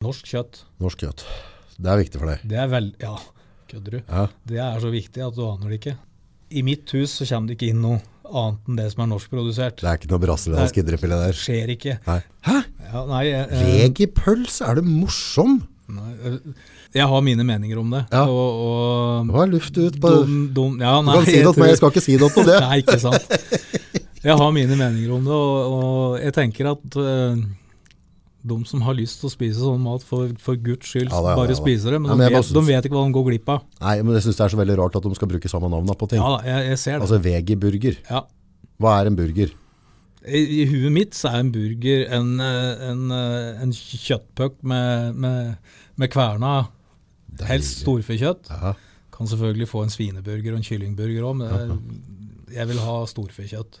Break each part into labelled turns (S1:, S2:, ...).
S1: Norsk kjøtt.
S2: Norsk kjøtt. Det er viktig for deg.
S1: Det er vel... Ja, kødder du?
S2: Ja.
S1: Det er så viktig at du aner det ikke. I mitt hus så kommer det ikke inn noe annet enn det som er norskprodusert.
S2: Det er ikke noe brasiliansk indrefilet
S1: Det
S2: der.
S1: skjer ikke.
S2: Nei. Hæ?
S1: Ja, nei, eh,
S2: Vegipøls? Er du morsom?
S1: nei, eh, jeg har mine meninger om det.
S2: Ja.
S1: Og, og
S2: Hva er luft ut på
S1: dum, dum, ja,
S2: Du
S1: nei,
S2: kan si
S1: jeg
S2: det, til meg,
S1: tror-
S2: jeg skal ikke si det til det.
S1: Nei, ikke sant. Jeg har mine meninger om det, og, og jeg tenker at eh, de som har lyst til å spise sånn mat, for, for guds skyld,
S2: Ja da, ja da, ja
S1: bare
S2: da.
S1: spiser det. Men,
S2: Ja, men jeg
S1: de,
S2: bare
S1: vet, de
S2: synes-
S1: vet ikke hva de går glipp av.
S2: Nei, men jeg syns det er så veldig rart at de skal bruke samme navn da på ting.
S1: Ja da, jeg, jeg ser det.
S2: Altså vegiburger.
S1: ja.
S2: Hva er en burger?
S1: I, I huet mitt så er en burger en, eh, en, eh, en kjøttpuck med, med, med kverna. Helst storfekjøtt.
S2: Ja.
S1: Kan selvfølgelig få en svineburger og en kyllingburger òg, men jeg- jeg vil ha storfekjøtt.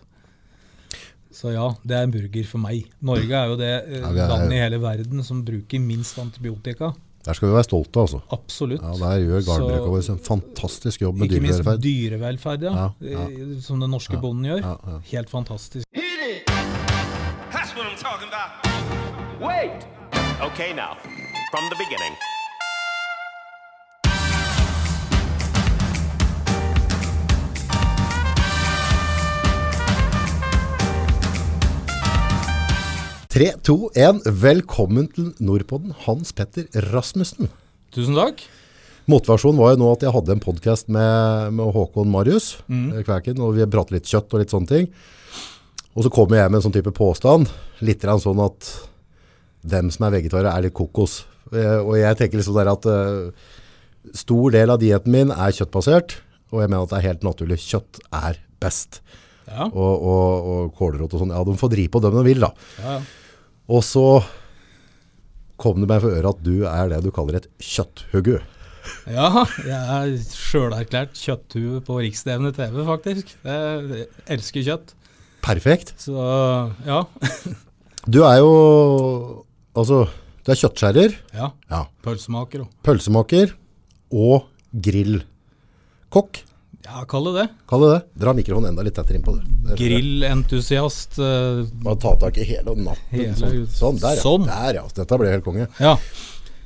S1: Så ja, det er en burger for meg. Norge er jo det eh,
S2: Ja, vi er-
S1: landet i hele verden som bruker minst antibiotika.
S2: Der skal vi være stolte, altså.
S1: Absolutt.
S2: Ja, Der gjør
S1: Så-
S2: Gardenbrøkover en fantastisk jobb med
S1: Ikke minst
S2: dyrevelferd.
S1: dyrevelferd, ja.
S2: Ja, ja.
S1: eh, Som den norske bonden gjør.
S2: ja, ja.
S1: Helt fantastisk.
S3: That's what I'm talking about.
S4: Wait!
S3: Okay, now, from the beginning.
S2: Tre, to, én. Velkommen til Nordpodden, Hans Petter Rasmussen.
S1: Tusen takk.
S2: Motversjonen var jo nå at jeg hadde en podkast med, med Håkon Marius,
S1: Mm.
S2: eh, Kvæken, og vi pratet litt kjøtt og litt sånne ting. Og så kommer jeg med en sånn type påstand, litt grann sånn at dem som er vegetarer er litt kokos. Eh, Og jeg tenker liksom der at eh, stor del av dietten min er kjøttbasert, og jeg mener at det er helt naturlig. Kjøtt er best.
S1: Ja.
S2: Og, og, og kålrot og sånn, ja, de får drive på dem de vil da.
S1: Ja, ja.
S2: Og så kom det meg for øret at du er det du kaller et kjøtthuggu.
S1: Ja, jeg er sjølerklært kjøtthue på riksstevende TV, faktisk. Jeg elsker kjøtt.
S2: Perfekt.
S1: Så ja.
S2: Du er jo Altså, du er kjøttskjærer,
S1: ja.
S2: ja.
S1: Pølsemaker og
S2: pølsemaker og grillkokk.
S1: Ja, kall det det.
S2: Kall det det. Dra mikrofonen enda litt tettere innpå. du. Der.
S1: Grillentusiast. eh,
S2: Bare ta tak i hele nappen.
S1: Hele-
S2: sånn. sånn, der, ja.
S1: sånn.
S2: Der, ja. Dette ble helt konge.
S1: Ja.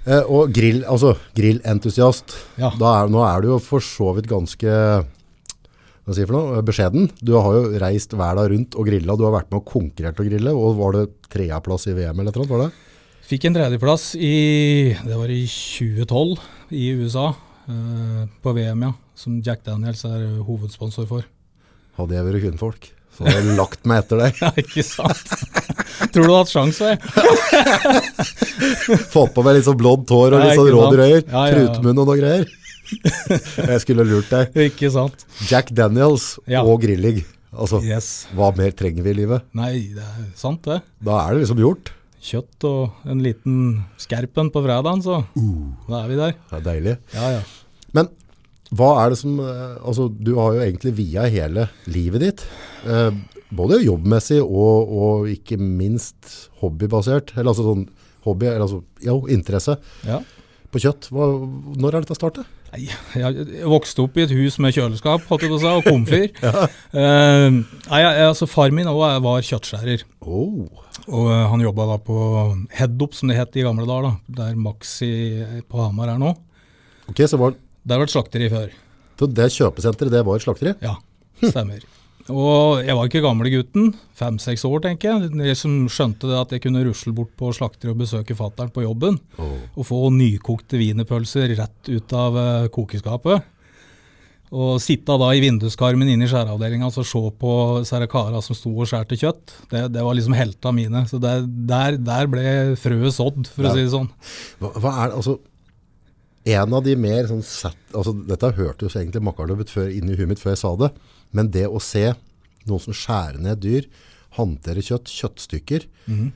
S2: Eh, og grill, altså grillentusiast.
S1: Ja.
S2: Da er, nå er du jo for så vidt ganske hva skal jeg si for noe, eh, beskjeden. Du har jo reist verden rundt og grilla. Du har vært med og konkurrert og grille. Og var det tredjeplass i VM eller noe? Var det?
S1: Fikk en tredjeplass i Det var i 2012 i USA. eh, På VM, ja. Som Jack Daniels er hovedsponsor for.
S2: Hadde jeg vært kvinnfolk, så hadde jeg lagt meg etter deg.
S1: Ja, ikke sant? Tror du du har hatt sjanse? jeg?
S2: Fått på meg litt sånn blondt hår og
S1: Ja,
S2: litt sånn
S1: ikke sant?
S2: rådyrøyer.
S1: Ja, ja, ja.
S2: Trutmunn og noe greier. Jeg skulle lurt deg.
S1: Ikke sant?
S2: Jack Daniels
S1: Ja.
S2: og grilling. Altså,
S1: Yes.
S2: hva mer trenger vi i livet?
S1: Nei, det er sant, det.
S2: Da er det liksom gjort.
S1: kjøtt og en liten skerpen på fredagen, så da er vi der.
S2: Det er deilig.
S1: Uh. Ja, ja.
S2: Men hva er det som eh, Altså, du har jo egentlig via hele livet ditt, eh, både jobbmessig og, og ikke minst hobbybasert, eller altså sånn hobby, eller altså, jo, interesse
S1: ja.
S2: på kjøtt. Hva, når er dette startet?
S1: Nei, jeg jeg vokste opp i et hus med kjøleskap holdt jeg på å si, og komfyr. Eh, nei, jeg- jeg- altså, far min også var kjøttskjærer,
S2: Oh,
S1: og eh, han jobba da på Headop, som det het i gamle dager, da, der Maxi på Hamar er nå.
S2: ok, så var
S1: Der var det slakteri før.
S2: Så det kjøpesenteret, det var et slakteri?
S1: Ja, stemmer. Og jeg var ikke gamle gutten, fem-seks år tenker jeg, jeg som skjønte det at jeg kunne rusle bort på slakter og besøke fattern på jobben, og få nykokte wienerpølser rett ut av eh, kokeskapet. Og sitte da i vinduskarmen inne i skjæreavdelinga og se på disse kara som sto og skjærte kjøtt, det, det var liksom helta mine. Så der, der, der ble frøet sådd, for å si det sånn.
S2: Hva, hva er det, altså En av de mer sånn sett, altså Dette hørtes egentlig makkardøv ut før- inni huet mitt før jeg sa det, men det å se noen som skjærer ned dyr, håndtere kjøtt, kjøttstykker
S1: Mhm.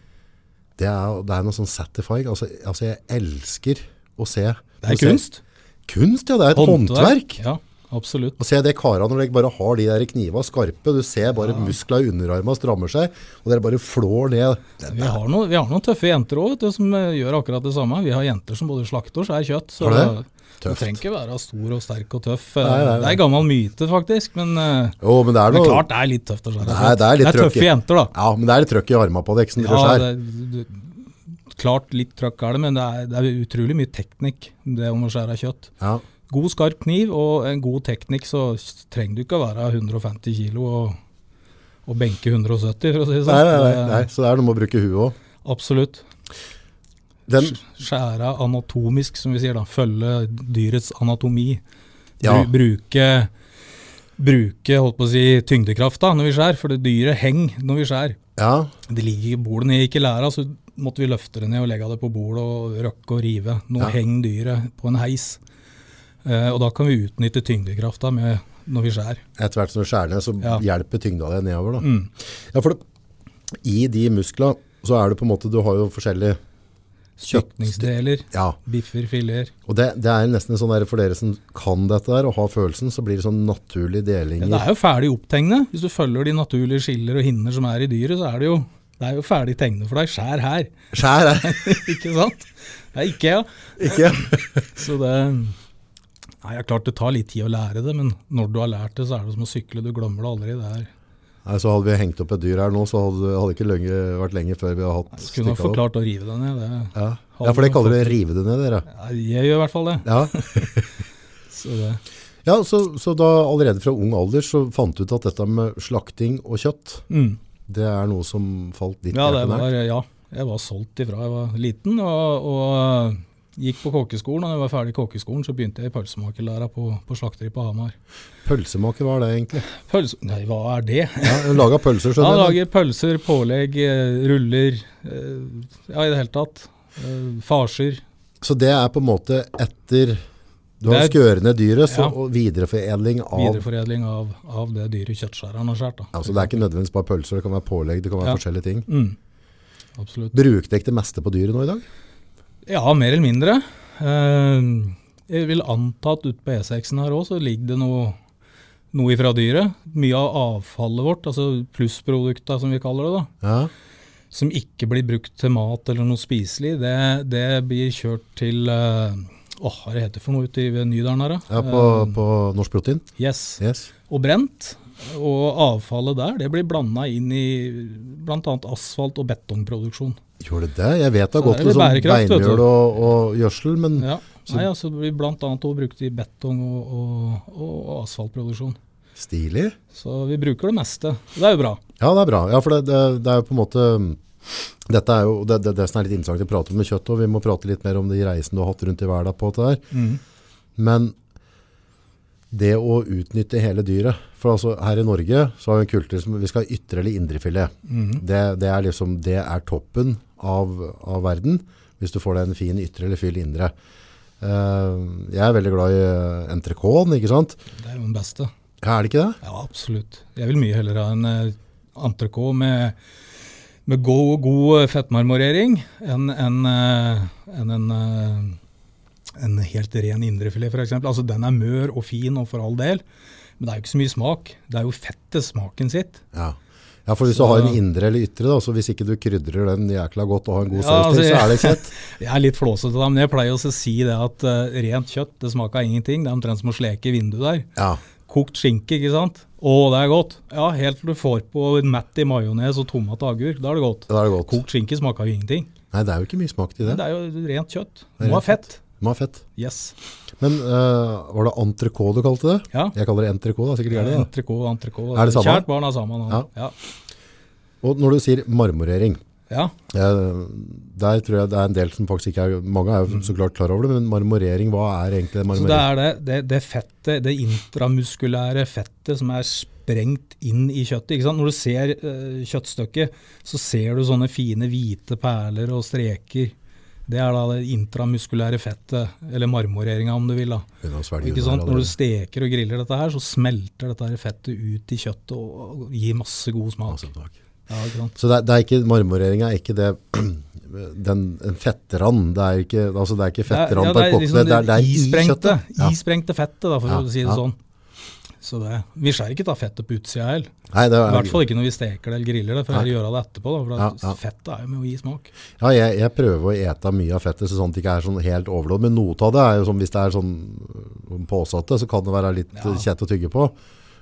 S2: det, er, det er noe sånn satisfying. Altså, altså, jeg elsker å se
S1: Det
S2: å
S1: er kunst.
S2: Se, kunst, ja. Det er et håndverk.
S1: Ja, absolutt.
S2: Å se det kara når de bare har de der kniva skarpe, du ser bare muskler i underarmene strammer seg, og dere bare flår ned. Det,
S1: Vi har, noen, vi har noen tøffe jenter òg som eh, gjør akkurat det samme. Vi har jenter som både slakter og skjærer kjøtt. Så
S2: Har du det?
S1: du
S2: Tøft.
S1: trenger ikke være stor og sterk og tøff. eh,
S2: nei, nei.
S1: Det er gammel myte, faktisk. Men, eh,
S2: jo, men det er
S1: men
S2: noe
S1: klart det er litt tøft å skjære
S2: Nei, det er litt
S1: det er
S2: trøkk i-
S1: tøffe jenter, da.
S2: Ja, men det er litt trøkk i armene på deg, ikke sant? Ja,
S1: det, du, klart litt trøkk er det, men det er, det er utrolig mye teknikk, det om å skjære kjøtt.
S2: Ja.
S1: God skarp kniv og en god teknikk, så s- trenger du ikke å være 150 kilo og, og benke 170, for å si det
S2: Nei,
S1: sånn.
S2: nei, nei,
S1: Det-
S2: nei, så det er noe med å bruke huet òg.
S1: Absolutt.
S2: Den,
S1: Skjære anatomisk, som vi sier da. Følge dyrets anatomi.
S2: Ja.
S1: Bru, bruke bruke holdt på å si, tyngdekrafta når vi skjærer, for det dyret henger når vi skjærer.
S2: ja,
S1: Det ligger i bordet nede, ikke i læra, så måtte vi løfte det ned og legge det på bordet og røkke og rive. Nå
S2: Ja.
S1: henger dyret på en heis. Eh, og da kan vi utnytte tyngdekrafta med når vi skjærer.
S2: etter hvert som du skjærer ned, så
S1: Ja. Mm.
S2: hjelper tyngda deg nedover. Da. Ja, for det, I de muskla så er det på en måte Du har jo forskjellige Kjøtt-
S1: Kjøkningsdeler,
S2: Ja.
S1: biffer, fileter.
S2: Og det, det er nesten en sånn der, for dere som kan dette der og har følelsen, så blir det sånn naturlig deling.
S1: Ja, det er jo ferdig opptegnet. Hvis du følger de naturlige skiller og hinner som er i dyret, så er det jo, det er jo ferdig tegnet for deg. Skjær her,
S2: Skjær er
S1: ikke sant? Det er ikke, ja.
S2: ikke
S1: Så det Nei, det er klart det tar litt tid å lære det, men når du har lært det, så er det som å sykle. Du glemmer det aldri. Det er
S2: Nei, så hadde vi hengt opp et dyr her nå, så hadde det ikke lenge, vært lenge før vi hadde hatt
S1: Kunne ha
S2: stykket av det.
S1: forklart å rive den ned. Det,
S2: Ja. ja, for det kaller dere rive det ned, dere.
S1: Ja, jeg gjør i hvert fall det.
S2: Ja,
S1: Så det.
S2: ja så, så da allerede fra ung alder så fant du ut at dette med slakting og kjøtt,
S1: Mm.
S2: det er noe som falt ditt
S1: Ja, det
S2: hjerte
S1: var,
S2: nært.
S1: ja, jeg var solgt ifra jeg var liten, og, og gikk på kokkeskolen. Og da jeg var ferdig i kokkeskolen, så begynte jeg i pølsemakerlæra på, på slakteri på Hamar.
S2: Pølsemaker var det egentlig.
S1: Pølse... Nei, hva er det?
S2: Ja, laget pølser,
S1: Ja,
S2: skjønner jeg.
S1: lager pølser, pålegg, eh, ruller, eh, ja, i det hele tatt. Eh, Farser.
S2: Så det er på en måte etter du har
S1: Det er-
S2: skøret ned dyret, så
S1: Ja.
S2: og videreforedling av
S1: Videreforedeling av, av det dyret kjøttskjæreren har skåret.
S2: Ja, så det er ikke nødvendigvis bare pølser, det kan være pålegg, det kan være
S1: Ja.
S2: forskjellige ting.
S1: Mm. Absolutt.
S2: Bruker dere ikke det meste på dyret nå i dag?
S1: Ja, mer eller mindre. Eh, Jeg vil anta at ute på E6-en her òg så ligger det noe, noe ifra dyret. Mye av avfallet vårt, altså plussprodukta som vi kaller det, da,
S2: Ja,
S1: som ikke blir brukt til mat eller noe spiselig, det, det blir kjørt til eh, Åh, hva er det heter for noe ute i ved Nydalen her, da?
S2: ja på,
S1: Um.
S2: på norsk protein.
S1: Eh, yes.
S2: Yes.
S1: Og brent. Og avfallet der det blir blanda inn i bl.a. asfalt- og betongproduksjon.
S2: Gjorde det det? Jeg vet det har
S1: Så
S2: gått
S1: er
S2: til
S1: det
S2: sånn
S1: bærekraft, vet du.
S2: beinmjøl og, og gjødsel, men
S1: Ja. Nei, altså, det blir bl.a. også brukt i betong og, og, og asfaltproduksjon.
S2: stilig.
S1: Så vi bruker det meste. Det er jo bra.
S2: Ja, det er bra. Ja, for det, det, det er jo på en måte dette er jo det, det, det som er litt interessant å prate om med kjøtt, og vi må prate litt mer om de reisene du har hatt rundt i hverdagen på dette her. Men det å utnytte hele dyret, for altså her i Norge så har vi en kultur som vi skal ha ytre eller indre filet. Det, det er liksom, det er toppen av, av verden, hvis du får deg en fin ytre eller fyll indre. Eh, jeg er veldig glad i eh, entrecôten, ikke sant?
S1: Det er jo den beste.
S2: Ja, er det ikke det?
S1: Ja, absolutt. Jeg vil mye heller ha en eh, entrecôte med, med god, god eh, fettmarmorering enn en, eh, enn en, eh, en helt ren indrefilet, f.eks. Altså, den er mør og fin, og for all del. Men det er jo ikke så mye smak. Det er jo fettet smaken sitt.
S2: Ja. Ja, for hvis
S1: Så-
S2: du har en indre eller ytre, da, så hvis ikke du krydrer den jækla godt og har en god
S1: Ja,
S2: saus til,
S1: altså,
S2: så er det kjøtt.
S1: Jeg er litt flåsete, da, men jeg pleier også å si det at eh, rent kjøtt det smaker ingenting. Det er omtrent som å sleke i vinduet der.
S2: Ja.
S1: Kokt skinke, ikke sant? Å, det er godt. Ja, helt til du får på mett i majones og tomat og agurk. Da er det godt.
S2: Da er det godt.
S1: Kokt skinke smaker jo ingenting.
S2: Nei, det er jo ikke mye smak til
S1: Men
S2: det.
S1: det er jo rent kjøtt.
S2: er
S1: Må ha
S2: rent
S1: fett.
S2: Man har fett.
S1: Yes.
S2: Men eh, var det entrecôte du kalte det?
S1: Ja.
S2: Jeg kaller det entrecôte, da, sikkert er det det.
S1: Entrecôte, entrecôte.
S2: Er det samme?
S1: Kjært barn er samme nå. Ja.
S2: Og når du sier marmorering,
S1: Ja.
S2: eh, der tror jeg det er en del som faktisk ikke er, mange er jo så klart klar over det, men marmorering, hva er egentlig
S1: Så det
S2: marmorering?
S1: er det, det, det fettet, det intramuskulære fettet som er sprengt inn i kjøttet. ikke sant? Når du ser eh, kjøttstykket, så ser du sånne fine hvite perler og streker. Det er da det intramuskulære fettet, eller marmoreringa om du vil. da.
S2: Begynner å svelge
S1: Ikke
S2: unna
S1: sant? Når
S2: allerede.
S1: du steker og griller dette her, så smelter dette her fettet ut i kjøttet og og gir masse god smak.
S2: Masse smak.
S1: Ja, ikke sant?
S2: Så det er, det er ikke, marmorering er ikke det, den, en fettrand, det er ikke, altså det er ikke fettrand på en kokt, det, er- det er i
S1: liksom isprengte,
S2: kjøttet. Ja.
S1: isprengte fettet, da, for
S2: Ja,
S1: å si det
S2: ja.
S1: sånn. Så det, Vi skjærer ikke ta fettet på utsida heller.
S2: Nei, det
S1: I hvert
S2: er,
S1: fall ikke når vi steker det eller griller det, for jeg gjør det etterpå. Da, for
S2: Ja,
S1: at
S2: ja.
S1: Fettet er jo med å gi smak.
S2: ja, jeg, jeg prøver å ete mye av fettet, så sånn at det ikke er sånn helt overlåd, men noe av det er jo sånn, hvis det er sånn øh, sånn påsatte, så kan det være litt
S1: Ja.
S2: øh, kjett å tygge på.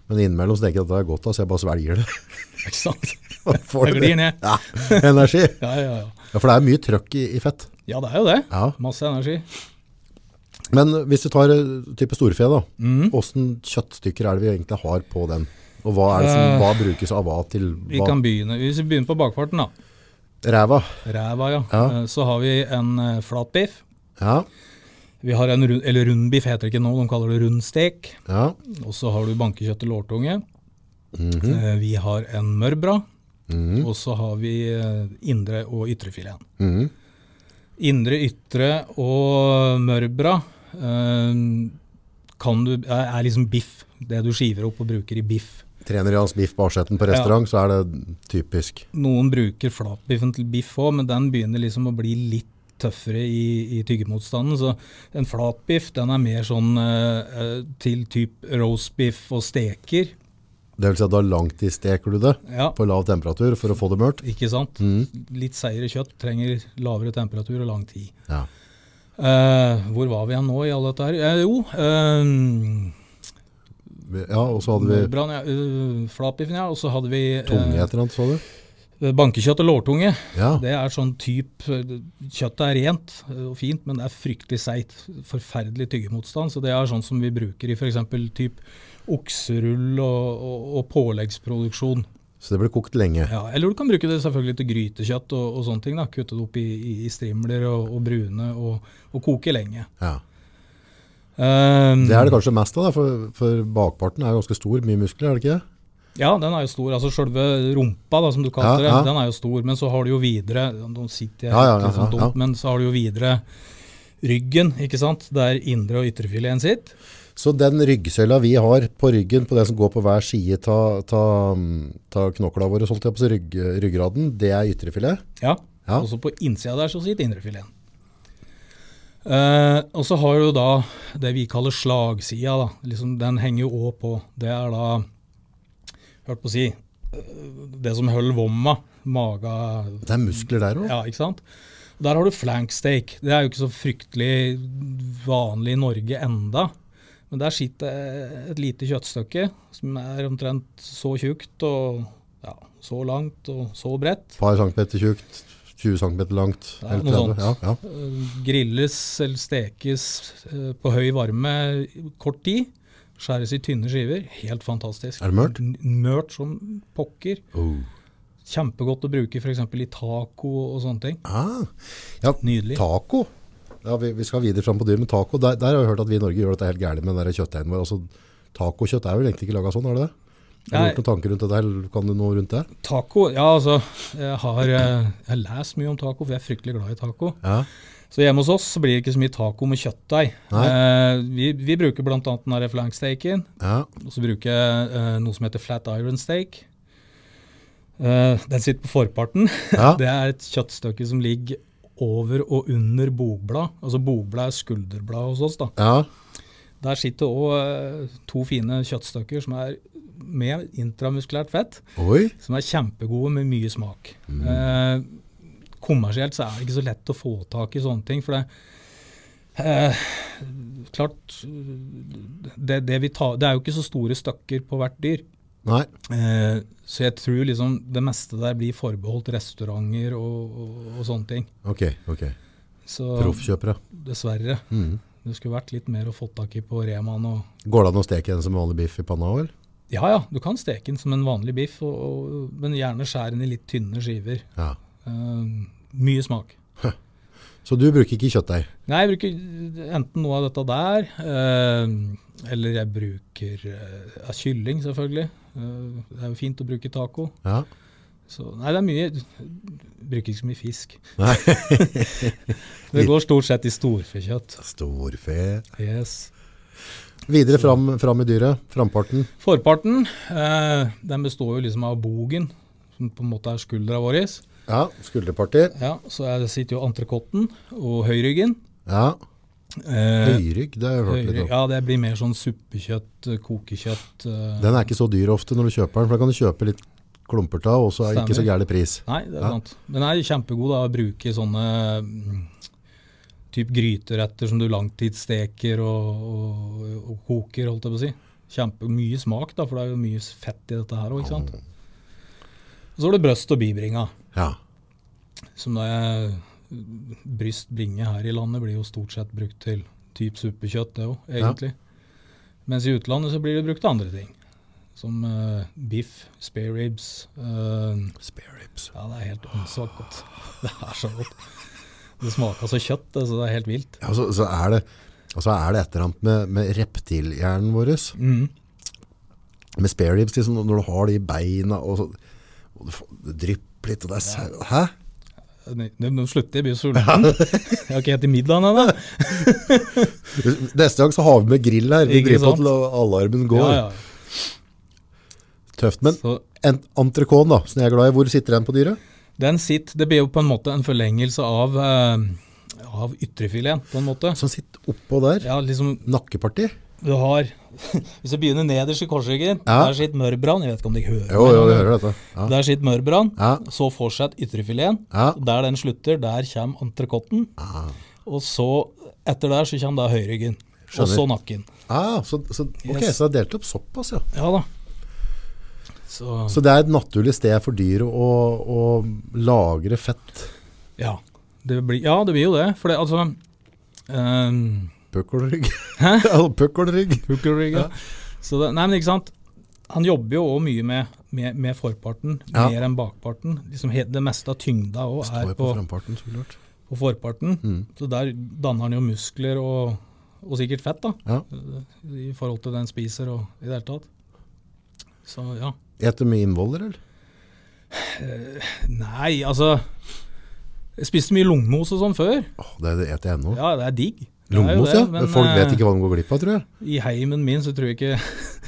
S2: Men innimellom så tenker jeg at det er godt, da, så jeg bare svelger det.
S1: Ikke sant?
S2: Og får
S1: Jeg
S2: det
S1: glir ned.
S2: Ja, energi.
S1: Ja, ja, ja.
S2: Ja, for det er mye trøkk i, i fett.
S1: ja, det er jo det.
S2: Ja.
S1: Masse energi.
S2: Men hvis du tar eh, type storfe, da.
S1: Mhm.
S2: Åssen kjøttstykker er det vi egentlig har på den? Og hva, er det som, hva brukes av hva til
S1: Eh. Vi
S2: hva?
S1: kan begynne Hvis vi begynner på bakparten, da.
S2: Ræva.
S1: Ræva, ja.
S2: Ja.
S1: Eh, Så har vi en eh, flatbiff.
S2: Ja,
S1: Vi har en rund, eller rundbiff heter det ikke nå, de kaller det rundstek.
S2: ja.
S1: Og så har du bankekjøtt og lårtunge. Eh, Vi har en mørbra. Og så har vi eh, indre og ytrefileten.
S2: Mhm.
S1: Indre, ytre og mørbra eh, kan du, er er liksom biff. Det du skiver opp og bruker i biff.
S2: Trener Jans biff Barsetten på restaurant, så er det typisk.
S1: Noen bruker flatbiffen til biff òg, men den begynner liksom å bli litt tøffere i, i tyggemotstanden. Så en flatbiff den er mer sånn eh, eh, til typ roastbiff og steker.
S2: Det vil si at da langtidssteker du det
S1: Ja.
S2: på lav temperatur for å få det mørt.
S1: Ikke sant?
S2: Mm.
S1: Litt seigere kjøtt trenger lavere temperatur og lang tid.
S2: Ja.
S1: Eh, hvor var vi igjen nå i alle dette her? Eh, jo, eh,
S2: ja, og så hadde vi
S1: brann, ja, eh, flatbiffen, ja. Og så hadde vi eh,
S2: tunge et eller annet, så du?
S1: bankekjøtt og lårtunge.
S2: Ja.
S1: Det er sånn type Kjøttet er rent eh, og fint, men det er fryktelig seigt. Forferdelig tyggemotstand. Så det er sånn som vi bruker i f.eks. type okserull og, og, og påleggsproduksjon.
S2: Så det ble kokt lenge.
S1: Ja, eller du kan bruke det selvfølgelig til grytekjøtt og, og sånne ting. da, Kutte det opp i, i, i strimler og, og brune og, og koke lenge.
S2: Ja.
S1: Ehm,
S2: Det er det kanskje mest av, da, for, for bakparten er jo ganske stor, mye muskler, er det ikke det?
S1: Ja, den er jo stor. altså Selve rumpa, da, som du kaller
S2: Ja, ja.
S1: det, den er jo stor. Men så har du jo videre Nå sitter jeg
S2: Ja, ja, ja,
S1: litt sånn
S2: ja,
S1: dumt,
S2: ja.
S1: men så har du jo videre ryggen, ikke sant? Der indre og ytrefileten sitt.
S2: Så den ryggsøyla vi har på ryggen, på den som går på hver side ta, ta, ta knokla våre, holdt jeg på, å si, rygg, ryggraden, det er ytrefilet.
S1: Ja.
S2: Ja.
S1: Og så på innsida der så sitter indrefileten. Eh, og så har du da det vi kaller slagsida. da. Liksom, den henger jo òg på. Det er da Hørt på å si eh, Det som holder vomma, maga
S2: Det er muskler der òg.
S1: Ja, ikke sant? Der har du flank steak. Det er jo ikke så fryktelig vanlig i Norge enda. Men der sitter et lite kjøttstykke som er omtrent så tjukt og ja, så langt og så bredt.
S2: Et par centimeter tjukt, 20 centimeter langt.
S1: Ja,
S2: eller
S1: noe sånt.
S2: 30. Ja, ja.
S1: Eh, Grilles eller stekes eh, på høy varme i kort tid. Skjæres i tynne skiver. Helt fantastisk.
S2: Er det mørt?
S1: N- Mørt som pokker. Kjempegodt å bruke f.eks. i taco og sånne ting.
S2: Ah. ja
S1: Nydelig.
S2: taco. Ja, vi, vi skal videre fram på dyr, men taco, der, der har jeg hørt at vi i Norge gjør dette helt gærent med den der kjøttdeigen vår. Altså, tacokjøtt er vel egentlig ikke laga sånn, er det det? Har du
S1: Nei.
S2: gjort noen tanker rundt dette, eller kan du noe rundt det?
S1: Taco, ja altså Jeg har, eh, jeg har lest mye om taco, for jeg er fryktelig glad i taco.
S2: Ja.
S1: Så hjemme hos oss så blir det ikke så mye taco med kjøttdeig.
S2: Nei.
S1: Eh, vi, vi bruker bl.a. den her flanksteken.
S2: ja.
S1: Og så bruker jeg eh, noe som heter flat iron steak. Eh, den sitter på forparten.
S2: Ja.
S1: det er et kjøttstykke som ligger over og under bogblad. Altså bogblad er skulderblad hos oss. da.
S2: ja.
S1: Der sitter òg to fine kjøttstykker som er med intramuskulært fett,
S2: Oi.
S1: som er kjempegode med mye smak. Eh, kommersielt så er det ikke så lett å få tak i sånne ting, for det eh, Klart det, det, vi tar, det er jo ikke så store stykker på hvert dyr.
S2: Nei.
S1: Eh, så jeg tror liksom det meste der blir forbeholdt restauranter og, og, og sånne ting.
S2: Ok. ok.
S1: Så
S2: Proffkjøpere.
S1: dessverre. Det skulle vært litt mer å få tak i på Remaen og
S2: Går det an å steke den som vanlig biff i panna òg?
S1: Ja ja, du kan steke den som en vanlig biff, og, og, men gjerne skjære den i litt tynne skiver.
S2: Ja.
S1: Eh, mye smak.
S2: Så du bruker ikke kjøttdeig?
S1: Nei, jeg bruker eh, enten noe av dette der, eh, eller jeg bruker eh, ja, kylling, selvfølgelig. Eh, det er jo fint å bruke i taco.
S2: Ja.
S1: Så, nei, det er mye Bruker ikke så mye fisk.
S2: Nei.
S1: Det går stort sett i storfekjøtt.
S2: Storfe.
S1: Yes.
S2: Videre fram, fram i dyret. Framparten.
S1: Forparten eh, den består jo liksom av bogen, som på en måte er skuldra vår.
S2: Ja. Skulderparti.
S1: Ja, så er- sitter jo entrecôten og høyryggen.
S2: Ja.
S1: Eh,
S2: Høyrygg, det har jeg hørt litt
S1: høyre,
S2: om.
S1: ja, det blir mer sånn suppekjøtt, eh, kokekjøtt. Eh.
S2: Den er ikke så dyr ofte når du kjøper den, for da kan du kjøpe litt klumper av, og så er det ikke så
S1: Stemmer.
S2: gærlig pris.
S1: Nei, det er
S2: Ja.
S1: sant. Men den er jo kjempegod da, å bruke i sånne mm, typ gryteretter som du langtidssteker og, og, og koker, holdt jeg på å si. Kjempe, mye smak, da, for det er jo mye fett i dette her òg. Og så var det bryst og bibringa.
S2: Ja.
S1: Som det er bryst bringe her i landet blir jo stort sett brukt til typ suppekjøtt, det òg, egentlig. Mens i utlandet så blir det brukt til andre ting. Som eh, biff, spare ribs eh,
S2: Spare ribs.
S1: Ja, det er helt åndssvakt godt. Det er så godt. Det smaker så kjøtt, det, så det er helt vilt.
S2: Ja, så, så er det, og så er det et eller annet med, med reptilhjernen vår.
S1: Mm.
S2: Med spare ribs, liksom, når du har de beina, og, så, og det, får- det drypper litt, og det er sau. Hæ?
S1: Nei, Nå nå slutter jeg, jeg blir så sulten. Jeg har ikke spist middagen ennå.
S2: Neste gang så har vi med grill her. Vi
S1: Ikke
S2: driver
S1: sant?
S2: på til alarmen går.
S1: Ja, ja.
S2: Tøft, men
S1: Så
S2: en entrecôte, da, som jeg er glad i. Hvor sitter den på dyret?
S1: den sitter, det blir jo på en måte en forlengelse av, eh, av ytrefileten, på en måte.
S2: Som sitter oppå der.
S1: Ja, liksom
S2: Nakkeparti.
S1: Du har Hvis jeg begynner nederst i korsryggen,
S2: Ja.
S1: der sitter mørbran. Jeg vet ikke om dere hører
S2: Jo,
S1: meg,
S2: jo, vi
S1: men
S2: hører dette. Ja.
S1: Der sitter mørbran.
S2: Ja.
S1: Så fortsetter ytrefileten.
S2: Ja. Ah.
S1: Der den slutter, der kommer entrecôten. Og så, etter der, så kommer da høyryggen. Og
S2: Skjønner.
S1: så nakken.
S2: Ah, så, så, ok,
S1: Yes.
S2: så det er delt opp såpass, ja.
S1: Ja da. Så,
S2: Så det er et naturlig sted for dyret å, å lagre fett.
S1: ja. Det blir, ja, det blir jo det. For det, altså ehm,
S2: Pukkelrygg. Ja, Pukkelrygg.
S1: Pukkelrygg, ja. Så det, nei, men ikke sant. Han jobber jo òg mye med, med, med forparten,
S2: Ja.
S1: mer enn bakparten. Liksom he, det meste av tyngda òg
S2: Står
S1: er
S2: jo på
S1: på,
S2: framparten, så klart.
S1: på forparten.
S2: Mm.
S1: Så der danner han jo muskler og, og sikkert fett, da.
S2: Ja.
S1: I forhold til det han spiser og i det hele tatt. Så ja.
S2: Eter mye innvoller, eller?
S1: Nei, altså Jeg spiste mye lungmos og sånn før.
S2: Åh, det det eter jeg ennå.
S1: Ja, det er digg. Det er jo
S2: Lungmos,
S1: det,
S2: ja.
S1: men,
S2: Folk
S1: eh,
S2: vet ikke hva de går glipp av, tror jeg.
S1: I heimen min så tror jeg ikke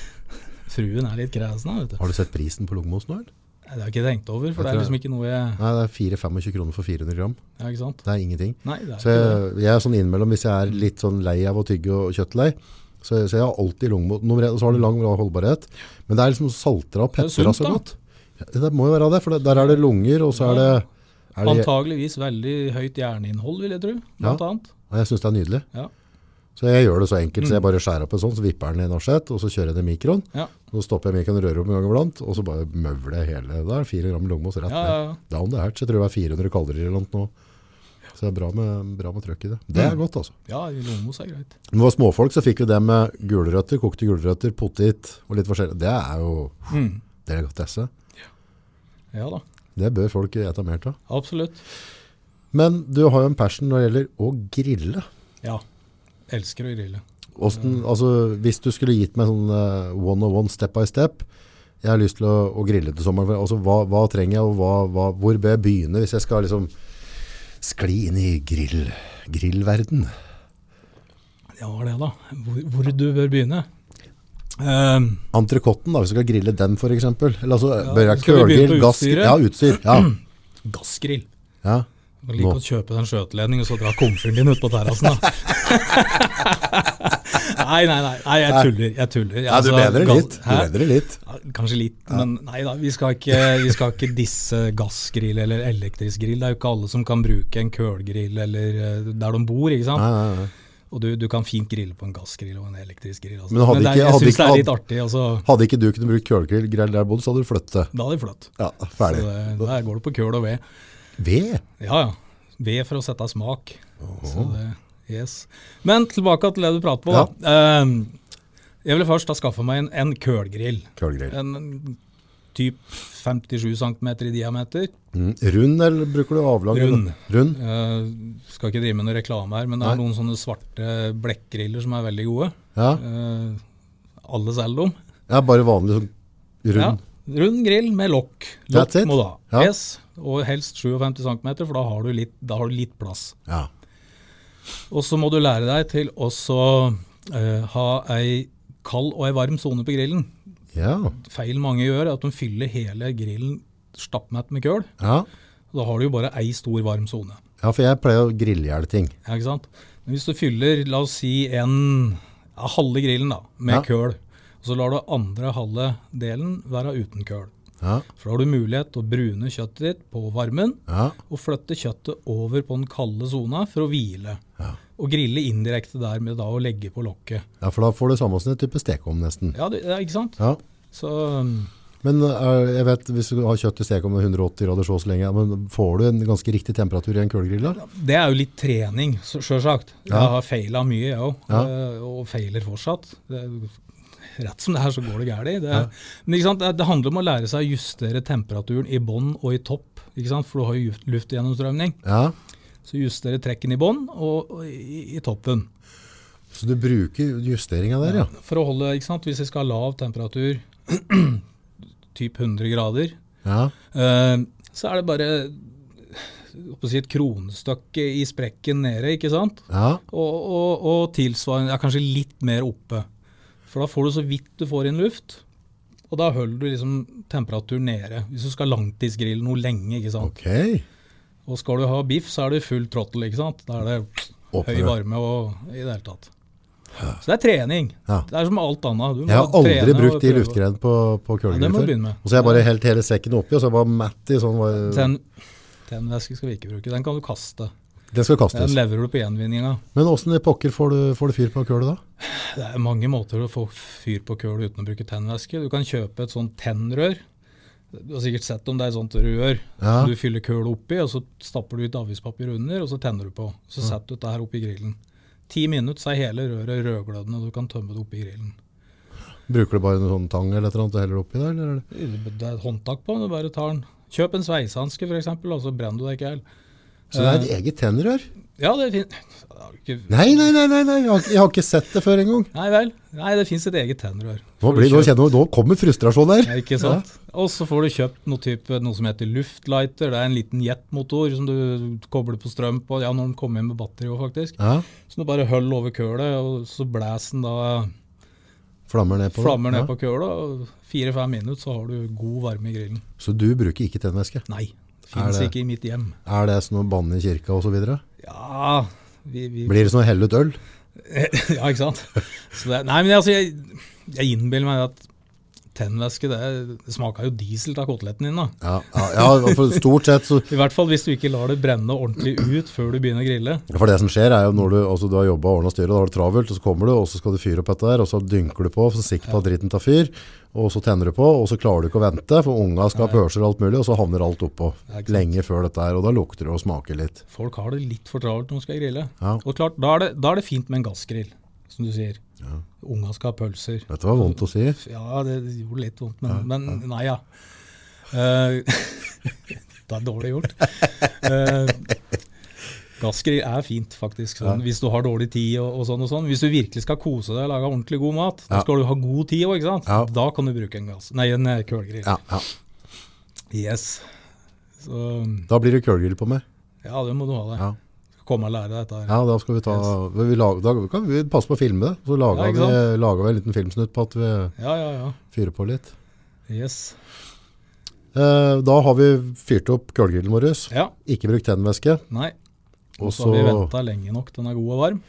S1: Fruen er litt kresen, her, vet du.
S2: Har du sett prisen på lungmos nå, eller?
S1: Nei, Det har jeg ikke tenkt over, for det
S2: Jeg
S1: er
S2: tror-
S1: liksom ikke noe jeg
S2: Nei, det er 4-25 kroner for 400 gram.
S1: Ja, ikke sant?
S2: Det er ingenting.
S1: Nei, det er
S2: Så
S1: ikke det.
S2: jeg, jeg er sånn innimellom, hvis jeg er litt sånn lei av å tygge og kjøttlei, så, så jeg har alltid lungmos. Nummer én, og så har det lang holdbarhet. Men det er liksom saltra og
S1: er jo
S2: pepra
S1: sunt,
S2: så
S1: da.
S2: godt. Ja, det må jo være det, for det, der er det lunger, og så er det, er det
S1: Antageligvis veldig høyt jerninnhold, vil jeg tro. Blant annet.
S2: Og jeg syns det er nydelig.
S1: Ja.
S2: Så jeg gjør det så enkelt, så jeg bare skjærer opp en sånn, så vipper den i en asjett, og så kjører jeg den i mikroen.
S1: Mm. Ja.
S2: Så stopper jeg mikroen og rører opp en gang iblant, og så bare møvler jeg hele. Da er det fire gram lungmos rett
S1: Ja,
S2: ned.
S1: ja, ja.
S2: Down the hatch, jeg tror det er 400 kalorier eller noe nå. Så det er bra med, bra med trøkk i det. Det
S1: Mm.
S2: er godt, altså.
S1: ja lungmos er greit.
S2: Når vi var småfolk, så fikk vi det med gulrøtter, kokte gulrøtter, potet og litt forskjellig. Det er jo
S1: Mm.
S2: det er godt esse.
S1: Ja da.
S2: Det bør folk ete mer av.
S1: Absolutt.
S2: Men du har jo en passion når det gjelder å grille.
S1: Ja. Elsker å grille.
S2: Hvordan, altså, hvis du skulle gitt meg sånn eh, one on one, step by step, jeg har lyst til å, å grille til sommeren. Altså, hva, hva trenger jeg, og hva, hva, hvor bør jeg begynne hvis jeg skal liksom skli inn i grill, grillverden?
S1: Ja, det da. Hvor, hvor du bør begynne. Ehm,
S2: Antrekotten da, hvis du skal grille den for eksempel. Eller altså,
S1: Ja,
S2: bør jeg
S1: skal vi begynne
S2: kølgrill,
S1: på
S2: gass,
S1: utstyret?
S2: ja, utstyr, ja.
S1: gassgrill.
S2: ja.
S1: Jeg liker
S2: Nå.
S1: å kjøpe den skjøteledningen og så dra komfyren din ut på terrassen. da. nei, nei, nei, nei, jeg tuller. Jeg tuller.
S2: Ja, du
S1: Altså,
S2: bedrer
S1: gass-
S2: litt. Du
S1: Hæ?
S2: bedrer litt.
S1: Ja, Kanskje litt, men nei da. Vi skal ikke, vi skal ikke disse gassgrill eller elektrisk grill. Det er jo ikke alle som kan bruke en kølgrill eller eh, der de bor, ikke sant.
S2: Nei, nei, nei.
S1: Og du, du kan fint grille på en gassgrill og en elektrisk grill. Altså.
S2: Men hadde
S1: det er,
S2: ikke-
S1: jeg
S2: hadde
S1: syns det
S2: ikke-
S1: er litt artig. Altså.
S2: Hadde ikke du kunnet bruke kølgrill grell der bodde, så hadde du flyttet.
S1: Da er det flott.
S2: Ja,
S1: Så
S2: ferdig.
S1: det, der går det på køl og ved.
S2: Ved?
S1: Ja, ja. Ved for å sette smak. Så det, yes. Men tilbake til det du prater på.
S2: Ja.
S1: da. Ehm, jeg ville først ha skaffa meg en, en kølgrill.
S2: Kølgrill.
S1: En en typ 57 cm i diameter.
S2: Mm. Rund, eller bruker du avlang?
S1: Rund.
S2: Rund?
S1: Eh, skal ikke drive med noe reklame her, men det er
S2: Nei.
S1: noen sånne svarte blekkgriller som er veldig gode.
S2: Ja.
S1: Eh, alle selger dem.
S2: ja, bare vanlig sånn
S1: Ja,
S2: rund.
S1: rund grill med lokk.
S2: That's
S1: Lokk
S2: it.
S1: må du ha.
S2: Ja.
S1: Yes, og helst 57 cm, for da har du litt, da har du litt plass.
S2: Ja.
S1: Og så må du lære deg til også eh, ha ei kald og ei varm sone på grillen.
S2: Ja.
S1: Feil mange gjør, er at de fyller hele grillen stappmett med køl.
S2: ja.
S1: Da har du jo bare ei stor varm sone.
S2: Ja, for jeg pleier å grillhjele ting.
S1: Ja, ikke sant? Men hvis du fyller, la oss si, en ja, halve grillen da, med
S2: Ja.
S1: køl, og så lar du andre halve delen være uten køl.
S2: Ja,
S1: For da har du mulighet til å brune kjøttet ditt på varmen,
S2: ja,
S1: og flytte kjøttet over på den kalde sona for å hvile. Og grille indirekte der med da å legge på lokket.
S2: ja, for da får du samme som en type stekeovn nesten.
S1: Ja, det, ja, ikke sant?
S2: Ja.
S1: Så um,
S2: Men eh, jeg vet, hvis du har kjøtt i stekeovn med 180 grader så og så lenge, ja, men får du en ganske riktig temperatur i en kullgrill da?
S1: det er jo litt trening, så- sjølsagt. Jeg har feila mye, jeg òg.
S2: Ja.
S1: Og feiler fortsatt. Det, er- rett som det er, så går det galt. Det, er- Men ikke sant? Det, det handler om å lære seg å justere temperaturen i bånn og i topp. Ikke sant? For du har jo luft- luftgjennomstrømning.
S2: Ja,
S1: Så justere trekken i bånn og, og i, i toppen.
S2: så du bruker justeringen der, ja.
S1: For å holde, ikke sant, Hvis jeg skal ha lav temperatur, typ 100 grader,
S2: Ja,
S1: eh, så er det bare jeg holdt på å si, et kronstykke i sprekken nede, ikke sant?
S2: ja,
S1: Og, og, og tilsvarende ja, kanskje litt mer oppe. For da får du så vidt du får inn luft, og da holder du liksom temperaturen nede. Hvis du skal langtidsgrille noe lenge, ikke sant.
S2: ok.
S1: Og skal du ha biff, så er det full trottel, ikke sant. Da er det
S2: Åpner
S1: høy
S2: du.
S1: varme og i det hele tatt. Så det er trening.
S2: Ja.
S1: Det er som alt annet. Du må
S2: Jeg har aldri
S1: trene og
S2: brukt de
S1: prøve.
S2: luftgreiene på,
S1: Ja,
S2: på
S1: det
S2: kullgrill
S1: må du
S2: før.
S1: begynne med.
S2: Og så har jeg bare helt hele sekken oppi, og så er jeg bare matt i sånn... eh,
S1: Tenn, tennvæske skal vi ikke bruke. Den kan du kaste.
S2: Den skal kastes.
S1: Den leverer du på gjenvinninga.
S2: Men åssen i pokker får du, får du fyr på kølet da?
S1: Det er mange måter å få fyr på køl uten å bruke tennvæske. Du kan kjøpe et sånt tennrør. Du har sikkert sett om det er et sånt rør
S2: Ja.
S1: som du fyller køl oppi, og så stapper du ut avispapir under, og så tenner du på. Så setter du dette her oppi grillen. Ti minutter så er hele røret rødglødende, og du kan tømme det oppi grillen.
S2: Bruker du bare en sånn tang eller et eller annet og heller det oppi der? Eller? er det-
S1: Det er et håndtak på, du bare tar den. Kjøp en sveisehanske f.eks., og så brenner du deg ikke i hjel. Eh.
S2: Så det er et eget tennerør?
S1: Ja, det fins
S2: Nei, nei, nei, nei, nei. Jeg, har, ikke- jeg har ikke sett det før engang.
S1: Nei vel. Nei, det fins et eget tennerør.
S2: Nå,
S1: Får du
S2: blir- nå,
S1: kjøpt-
S2: kjenner jeg- nå kommer frustrasjonen
S1: Ja,
S2: her.
S1: Ikke sant? Og så får du kjøpt noe, type, noe som heter luftlighter. Det er en liten jetmotor som du kobler på strøm på. Ja, når den kommer inn med batteri òg, faktisk.
S2: Ja,
S1: Så du bare høll over kølet, og så blæser den da
S2: Flammer ned på det.
S1: flammer ned
S2: Ja.
S1: på kølet. og Fire-fem minutter så har du god varme i grillen.
S2: Så du bruker ikke tennvæske?
S1: Nei, fins
S2: det-
S1: ikke i mitt hjem.
S2: Er det sånn å banne i kirka osv.?
S1: Ja, vi, vi
S2: Blir det sånn å helle ut øl?
S1: ja, ikke sant? Så det, nei, men altså, jeg, jeg innbiller meg at tennvæske, det, det smaker jo diesel av koteletten din, da.
S2: Ja, ja, ja, for stort sett så
S1: I hvert fall hvis du ikke lar det brenne ordentlig ut før du begynner å grille.
S2: For det som skjer er jo når du, altså, du har jobba og ordna styret, da har du travelt, og så kommer du, og så skal du fyre opp dette her, og så dynker du på, så sikker på at dritten tar fyr, og så tenner du på, og så klarer du ikke å vente, for unga skal ha pølser og alt mulig, og så havner alt oppå
S1: Ja, ikke sant.
S2: lenge før dette her, og da lukter det og smaker litt.
S1: Folk har det litt for travelt når de skal grille.
S2: Ja.
S1: Og klart, da er, det, da er det fint med en gassgrill, som du sier. Unga skal ha pølser.
S2: Dette var vondt å si.
S1: Ja, det gjorde litt vondt, men, men nei, ja. Eh, det er dårlig gjort. Eh, gassgrill er fint, faktisk, sånn, hvis du har dårlig tid. og, og sånn og sånn. Hvis du virkelig skal kose deg og lage ordentlig god mat, da
S2: Ja.
S1: skal du ha god tid òg.
S2: Ja.
S1: sant? Da kan du bruke en, gass, nei, en eh, kølgrill.
S2: Ja, ja.
S1: Yes. Så
S2: Da blir det kølgrill på meg.
S1: ja, det må du ha deg.
S2: Ja.
S1: Skal komme og lære deg dette. her.
S2: Ja, da skal vi ta vi lager, Da kan vi passe på å filme det. Så lager,
S1: Ja, ikke sant?
S2: vi, lager vi en liten filmsnutt på at vi
S1: Ja, ja, ja.
S2: fyrer på litt.
S1: Yes.
S2: Eh, da har vi fyrt opp kølgrillen vår.
S1: Ja,
S2: Ikke brukt tennvæske.
S1: nei.
S2: Og
S1: Så har vi
S2: så
S1: venta lenge nok. Den er god og varm.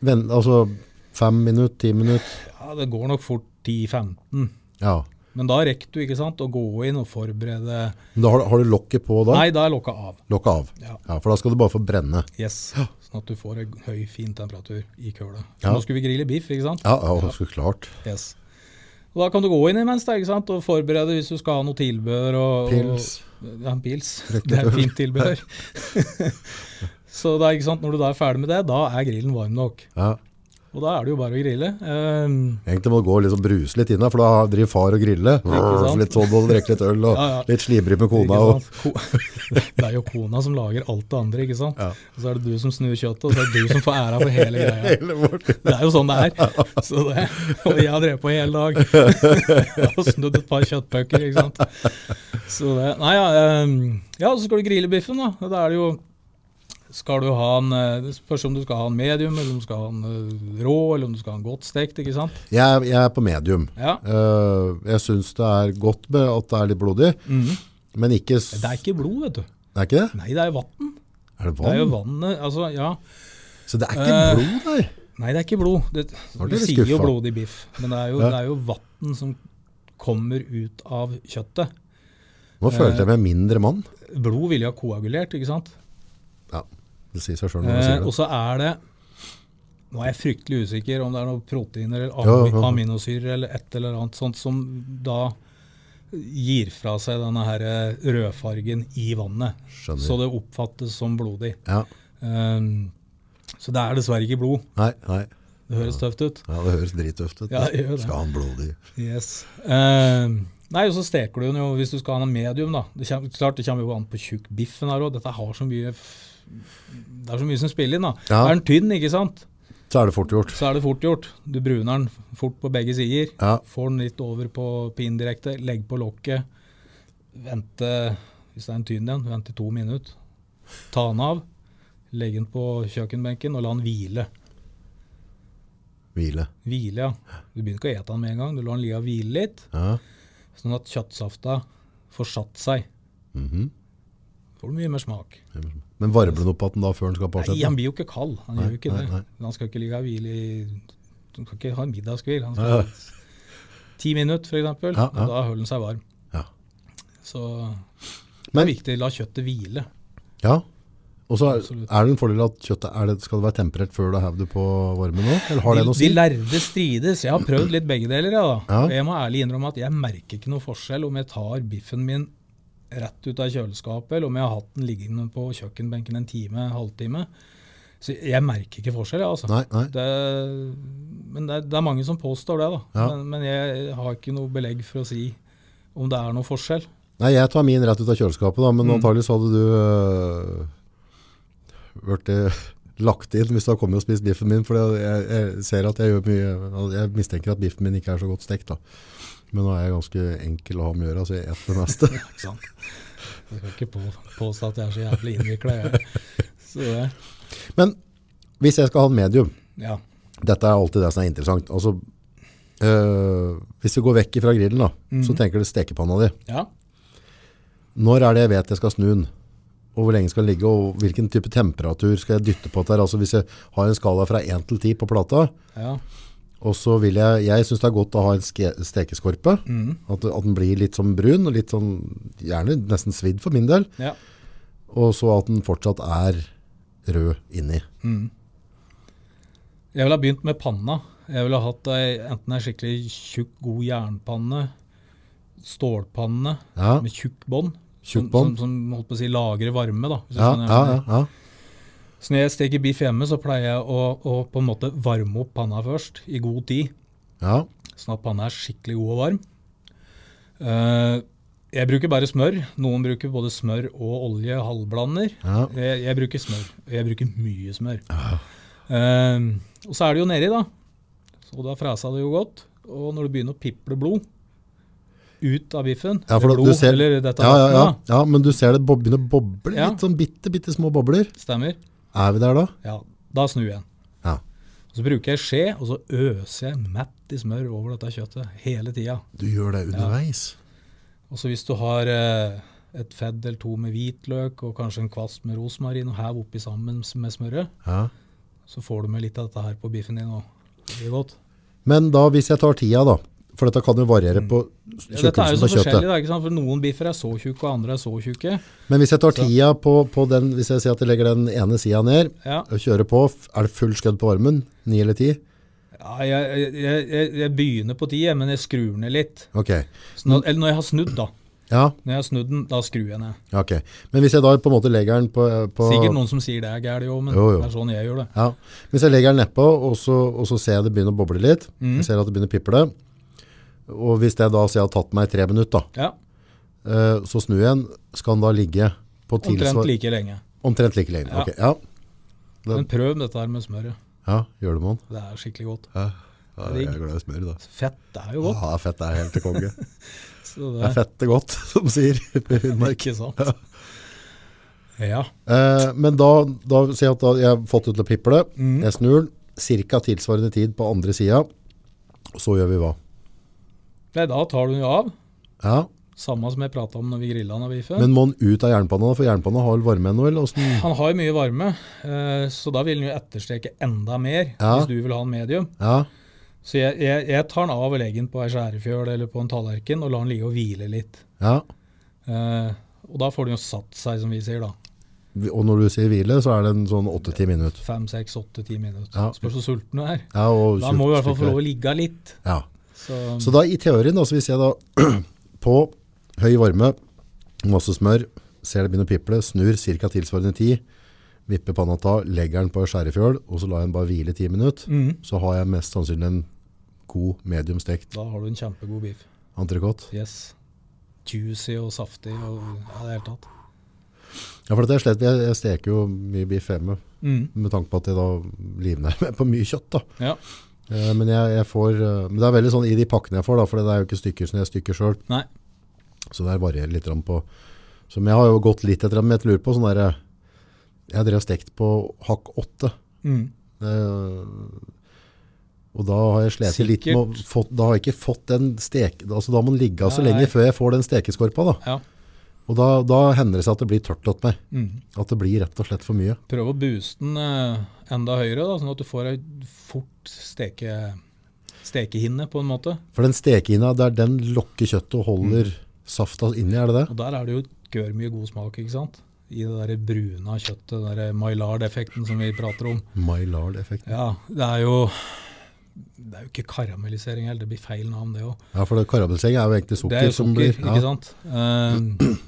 S2: Vent, altså fem minutter, ti minutter.
S1: Ja, Det går nok fort 10-15.
S2: Ja.
S1: Men da rekker du ikke sant, å gå inn og forberede
S2: Men da har, du- har du lokket på da?
S1: Nei, da er lokka av.
S2: Lokket av.
S1: Ja.
S2: for da skal du bare få brenne.
S1: Yes. Sånn at du får en høy, fin temperatur i køla.
S2: Ja.
S1: Nå skulle vi grille biff, ikke sant?
S2: Ja, ja, så klart.
S1: Yes. Og da kan du gå inn imens da, ikke sant? og forberede hvis du skal ha noe tilbehør. Og,
S2: Pils.
S1: Og, ja, en pils.
S2: Riktig.
S1: Det er et fint tilbehør. Så da, ikke sant, når du da er ferdig med det, da er grillen varm nok.
S2: Ja.
S1: Og da er det jo bare å grille. Ehm,
S2: Egentlig må du gå og liksom bruse litt inne, for da driver far og griller.
S1: Ikke sant?
S2: Litt sånn, og drikke litt øl, og
S1: Ja, ja.
S2: litt slibrig med
S1: ikke
S2: kona. Og,
S1: sant? Ko- det er jo kona som lager alt det andre, ikke sant.
S2: Ja.
S1: Og så er det du som snur kjøttet, og så er det du som får æra for hele greia. Det er jo sånn det er. Så det, og jeg har drevet på i hele dag. og snudd et par kjøttbøker, ikke sant. Så det, nei, ja, ehm, ja, så skal du grille biffen, da. Og Da er det jo skal du ha en, eh, Det spørs om du skal ha en medium, eller om du skal ha en eh, rå, eller om du skal ha en godt stekt. ikke sant?
S2: jeg, jeg er på medium.
S1: Ja.
S2: Eh, jeg syns det er godt med at det er litt blodig, men ikke s-
S1: Mhm. Det er ikke blod, vet du.
S2: det er ikke det?
S1: Nei, det er vann.
S2: Er det
S1: Det er jo
S2: vann?
S1: vannet, altså, ja.
S2: Så det er ikke
S1: Eh.
S2: blod, nei?
S1: Nei, det er ikke blod. Det,
S2: Nå
S1: du
S2: ble jeg
S1: sier jo
S2: skuffa.
S1: blodig biff, men det er jo, det er jo vann som kommer ut av kjøttet.
S2: Nå
S1: eh,
S2: følte jeg meg mindre mann.
S1: Blod ville jeg ha koagulert, ikke sant?
S2: Ja, det sier seg sjøl når man
S1: Eh,
S2: sier
S1: og
S2: det.
S1: så er det Nå er jeg fryktelig usikker om det er noen proteiner eller ami
S2: Ja, ja, ja.
S1: aminosyrer eller et eller annet sånt som da gir fra seg denne her eh, rødfargen i vannet.
S2: Skjønner.
S1: Så det oppfattes som blodig.
S2: Ja.
S1: Ehm, så det er dessverre ikke blod.
S2: Nei, nei.
S1: Det høres tøft ut.
S2: Ja, det høres drittøft ut.
S1: Ja, det gjør det.
S2: Skal han blodig?
S1: Yes. Ehm, nei, og så steker du den jo hvis du skal ha den medium, da. Det kommer, klart, det kommer jo an på tjukk biffen her òg. Dette har så mye f- Det er så mye som spiller inn, da.
S2: Ja.
S1: Er den tynn, ikke sant?
S2: Så er det fort gjort.
S1: så er det fort gjort. Du bruner den fort på begge sider.
S2: Ja.
S1: Får den litt over på, på indirekte. Legg på lokket. Vente, hvis det er en tynn en, vent i to minutter. Ta den av. Legg den på kjøkkenbenken og la den hvile.
S2: Hvile.
S1: Hvile, ja. Du begynner ikke å ete den med en gang. Du lar den ligge og hvile litt,
S2: Ja.
S1: sånn at kjøttsafta får satt seg.
S2: Mhm.
S1: Får du mye mer smak.
S2: Men varmer den opp at den da før den skal på
S1: Nei,
S2: asjetten?
S1: han blir jo ikke kald. Han
S2: Nei,
S1: gjør jo ikke
S2: nei,
S1: det.
S2: nei.
S1: Han skal ikke ligge og hvile i Han skal ikke ha en middagshvil. Han skal ti minutter, f.eks.
S2: Ja, ja.
S1: Da holder han seg varm.
S2: Ja.
S1: Så det er
S2: Men,
S1: viktig. La kjøttet hvile.
S2: ja. Og så er,
S1: Absolutt.
S2: er det en fordel at kjøttet er det, skal det være temperert før du hever det på varmen nå? Eller har det
S1: de,
S2: noe å si?
S1: de lærde strides. Jeg har prøvd litt begge deler. Ja, da.
S2: Ja.
S1: Og Jeg må ærlig innrømme at jeg merker ikke noe forskjell om jeg tar biffen min rett ut av kjøleskapet, eller om jeg har hatt den liggende på kjøkkenbenken en time, halvtime. Så jeg merker ikke forskjell, jeg, altså.
S2: Nei, nei.
S1: Det, men det er, det er mange som påstår det, da.
S2: Ja.
S1: Men, men jeg har ikke noe belegg for å si om det er noe forskjell.
S2: Nei, jeg tar min rett ut av kjøleskapet, da,
S1: Mm.
S2: men antagelig så hadde du øh, vært øh, lagt inn hvis du hadde kommet og spist biffen min, for det- jeg, jeg ser at jeg gjør mye, altså, jeg mistenker at biffen min ikke er så godt stekt da. Men nå er jeg ganske enkel å ha med å gjøre, så jeg etter det meste.
S1: Ikke sant? Jeg skal ikke på, påstå at jeg er så jævlig innvikla, jeg. Så det,
S2: Men hvis jeg skal ha en medium,
S1: ja.
S2: dette er alltid det som er interessant, altså, øh, hvis vi går vekk fra grillen da, så tenker du stekepanna di.
S1: ja.
S2: Når er det jeg vet jeg skal snu den? Og hvor lenge skal den ligge, og hvilken type temperatur skal jeg dytte på der? Altså hvis jeg har en skala fra 1 til 10 på plata,
S1: Ja.
S2: og så vil jeg, jeg synes det er godt å ha en ske, stekeskorpe, at, at den blir litt sånn brun, og litt sånn, gjerne nesten svidd for min del,
S1: ja.
S2: og så at den fortsatt er rød inni.
S1: Jeg ville ha begynt med panna. Jeg ville ha hatt ei, enten ei skikkelig tjukk, god jernpanne, stålpanne
S2: Ja,
S1: med tjukk bånd.
S2: Tjukk
S1: som-
S2: bånd.
S1: Som, som holdt på å si lagrer varme, da. hvis du
S2: ja,
S1: skjønner
S2: ja,
S1: hva jeg mener.
S2: ja,
S1: Så når jeg steker biff hjemme, så pleier jeg å, å på en måte varme opp panna først, i god tid.
S2: ja,
S1: Sånn at panna er skikkelig god og varm. Eh, jeg bruker bare smør. Noen bruker både smør og olje, halvblander.
S2: Ja.
S1: Jeg, jeg bruker smør. og Jeg bruker mye smør. Eh, og så er det jo nedi, da. Så da fresa det jo godt. Og når det begynner å piple blod ut av biffen
S2: ja, for
S1: eller
S2: da-
S1: blod,
S2: du ser,
S1: eller dette
S2: ja, ja,
S1: vannet,
S2: ja,
S1: da,
S2: ja, men du ser det bob- begynner å boble,
S1: Ja.
S2: litt sånn bitte, bitte små bobler.
S1: Stemmer.
S2: Er vi der da?
S1: Ja, da snur jeg den.
S2: Ja.
S1: Og Så bruker jeg skje, og så øser jeg mett i smør over dette kjøttet hele tida.
S2: Du gjør det underveis.
S1: Og så hvis du har eh, et fedd eller to med hvitløk og kanskje en kvast med rosmarin og hev oppi sammen s- med smøret,
S2: ja.
S1: så får du med litt av dette her på biffen din òg. Det blir godt.
S2: Men da, hvis jeg tar tida da, for dette kan jo variere på
S1: Mm. Ja, dette er jo
S2: tjukkelsen
S1: så
S2: på
S1: forskjellig,
S2: kjøttet.
S1: da, ikke sant? for noen biffer er så tjukke, og andre er så tjukke.
S2: Men hvis jeg tar tida på, på den, hvis jeg sier at jeg legger den ene sida ned,
S1: Ja.
S2: og kjører på, f- er det full skødd på varmen? 9 eller 10?
S1: Ja, jeg, jeg, jeg, jeg begynner på ti, jeg, men jeg skrur ned litt.
S2: Ok.
S1: Så når, eller når jeg har snudd, da.
S2: Ja,
S1: Når jeg har snudd den, da skrur jeg ned.
S2: ja, ok. Men hvis jeg da på en måte legger den på... eh, på
S1: Sikkert noen som sier det er gærent òg, men
S2: Jo, jo.
S1: det er sånn jeg gjør det.
S2: Ja, hvis jeg legger den nedpå, og så, og så ser jeg det begynner å boble litt,
S1: Mm.
S2: jeg ser at det begynner å piple, og hvis jeg da ser jeg har tatt meg tre minutter da,
S1: Ja,
S2: eh, så snur jeg den, skal den da ligge på
S1: Omtrent
S2: tilsvar...
S1: like lenge.
S2: Omtrent like lenge.
S1: Ja.
S2: Ok, ja. Det-
S1: Men prøv dette her med smøret.
S2: Ja, gjør det man.
S1: Det er skikkelig godt.
S2: Ja, Ah.
S1: jeg er
S2: glad i smør da.
S1: Fett er jo
S2: Ja,
S1: godt.
S2: fett er helt til konge.
S1: Så
S2: Det er fett og godt, som sier i Finnmark.
S1: Ikke sant? Ja.
S2: Eh, men da, da sier jeg at da, jeg har fått det til å piple.
S1: Mm.
S2: Jeg snur den, cirka tilsvarende tid på andre sida. Og så gjør vi hva?
S1: Nei, da tar du den jo av.
S2: Ja,
S1: Samme som jeg prata om når vi grilla den av biffen.
S2: Men må den ut av jernpanna, da? for jernpanna har vel varme ennå? eller hvordan-
S1: han har jo mye varme, eh, så da vil han jo etterstreke enda mer
S2: Ja.
S1: hvis du vil ha en medium.
S2: Ja,
S1: Så jeg, jeg, jeg tar den av og legger den på ei skjærefjøl eller på en tallerken og lar den ligge og hvile litt.
S2: ja,
S1: Eh, og da får den jo satt seg, som vi sier, da.
S2: Og når du sier hvile, så er det en sånn åtte-ti minutter.
S1: Fem, seks, åtte, ti minutter.
S2: Ja.
S1: Spørs hvor sulten du er.
S2: Ja, og
S1: Da må du i hvert fall få
S2: sultstyrke.
S1: lov å ligge litt.
S2: Ja.
S1: Så,
S2: Så da i teorien, da, så hvis jeg da på høy varme, masse smør, ser det begynner å piple, snur ca. tilsvarende ti, vipper panna ta, legger den på skjærefjøl, og så lar jeg den bare hvile i ti minutter,
S1: Mm.
S2: så har jeg mest sannsynlig en god mediumstekt
S1: da har du en kjempegod beef.
S2: entrecôte.
S1: Yes. Juicy og saftig og ja, det hele tatt.
S2: Ja, for dette er slett, jeg, jeg steker jo mye biff hjemme,
S1: Mm.
S2: med tanke på at jeg da livnærer meg på mye kjøtt da.
S1: Ja.
S2: Eh, Men, jeg, jeg får, eh, men det er veldig sånn i de pakkene jeg får, da, for det er jo ikke stykker som jeg stykker selv,
S1: Nei.
S2: Så det varierer litt grann på Som jeg har jo gått litt etter men jeg lurer på sånn der Jeg drev stekt på hakk 8.
S1: Mm.
S2: og da har jeg slet litt med å
S1: Sikkert.
S2: få, Da har jeg ikke fått den stek... Altså da må den ligge av så
S1: Nei.
S2: lenge før jeg får den stekeskorpa. Da.
S1: Ja.
S2: Og da, da hender det seg at det blir tørt til meg.
S1: Mm.
S2: At det blir rett og slett for mye.
S1: Prøv å booste den eh, enda høyere, da, sånn at du får ei fort steke, stekehinne, på en måte.
S2: For den stekehinna, det er den lokker kjøttet og holder
S1: Mm.
S2: safta inni, er det det?
S1: Og der er det jo gørr mye god smak, ikke sant? I det der bruna kjøttet, den der Maillard-effekten som vi prater om.
S2: Maillard-effekten.
S1: Ja, det er jo Det er jo ikke karamellisering heller, det blir feil navn, det òg.
S2: Ja, for det karamellisering er jo egentlig
S1: Det
S2: sukker,
S1: er jo
S2: som
S1: sukker,
S2: blir ja.
S1: ikke sant?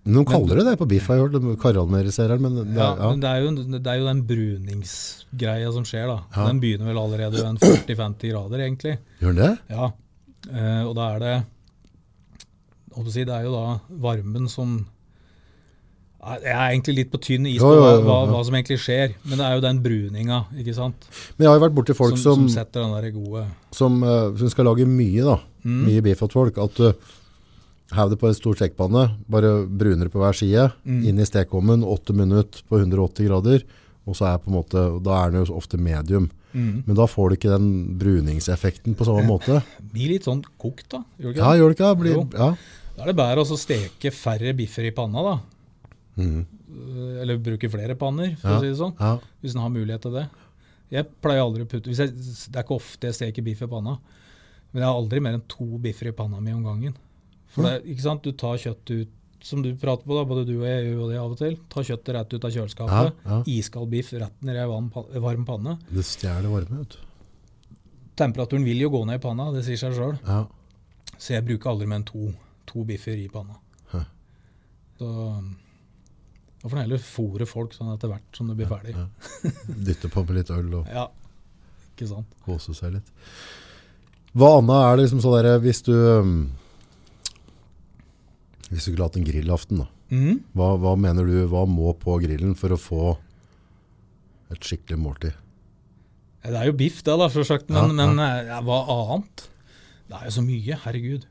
S1: Eh,
S2: Men De kaller det det på biff, har jeg hørt. de Karamelliserer, men det,
S1: ja,
S2: er- ja.
S1: men det er, jo, det er jo den bruningsgreia som skjer, da.
S2: Ja.
S1: Den begynner vel allerede ved en 40-50 grader, egentlig.
S2: Gjør den det?
S1: Ja, eh, og da er det hva skal jeg si, Det er jo da varmen som Nei, Jeg er egentlig litt på tynn is på
S2: Jo, jo,
S1: hva,
S2: jo,
S1: hva,
S2: ja.
S1: hva som egentlig skjer, men det er jo den bruninga ikke sant?
S2: Men jeg har jo vært borti
S1: Som,
S2: folk
S1: som
S2: som, som,
S1: setter den der gode
S2: eh, som skal lage mye, da.
S1: Mm.
S2: Mye biff til folk. At du hev det på en stor stekepanne, bare bruner det på hver side,
S1: Mm.
S2: inn i stekeovnen, åtte minutter på 180 grader, og så er på en måte, og da er den jo ofte medium.
S1: Mm.
S2: Men da får du ikke den bruningseffekten på samme måte.
S1: Blir litt sånn kokt, da. Gjør det ikke
S2: Ja,
S1: det?
S2: gjør det ikke? det? Blir,
S1: Jo.
S2: ja.
S1: Da er det bedre å steke færre biffer i panna, da. Eh, Eller bruke flere panner, for å si det sånn.
S2: Mm. Ja.
S1: Hvis en har mulighet til det. Jeg pleier aldri å putte hvis jeg, Det er ikke ofte jeg steker biff i panna. Men jeg har aldri mer enn to biffer i panna mi om gangen. For det, er- ikke sant? Du tar kjøttet ut som du prater på, da, både du og jeg gjør jo det av og til. Ta kjøttet rett ut av kjøleskapet.
S2: Ja, ja.
S1: Iskald biff rett ned i ei varm pa- varm panne.
S2: Det stjeler varme, vet du.
S1: Temperaturen vil jo gå ned i panna, det sier seg sjøl.
S2: Ja.
S1: Så jeg bruker aldri mer enn to, to biffer i panna.
S2: Hæ.
S1: Så da får en heller fôre folk sånn etter hvert som det blir ferdig.
S2: Dytter på med litt øl og
S1: Ja, ikke sant.
S2: kose seg litt. Hva annet er det liksom sånn der, hvis du um, Hvis du skulle hatt en grillaften, da.
S1: Mhm.
S2: Hva, hva mener du, hva må på grillen for å få et skikkelig måltid?
S1: Ja, Det er jo biff, det, da, selvsagt. Men,
S2: Ja,
S1: men eh, ja, hva annet? Det er jo så mye. Herregud.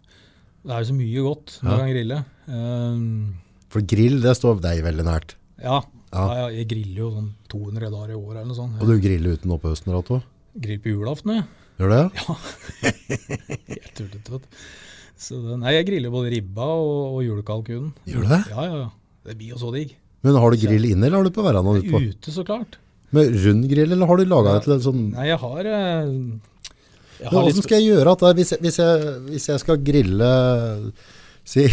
S1: Det er jo så mye godt man kan grille. Ehm,
S2: For grill, det står deg veldig nært.
S1: ja. Ja.
S2: Ja.
S1: jeg griller jo sånn 200 dager i året eller noe sånt.
S2: Og du griller uten opphøsten, Rato?
S1: Jeg griller på julaften, jeg.
S2: Gjør det?
S1: Helt tullete, vet du. Så det, nei, jeg griller både ribba og, og julekalkunen.
S2: Gjør du det?
S1: Ja, ja, ja. Det blir jo så digg.
S2: Men har du grill inne, eller har du på verandaen utpå?
S1: Ute, så klart.
S2: Med rund grill, eller har du laga et eller annet sånn
S1: Nei, jeg har eh, Jeg
S2: Men
S1: har
S2: Hvordan
S1: litt
S2: skal jeg gjøre at det, er- hvis, jeg, hvis, jeg, hvis jeg skal grille si,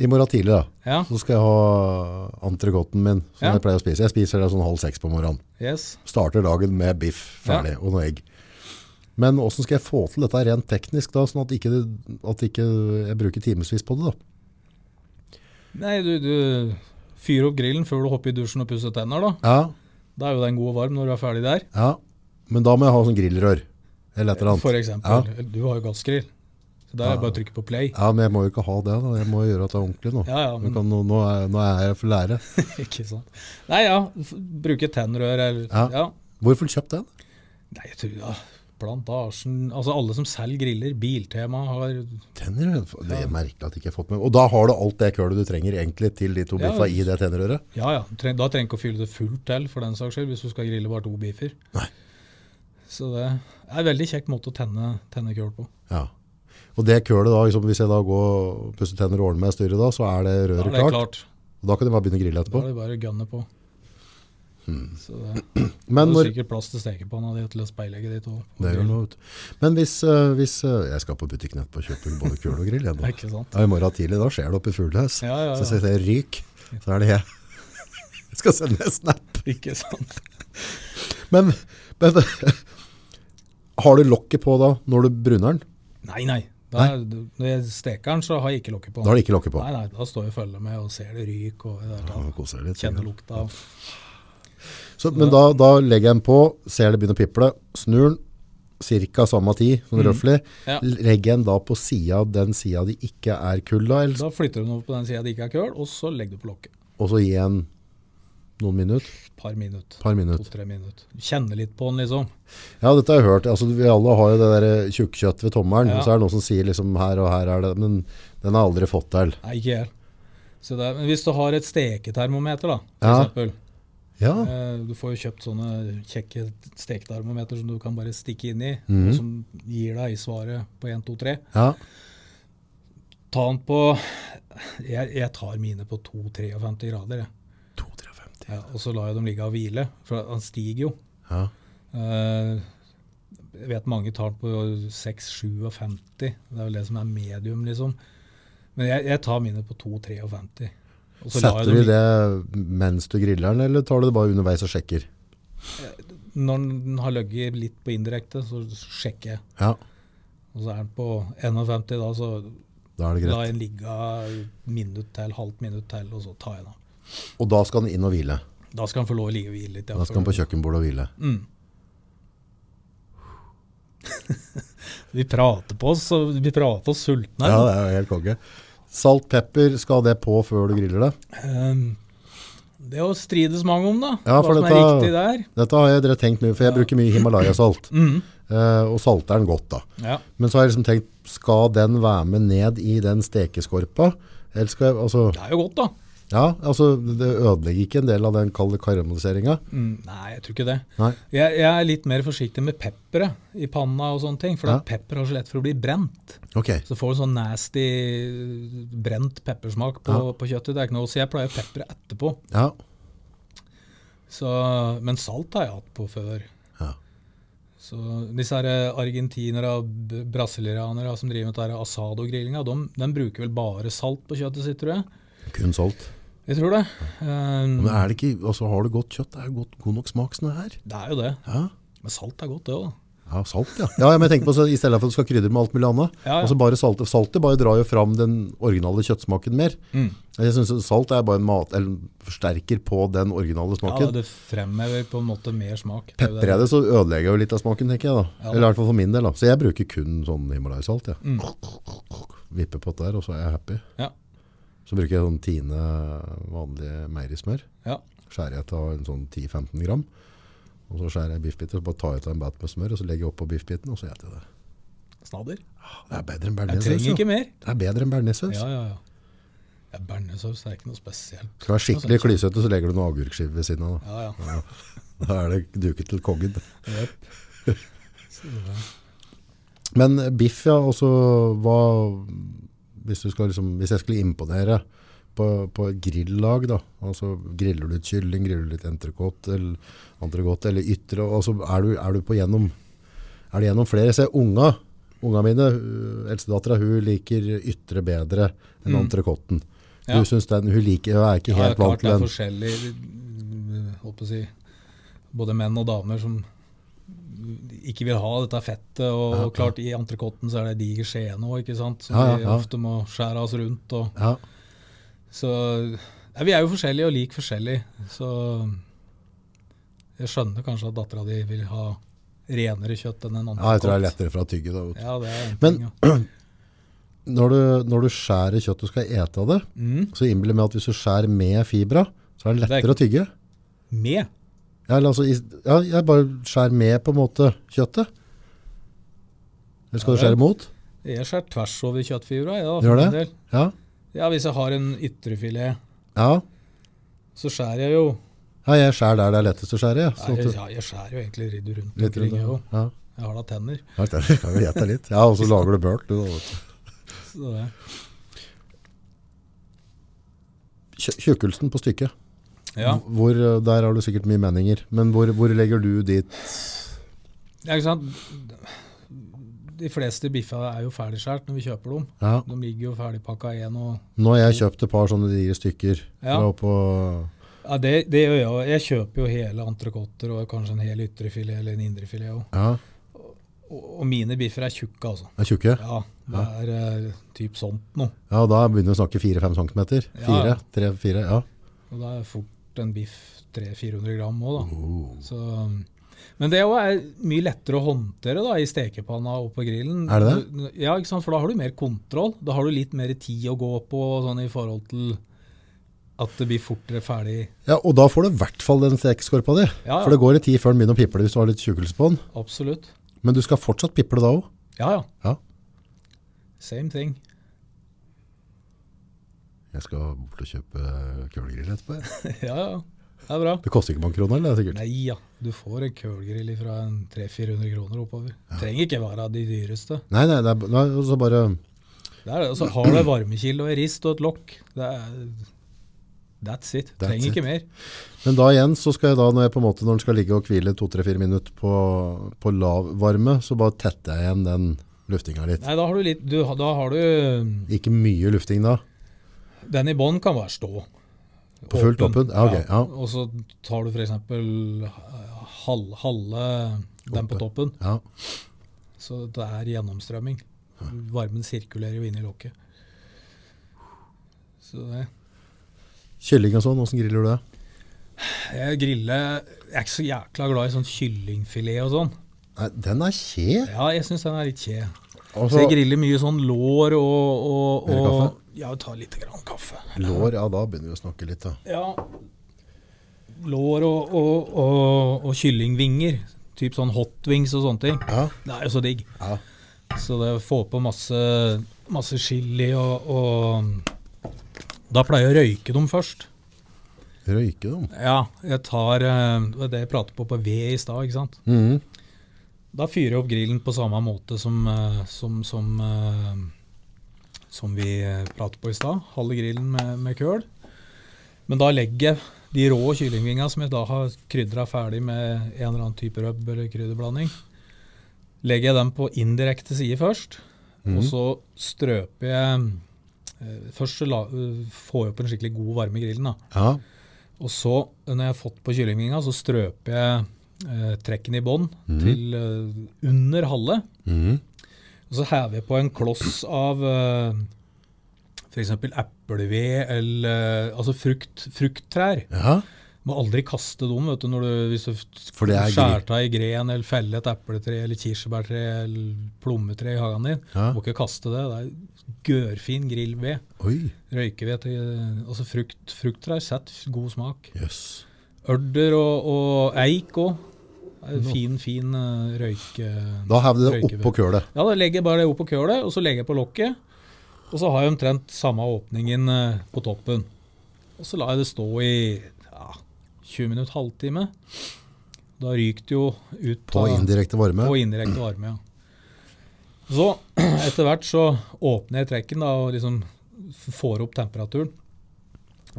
S2: i morgen tidlig, da,
S1: Ja.
S2: så skal jeg ha entrecôten min, som
S1: Ja.
S2: jeg pleier å spise. Jeg spiser det sånn halv seks på morgenen.
S1: Yes.
S2: Starter dagen med biff ferdig, og noe egg. Men hvordan skal jeg få til dette rent teknisk, da, sånn at ikke, det- at ikke jeg bruker timevis på det? da?
S1: Nei, du, du fyrer opp grillen før du hopper i dusjen og pusser tenner, da.
S2: Ja,
S1: Da er jo den god og varm når du er ferdig der.
S2: ja. Men da må jeg ha sånn grillrør, eller et eller annet.
S1: For eksempel. Du har jo gassgrill. Så der er det bare å trykke på play.
S2: Ja, men jeg må jo ikke ha det, da. jeg må jo gjøre at det er ordentlig nå.
S1: Ja, ja,
S2: Nå
S1: men,
S2: kan, nå, nå, er, nå er jeg for lære.
S1: ikke sant. Nei ja, f- bruke tennrør eller ja.
S2: Ja. Hvorfor kjøpt den?
S1: Nei, jeg tror ja. Plantasjen Altså alle som selger griller. Biltema har ja,
S2: Tennerøret? Det er merkelig at jeg ikke har fått med Og da har du alt det kølet du trenger egentlig til de to
S1: Ja.
S2: biffa i det tennerøret?
S1: ja. Treng, da trenger du ikke å fylle det fullt til for den saks skyld, hvis du skal grille bare to beefer.
S2: Nei.
S1: Så det er en veldig kjekk måte å tenne, tenne køl på.
S2: Ja. Og det kølet da, liksom, hvis jeg da går og pusser tenner og ordner meg styret da, så er det
S1: Da
S2: røret
S1: er det
S2: klart.
S1: klart.
S2: Og da kan jeg bare begynne å grille
S1: Da
S2: etterpå.
S1: er det bare å gunne på. Så det
S2: Hmm.
S1: det er
S2: Men når,
S1: sikkert plass til stekepanna di og til å speilegge ditt òg.
S2: det gjør noe, vet du. Men hvis, eh, hvis eh, Jeg skal på butikken etterpå og kjøpe både kul og grill. Jeg, nå.
S1: Ikke sant?
S2: Ja, I morgen tidlig, da skjer det oppe i Fuglehus.
S1: Ja, ja, ja.
S2: Så sier jeg ryk, så er det jeg. Jeg skal sende en snap.
S1: Ikke sant?
S2: Men, men har du lokket på da, når du bruner den?
S1: Nei, nei. Der, Når jeg steker den, så har jeg ikke lokket på.
S2: Da har du ikke lokket på.
S1: Nei, nei, da står jeg og følger med og ser det ryk og i det hele
S2: Ja,
S1: tatt.
S2: koser deg litt,
S1: Kjenner
S2: sikkert.
S1: lukta. av-
S2: Så, men da, da legger jeg den på, ser det begynner å piple, snur den, cirka samme tid, sånn røffelig.
S1: Mhm. Ja.
S2: Legger jeg den da på siden av den siden de ikke er kulda, eller,
S1: Da flytter du den over på den sida det ikke er køl, og så legger du på lokket.
S2: og så gir jeg den noen minutter,
S1: Par minutter.
S2: par minutter.
S1: To-tre minutter. Kjenne litt på den, liksom.
S2: Ja, dette har jeg hørt. Altså, vi alle har jo det der tjukkjøtt ved tommelen,
S1: Ja.
S2: og så er det noen som sier liksom her og her er det, men den har jeg aldri fått til.
S1: Nei, ikke helt. Så det er, men hvis du har et steketermometer, da, for
S2: Ja.
S1: eksempel.
S2: Ja,
S1: Eh, Du får jo kjøpt sånne kjekke steketermometer som du kan bare stikke inn i,
S2: Mhm.
S1: og som gir deg svaret på 1, 2, 3.
S2: ja.
S1: Ta den på Jeg, jeg tar mine på 2-53 grader, jeg.
S2: 250.
S1: Ja, og så lar jeg dem ligge og hvile, for han stiger jo.
S2: Ja.
S1: Eh, jeg vet mange tar den på 6-57. Det er vel det som er medium, liksom. Men jeg, jeg tar mine på 2-53. og så lar jeg dem
S2: Setter du
S1: ligge-
S2: det mens du griller den, eller tar du det bare underveis og sjekker?
S1: Når den har ligget litt på indirekte, så sjekker jeg.
S2: Ja,
S1: Og så er den på 51 da, så
S2: da er
S1: la
S2: det greit.
S1: jeg den ligge minutt til, halvt minutt til, og så tar jeg den av.
S2: Og da skal den inn og hvile.
S1: Da skal den få lov å ligge og hvile litt. ja,
S2: Da skal den
S1: for-
S2: på kjøkkenbordet og hvile.
S1: Vi prater på oss, og vi prater oss sultne.
S2: Ja,
S1: her.
S2: det er jo helt konge. Salt, pepper, skal det på før du griller det?
S1: Ehm, det å strides mange om, da.
S2: Ja,
S1: hva
S2: for
S1: som er
S2: dette-
S1: riktig der.
S2: Dette har jeg dere tenkt mye, for jeg bruker mye Himalaya-salt. Eh, og salter den godt da.
S1: Ja.
S2: Men så har jeg liksom tenkt, skal den være med ned i den stekeskorpa? Eller skal jeg, altså,
S1: Det er jo godt, da.
S2: ja, altså, det ødelegger ikke en del av den kalde karamelliseringa.
S1: Mm, nei, jeg tror ikke det.
S2: Nei,
S1: Jeg, jeg er litt mer forsiktig med pepperet i panna og sånne ting, for
S2: Ja.
S1: at pepper har så lett for å bli brent.
S2: ok.
S1: Så får du sånn nasty eh, brent peppersmak på, på kjøttet. Det er ikke noe å si. Jeg pleier pepperet etterpå.
S2: Ja,
S1: Så, men salt har jeg hatt på før.
S2: Ja.
S1: Så disse her eh, argentinere og b- brasilianere som driver med dette her asado-grillinga, de, de bruker vel bare salt på kjøttet sitt, tror jeg.
S2: kun salt.
S1: Jeg tror det. Ehm,
S2: Men er det ikke, altså, har du godt kjøtt, det er jo godt, god nok smak som det her.
S1: det er jo det.
S2: Ja,
S1: Men salt er godt, det òg.
S2: ja salt, ja. Ja, ja, men jeg tenker på, så i stedet for at du skal krydre med alt mulig annet,
S1: Ja, ja.
S2: altså bare saltet, saltet bare drar jo fram den originale kjøttsmaken mer.
S1: Mm.
S2: Jeg synes salt er bare en mat, eller en forsterker på den originale
S1: Ja,
S2: smaken.
S1: det fremhever på en måte mer smak. Det er jo det.
S2: Pepper jeg det, så ødelegger jeg jo litt av smaken, tenker jeg da.
S1: Ja.
S2: Eller i hvert fall for min del da. Så jeg bruker kun sånn Himalaya-salt, ja. Vipper på det der, og så er jeg happy.
S1: Mm. Ja.
S2: Så bruker jeg sånn tine vanlige meierismør.
S1: ja.
S2: Skjærer jeg til en sånn 10-15 gram. Og så skjærer jeg biffbiter, så bare tar jeg til en bat med smør, og så legger jeg opp på biffbiten, og så gjeter jeg det.
S1: Snadder.
S2: Det er bedre enn
S1: Jeg
S2: bearnéssaus.
S1: trenger ikke
S2: ja.
S1: mer.
S2: Det er bedre enn bearnéssaus.
S1: Ja, ja, ja. ja Bearnéssaus er ikke noe spesielt.
S2: Skal du være skikkelig klysete, så legger du noen agurkskiver ved siden av da.
S1: Ja, ja.
S2: Da er det duket til kongen.
S1: Jep.
S2: Men biff, ja, også hva Hvis, du skal liksom, hvis jeg skulle imponere på, på et grillag, da. Altså, griller du litt kylling, griller du litt entrecôte eller entrecôte eller ytre? Altså, er, du, er du på gjennom Er det gjennom flere? Jeg ser unga. Unga mine, øh, eldstedattera, hun liker ytre bedre enn entrecôten. Hun
S1: Mm. Ja.
S2: synes den hun liker, hun er ikke
S1: Ja,
S2: helt
S1: klart det
S2: vant til
S1: er
S2: den.
S1: forskjellig mm, holdt på å si, Både menn og damer som ikke vil ha dette fettet. Og
S2: Ja, ja.
S1: klart, i entrecôten så er det diger skje nå, ikke sant. Som
S2: Ja, ja,
S1: vi
S2: ja.
S1: ofte må skjære oss rundt. Og,
S2: Ja.
S1: så ja, vi er jo forskjellige og lik forskjellig. Så jeg skjønner kanskje at dattera di vil ha renere kjøtt enn en
S2: ja, jeg tror det er
S1: entrecôte.
S2: lettere for å tygge. Da. vet du.
S1: Ja, det er en
S2: Men-
S1: ting, ja.
S2: Når, du, når du skjærer kjøtt og skal ete av det,
S1: Mm.
S2: så innbiller jeg meg at hvis du skjærer med fibra, så er den
S1: Det er-
S2: lettere å tygge.
S1: Med?
S2: Ja, eller altså, i- ja, jeg bare skjærer med på en måte kjøttet. Eller skal
S1: Ja
S2: du skjære
S1: vel.
S2: mot?
S1: Jeg skjærer tvers over kjøttfibra. Ja, for
S2: Gjør
S1: min
S2: det?
S1: del.
S2: Ja.
S1: ja, Hvis jeg har en ytrefilet,
S2: ja.
S1: så skjærer jeg jo
S2: ja jeg skjærer der det er lettest å skjære. Ja. Sånn
S1: Nei,
S2: at
S1: jeg,
S2: du,
S1: ja, jeg skjærer jo egentlig ridd rundt
S2: litt
S1: omkring,
S2: rundt,
S1: jeg
S2: ja.
S1: òg.
S2: Ja.
S1: Jeg har da tenner.
S2: Ja, det er- Kan jo gjette litt. Ja, og så lager du burnt. Du, da, vet du.
S1: Så det,
S2: Tjukkelsen på stykket.
S1: Ja.
S2: Hvor, eh, der har du sikkert mye meninger, men hvor, hvor legger du dit?
S1: Ja, ikke sant? De fleste biffa er jo ferdigskåret når vi kjøper dem.
S2: Ja.
S1: De ligger jo ferdigpakka én og
S2: Nå har jeg kjøpt et par sånne digre stykker
S1: Ja.
S2: fra på
S1: ja, det, det gjør jeg òg. Jeg kjøper jo hele entrecôter og kanskje en hel ytrefilet eller en indrefilet òg.
S2: Ja,
S1: Og, og mine biffer er tjukke, altså.
S2: er tjukke.
S1: Ja, det er eh, typ sånt noe.
S2: Ja, da begynner vi å snakke 4-5 cm.
S1: Ja.
S2: 4, 3, 4, ja.
S1: Og da er fort en biff 300-400 gram òg, da.
S2: Oh.
S1: Så, men det også er mye lettere å håndtere da, i stekepanna og på grillen.
S2: Er det
S1: det? Ja, ikke sant? for da har du mer kontroll. Da har du litt mer tid å gå på sånn, i forhold til at det blir fortere ferdig.
S2: Ja, og da får du i hvert fall den stekeskorpa di.
S1: Ja, ja.
S2: For det går en tid før den begynner å piple hvis du har litt tjukkelse på den.
S1: Absolutt.
S2: Men du skal fortsatt piple da òg.
S1: Ja, ja.
S2: Ja.
S1: Same thing.
S2: Jeg skal bort og kjøpe kulegrill etterpå. jeg.
S1: ja, ja. Det er bra.
S2: Det koster ikke mange kroner, eller? sikkert.
S1: Nei ja, du får en kølgrill fra 300-400 kroner oppover. Trenger ikke være de dyreste.
S2: Nei, nei, det er, b- nei så bare
S1: Det er det. Og så har du en varmekilde og en rist og et lokk. Det er, that's it.
S2: That's
S1: Trenger
S2: it.
S1: ikke mer.
S2: Men da igjen, så skal jeg da, når jeg på en måte, når den skal ligge og hvile 2-3-4 minutter på, på lav varme, så bare tetter jeg igjen den luftinga litt.
S1: Nei, da har du litt du, Da har du
S2: Ikke mye lufting da.
S1: Den i bånn kan bare stå.
S2: På fullt åpen? Ja, ok, ja.
S1: Og så tar du f.eks. Halv, halve den på toppen.
S2: Ja,
S1: Så det er gjennomstrømming. Varmen sirkulerer jo inn i lokket. Så det
S2: Kylling og sånn, hvordan griller du det?
S1: Jeg griller Eh, Jeg er ikke så jækla glad i sånn kyllingfilet og sånn.
S2: Nei, den er kje.
S1: Ja, jeg syns den er litt kje. Så
S2: Altså,
S1: jeg griller mye sånn lår og, og,
S2: Mer
S1: og
S2: kaffe?
S1: Ja, ta litt grann kaffe.
S2: lår, ja, da begynner vi å snakke litt da.
S1: Ja. Lår og, og, og, og kyllingvinger. Typ sånn hotwings og sånne ting.
S2: Ja.
S1: Det er jo så digg.
S2: Ja.
S1: Så det å få på masse, masse chili og, og Da pleier jeg å røyke dem først.
S2: Røyke dem.
S1: Ja, jeg tar eh, Det var det jeg pratet på på ved i stad, ikke sant.
S2: Mhm.
S1: Da fyrer jeg opp grillen på samme måte som, eh, som, som, eh, som vi eh, pratet på i stad. Halve grillen med, med køl. Men da legger jeg de rå kyllingvinga som jeg da har krydra ferdig med en eller annen type røbb eller krydderblanding, legger jeg dem på indirekte side først. Og så strøper jeg eh, Først så la, eh, får jeg opp en skikkelig god varme i grillen. da.
S2: Ja,
S1: Og så, når jeg har fått på kyllingvinga, så strøper jeg eh, trekken i bånn til eh, under halve.
S2: Mhm.
S1: Og så hever jeg på en kloss av eh, f.eks. epleved eller eh, altså frukt, frukttrær.
S2: ja.
S1: Må aldri kaste dem vet du, når du, hvis du f-
S2: For det er
S1: skjærer av ei gren eller feller et epletre eller kirsebærtre eller plommetre i hagen din.
S2: Ja.
S1: Må ikke kaste det. Det er gørrfin grillved.
S2: Oi,
S1: Røykeved til altså frukt, frukttrær. Sett god smak.
S2: jøss.
S1: Ørder og, og eik òg. Fin, fin eh, røyke...
S2: Da hever du det opp
S1: Røykeved.
S2: på kølet.
S1: Ja, da legger jeg bare det opp på kølet, og så legger jeg på lokket. Og så har jeg omtrent samme åpningen eh, på toppen. Og så lar jeg det stå i ja, 20 minutter, halvtime. Da ryker det jo ut
S2: På indirekte varme.
S1: på indirekte varme, ja. Så etter hvert så åpner jeg trekken da, og liksom f- får opp temperaturen.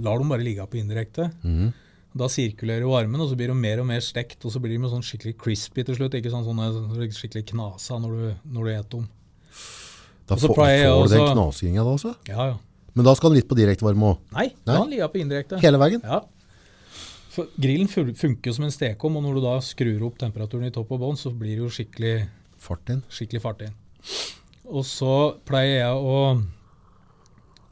S1: Lar dem bare ligge på indirekte.
S2: Mhm.
S1: Da sirkulerer jo varmen, og så blir de mer og mer stekt. Og så blir de med sånn skikkelig crispy til slutt. ikke sånn sånne, sånne skikkelig knasa når du, når du eter dem.
S2: Da
S1: Og så
S2: får,
S1: pleier jeg
S2: får du den
S1: også-
S2: knasinga da også.
S1: Ja, ja.
S2: Men da skal den litt på direkte varme også.
S1: Nei,
S2: Nei?
S1: da ligger jeg på indirekte.
S2: Hele veien?
S1: Ja. For grillen fun- funker jo som en stekeovn, og når du da skrur opp temperaturen i topp og bånn, så blir det jo skikkelig
S2: Fart inn.
S1: skikkelig fart inn. Og så pleier jeg å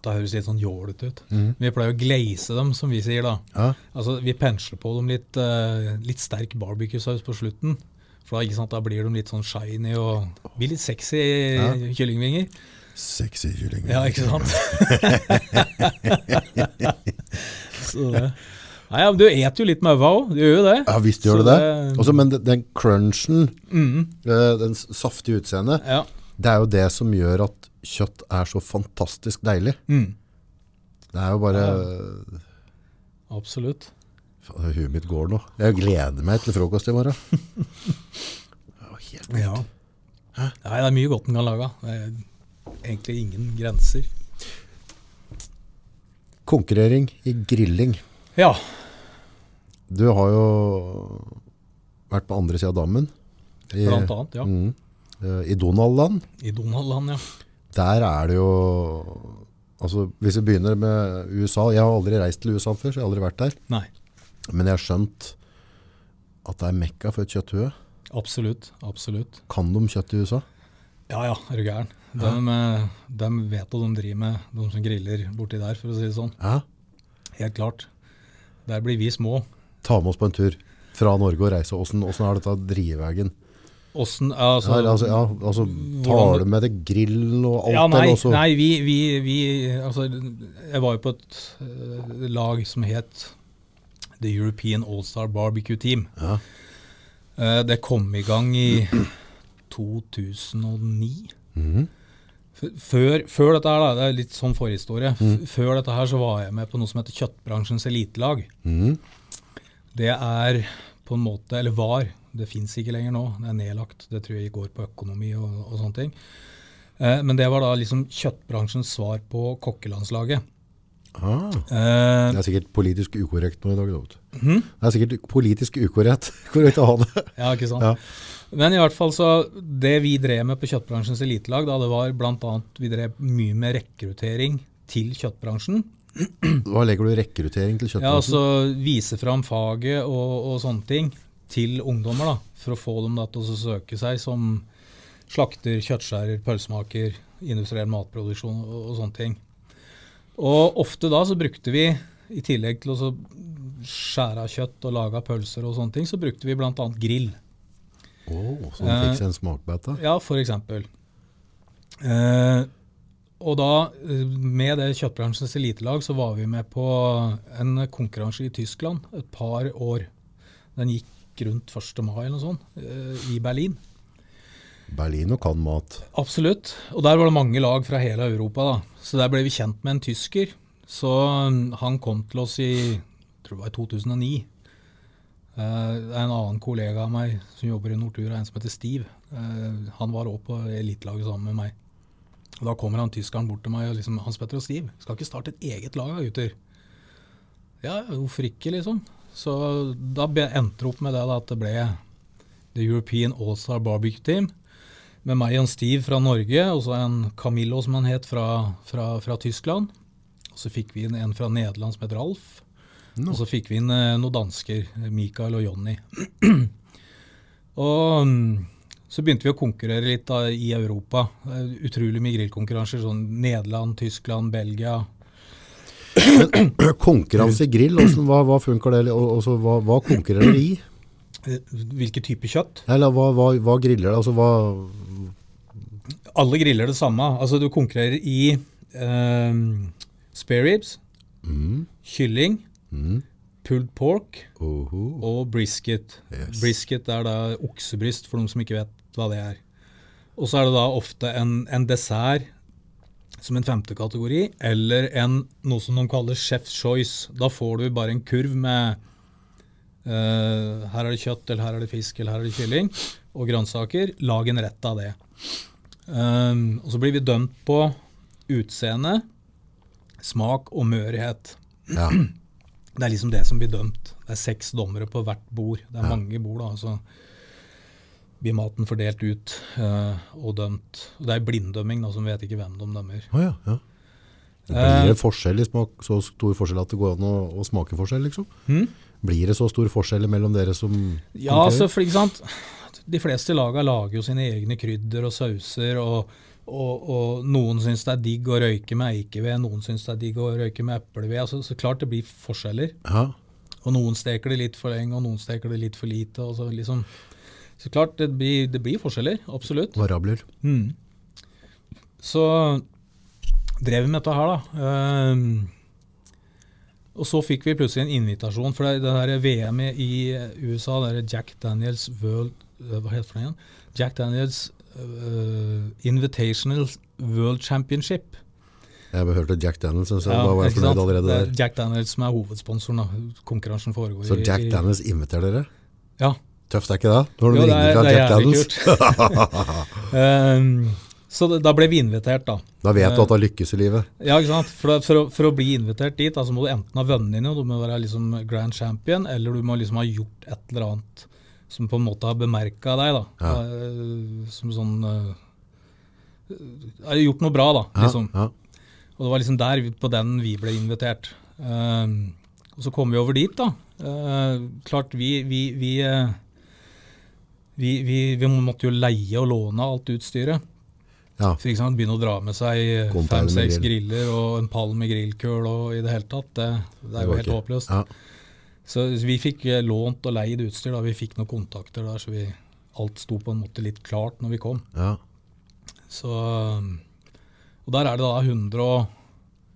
S1: Da høres det litt sånn jålete ut. Vi pleier å glaze dem, som vi sier da.
S2: Mhm. Ja.
S1: Altså, Vi pensler på dem litt, eh, litt sterk barbecuesaus på slutten. For da, ikke sant, da blir de litt sånn shiny og blir litt sexy kyllingvinger.
S2: Sexy kylling.
S1: Ja, ikke sant? så det. Nei, ja, men Du eter jo litt med øva òg, du gjør jo det.
S2: Ja, visst gjør
S1: Så
S2: det det.
S1: det-
S2: Også, men den- den crunchen, eh, den s- saftige utseendet,
S1: Ja.
S2: det er jo det som gjør at kjøtt er så fantastisk deilig.
S1: Mm.
S2: Det er jo bare
S1: Absolutt.
S2: Faen, Huet mitt går nå. Jeg gleder meg til frokost i morgen. Det var helt vilt.
S1: Ja. Nei, det er mye godt en kan lage. Det er egentlig ingen grenser.
S2: Konkurrering i grilling.
S1: Ja.
S2: Du har jo vært på andre siden av dammen. I,
S1: Blant annet, ja.
S2: Mm, eh, I Donald-land.
S1: I Donald-land, ja.
S2: Der er det jo altså, Hvis vi begynner med USA Jeg har aldri reist til USA før, så jeg har aldri vært der.
S1: Nei,
S2: Men jeg har skjønt at det er mekka for kjøtthue.
S1: absolutt. Absolutt.
S2: Kan de kjøtt i USA?
S1: Ja ja, er du gæren. De, eh, de vet hva de driver med, de som griller borti der, for å si det sånn.
S2: Ja.
S1: Helt klart. Der blir vi små.
S2: Ta med oss på en tur fra Norge og reise. Åssen åssen er dette drivvegen?
S1: Åssen
S2: Ja,
S1: altså,
S2: altså, ja, altså,
S1: Hvordan-
S2: tar du med det grillen og alt
S1: Ja, nei,
S2: der også?
S1: nei vi, vi, vi altså, Jeg var jo på et eh, lag som het The European All-Star Barbecue Team.
S2: Ja.
S1: Eh, det kom i gang i 2009.
S2: Mhm.
S1: F- Før, før dette her, da, det er litt sånn forhistorie, F-
S2: Mhm.
S1: før dette her så var jeg med på noe som heter Kjøttbransjens elitelag.
S2: Mhm.
S1: Det er på en måte, eller var, det fins ikke lenger nå, det er nedlagt, det tror jeg går på økonomi og, og sånne ting. Eh, men det var da liksom kjøttbransjens svar på kokkelandslaget.
S2: Ah,
S1: Eh,
S2: det er sikkert politisk ukorrekt nå i dag. da, vet du.
S1: Mhm.
S2: Det er sikkert politisk ukorrekt korrekt å ha det.
S1: Ja, ikke sant?
S2: Ja.
S1: Men i hvert fall så, det vi drev med på kjøttbransjens elitelag, da det var blant annet, vi drev mye med rekruttering til kjøttbransjen.
S2: Hva legger du i rekruttering til
S1: Ja,
S2: kjøttbransjen?
S1: altså vise fram faget og, og sånne ting til ungdommer, da, for å få dem da, til å søke seg som slakter, kjøttskjærer, pølsemaker, industriell matproduksjon og, og sånne ting. Og ofte da så brukte vi, i tillegg til å så skjære av kjøtt og lage av pølser og sånne ting, så brukte vi bl.a. grill.
S2: Åh, så
S1: eh,
S2: han fikk seg en smakbit da.
S1: Ja, for eksempel. Eh, og da, eh, med det kjøttbransjens elitelag, så var vi med på en konkurranse i Tyskland et par år. Den gikk rundt 1. mai eller noe sånt, eh, i Berlin.
S2: Berlin og kan mat.
S1: Absolutt. Og der var det mange lag fra hele Europa, da. Så der ble vi kjent med en tysker. Så mm, han kom til oss i jeg tror det var i 2009. Eh, Det er en annen kollega av meg som jobber i Nortura, en som heter Steve. Eh, Han var òg på elitelaget sammen med meg. Og Da kommer han tyskeren bort til meg og liksom Hans Petter og Steve, skal ikke starte et eget lag da, gutter? Ja, hvorfor ikke, liksom? Så da be- endte det opp med det da, at det ble The European All-Star Barbecue Team med meg og en Steve fra Norge, og så en Camillo som han het, fra, fra, fra Tyskland. Og så fikk vi inn en fra Nederland som het Ralf. Og så fikk vi inn eh, noen dansker, Mikael og Jonny. og mm, så begynte vi å konkurrere litt da, i Europa. Eh, Utrolig mye grillkonkurranser. Sånn Nederland, Tyskland, Belgia.
S2: Konkurranse i grill, hvordan, hva, hva funker det? Og, og så, hva, hva konkurrerer dere i?
S1: Eh, Hvilke typer kjøtt?
S2: Eller hva, hva, hva griller dere? Altså, hva,
S1: Alle griller det samme. Altså, du konkurrerer i eh, spare ribs, kylling, pulled pork
S2: Oho.
S1: og brisket.
S2: Yes.
S1: Brisket er da oksebryst, for de som ikke vet hva det er. Og så er det da ofte en, en dessert som en femte kategori, eller en, noe som de kaller chef's choice. Da får du bare en kurv med eh, her er det kjøtt, eller her er det fisk, eller her er det kylling, og grønnsaker. Lag en rett av det. Ehm, og så blir vi dømt på utseende, smak og mørhet.
S2: Ja.
S1: Det er liksom det som blir dømt. Det er seks dommere på hvert bord. Det er mange bord, da. Så blir maten fordelt ut eh, og dømt. Og det er blinddømming, da, som vet ikke hvem de dømmer.
S2: Å ja, ja.
S1: Eh,
S2: Blir det forskjell i smak, så stor forskjell at det går an å, å smake forskjell, liksom? Blir det så stor forskjell mellom dere som
S1: Hmm? Ja, altså, for ikke sant? De fleste laga lager jo sine egne krydder og sauser, og, og, og noen syns det er digg å røyke med eikeved, noen syns det er digg å røyke med epleved. Altså, så klart det blir forskjeller.
S2: ja.
S1: Og noen steker det litt for lenge, og noen steker det litt for lite. Og så, liksom. så klart, det blir, det blir forskjeller. Absolutt.
S2: Variabler.
S1: Mm. Så drev vi med dette her, da. Ehm, og så fikk vi plutselig en invitasjon, for det, det her VM-et i USA, det er Jack Daniels World eh, Hva heter det igjen? Jack Daniels eh, Invitational World Championship.
S2: Jeg hørte Jack Daniels, så
S1: Ja,
S2: da var jeg
S1: ikke sant?
S2: fornøyd allerede
S1: Det er
S2: der.
S1: Jack Daniels som er hovedsponsoren. da. Konkurransen foregår
S2: Så
S1: i-
S2: Jack
S1: i-
S2: Daniels inviterer dere?
S1: Ja,
S2: Tøft er ikke det? Når de
S1: Jo, det
S2: ringer
S1: er,
S2: fra
S1: det er
S2: Jack
S1: jævlig
S2: Daniels.
S1: kult. Ehm, Så det, da ble vi invitert, da.
S2: Da vet du at det har lykkes i livet.
S1: Ja, ikke sant? For, for, å, for å bli invitert dit, da, så må du enten ha vunnet noe, du må være liksom grand champion, eller du må liksom ha gjort et eller annet som på en måte har bemerka deg. da. Eh, Som sånn eh, Har gjort noe bra, da.
S2: Ja,
S1: liksom.
S2: ja.
S1: Og det var liksom der, vi- på den vi ble invitert. Ehm, og så kom vi over dit, da. Ehm, klart, vi vi, vi, eh, vi vi vi måtte jo leie og låne alt utstyret.
S2: Ja.
S1: For ikke sant, begynne å dra med seg
S2: Container med
S1: fem-seks
S2: grill.
S1: griller og en pall med grillkøl og i det hele tatt. Det, det er jo
S2: går
S1: helt
S2: ikke.
S1: håpløst.
S2: Ja.
S1: Så vi fikk eh, lånt og leid utstyr. da, Vi fikk noen kontakter der, så vi, alt sto på en måte litt klart når vi kom.
S2: Ja.
S1: Så, og der er det da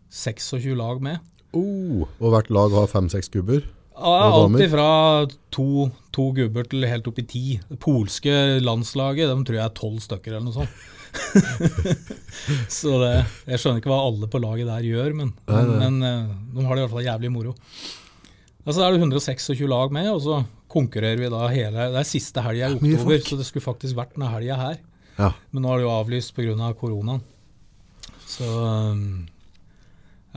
S1: 126 lag med.
S2: Oh, og hvert lag har fem-seks gubber.
S1: Ja,
S2: Og damer?
S1: alt ifra to, to gubber til helt opp i ti. Det polske landslaget de tror jeg er tolv stykker eller noe sånt. så det, jeg skjønner ikke hva alle på laget der gjør, men, men eh, de har det i hvert fall jævlig moro. Ja, så er det 126 lag med, og så konkurrerer vi da hele Det er siste helga i
S2: mye
S1: oktober,
S2: folk.
S1: så det skulle faktisk vært denne helga her.
S2: Ja.
S1: Men nå er det jo avlyst pga. koronaen. Så um,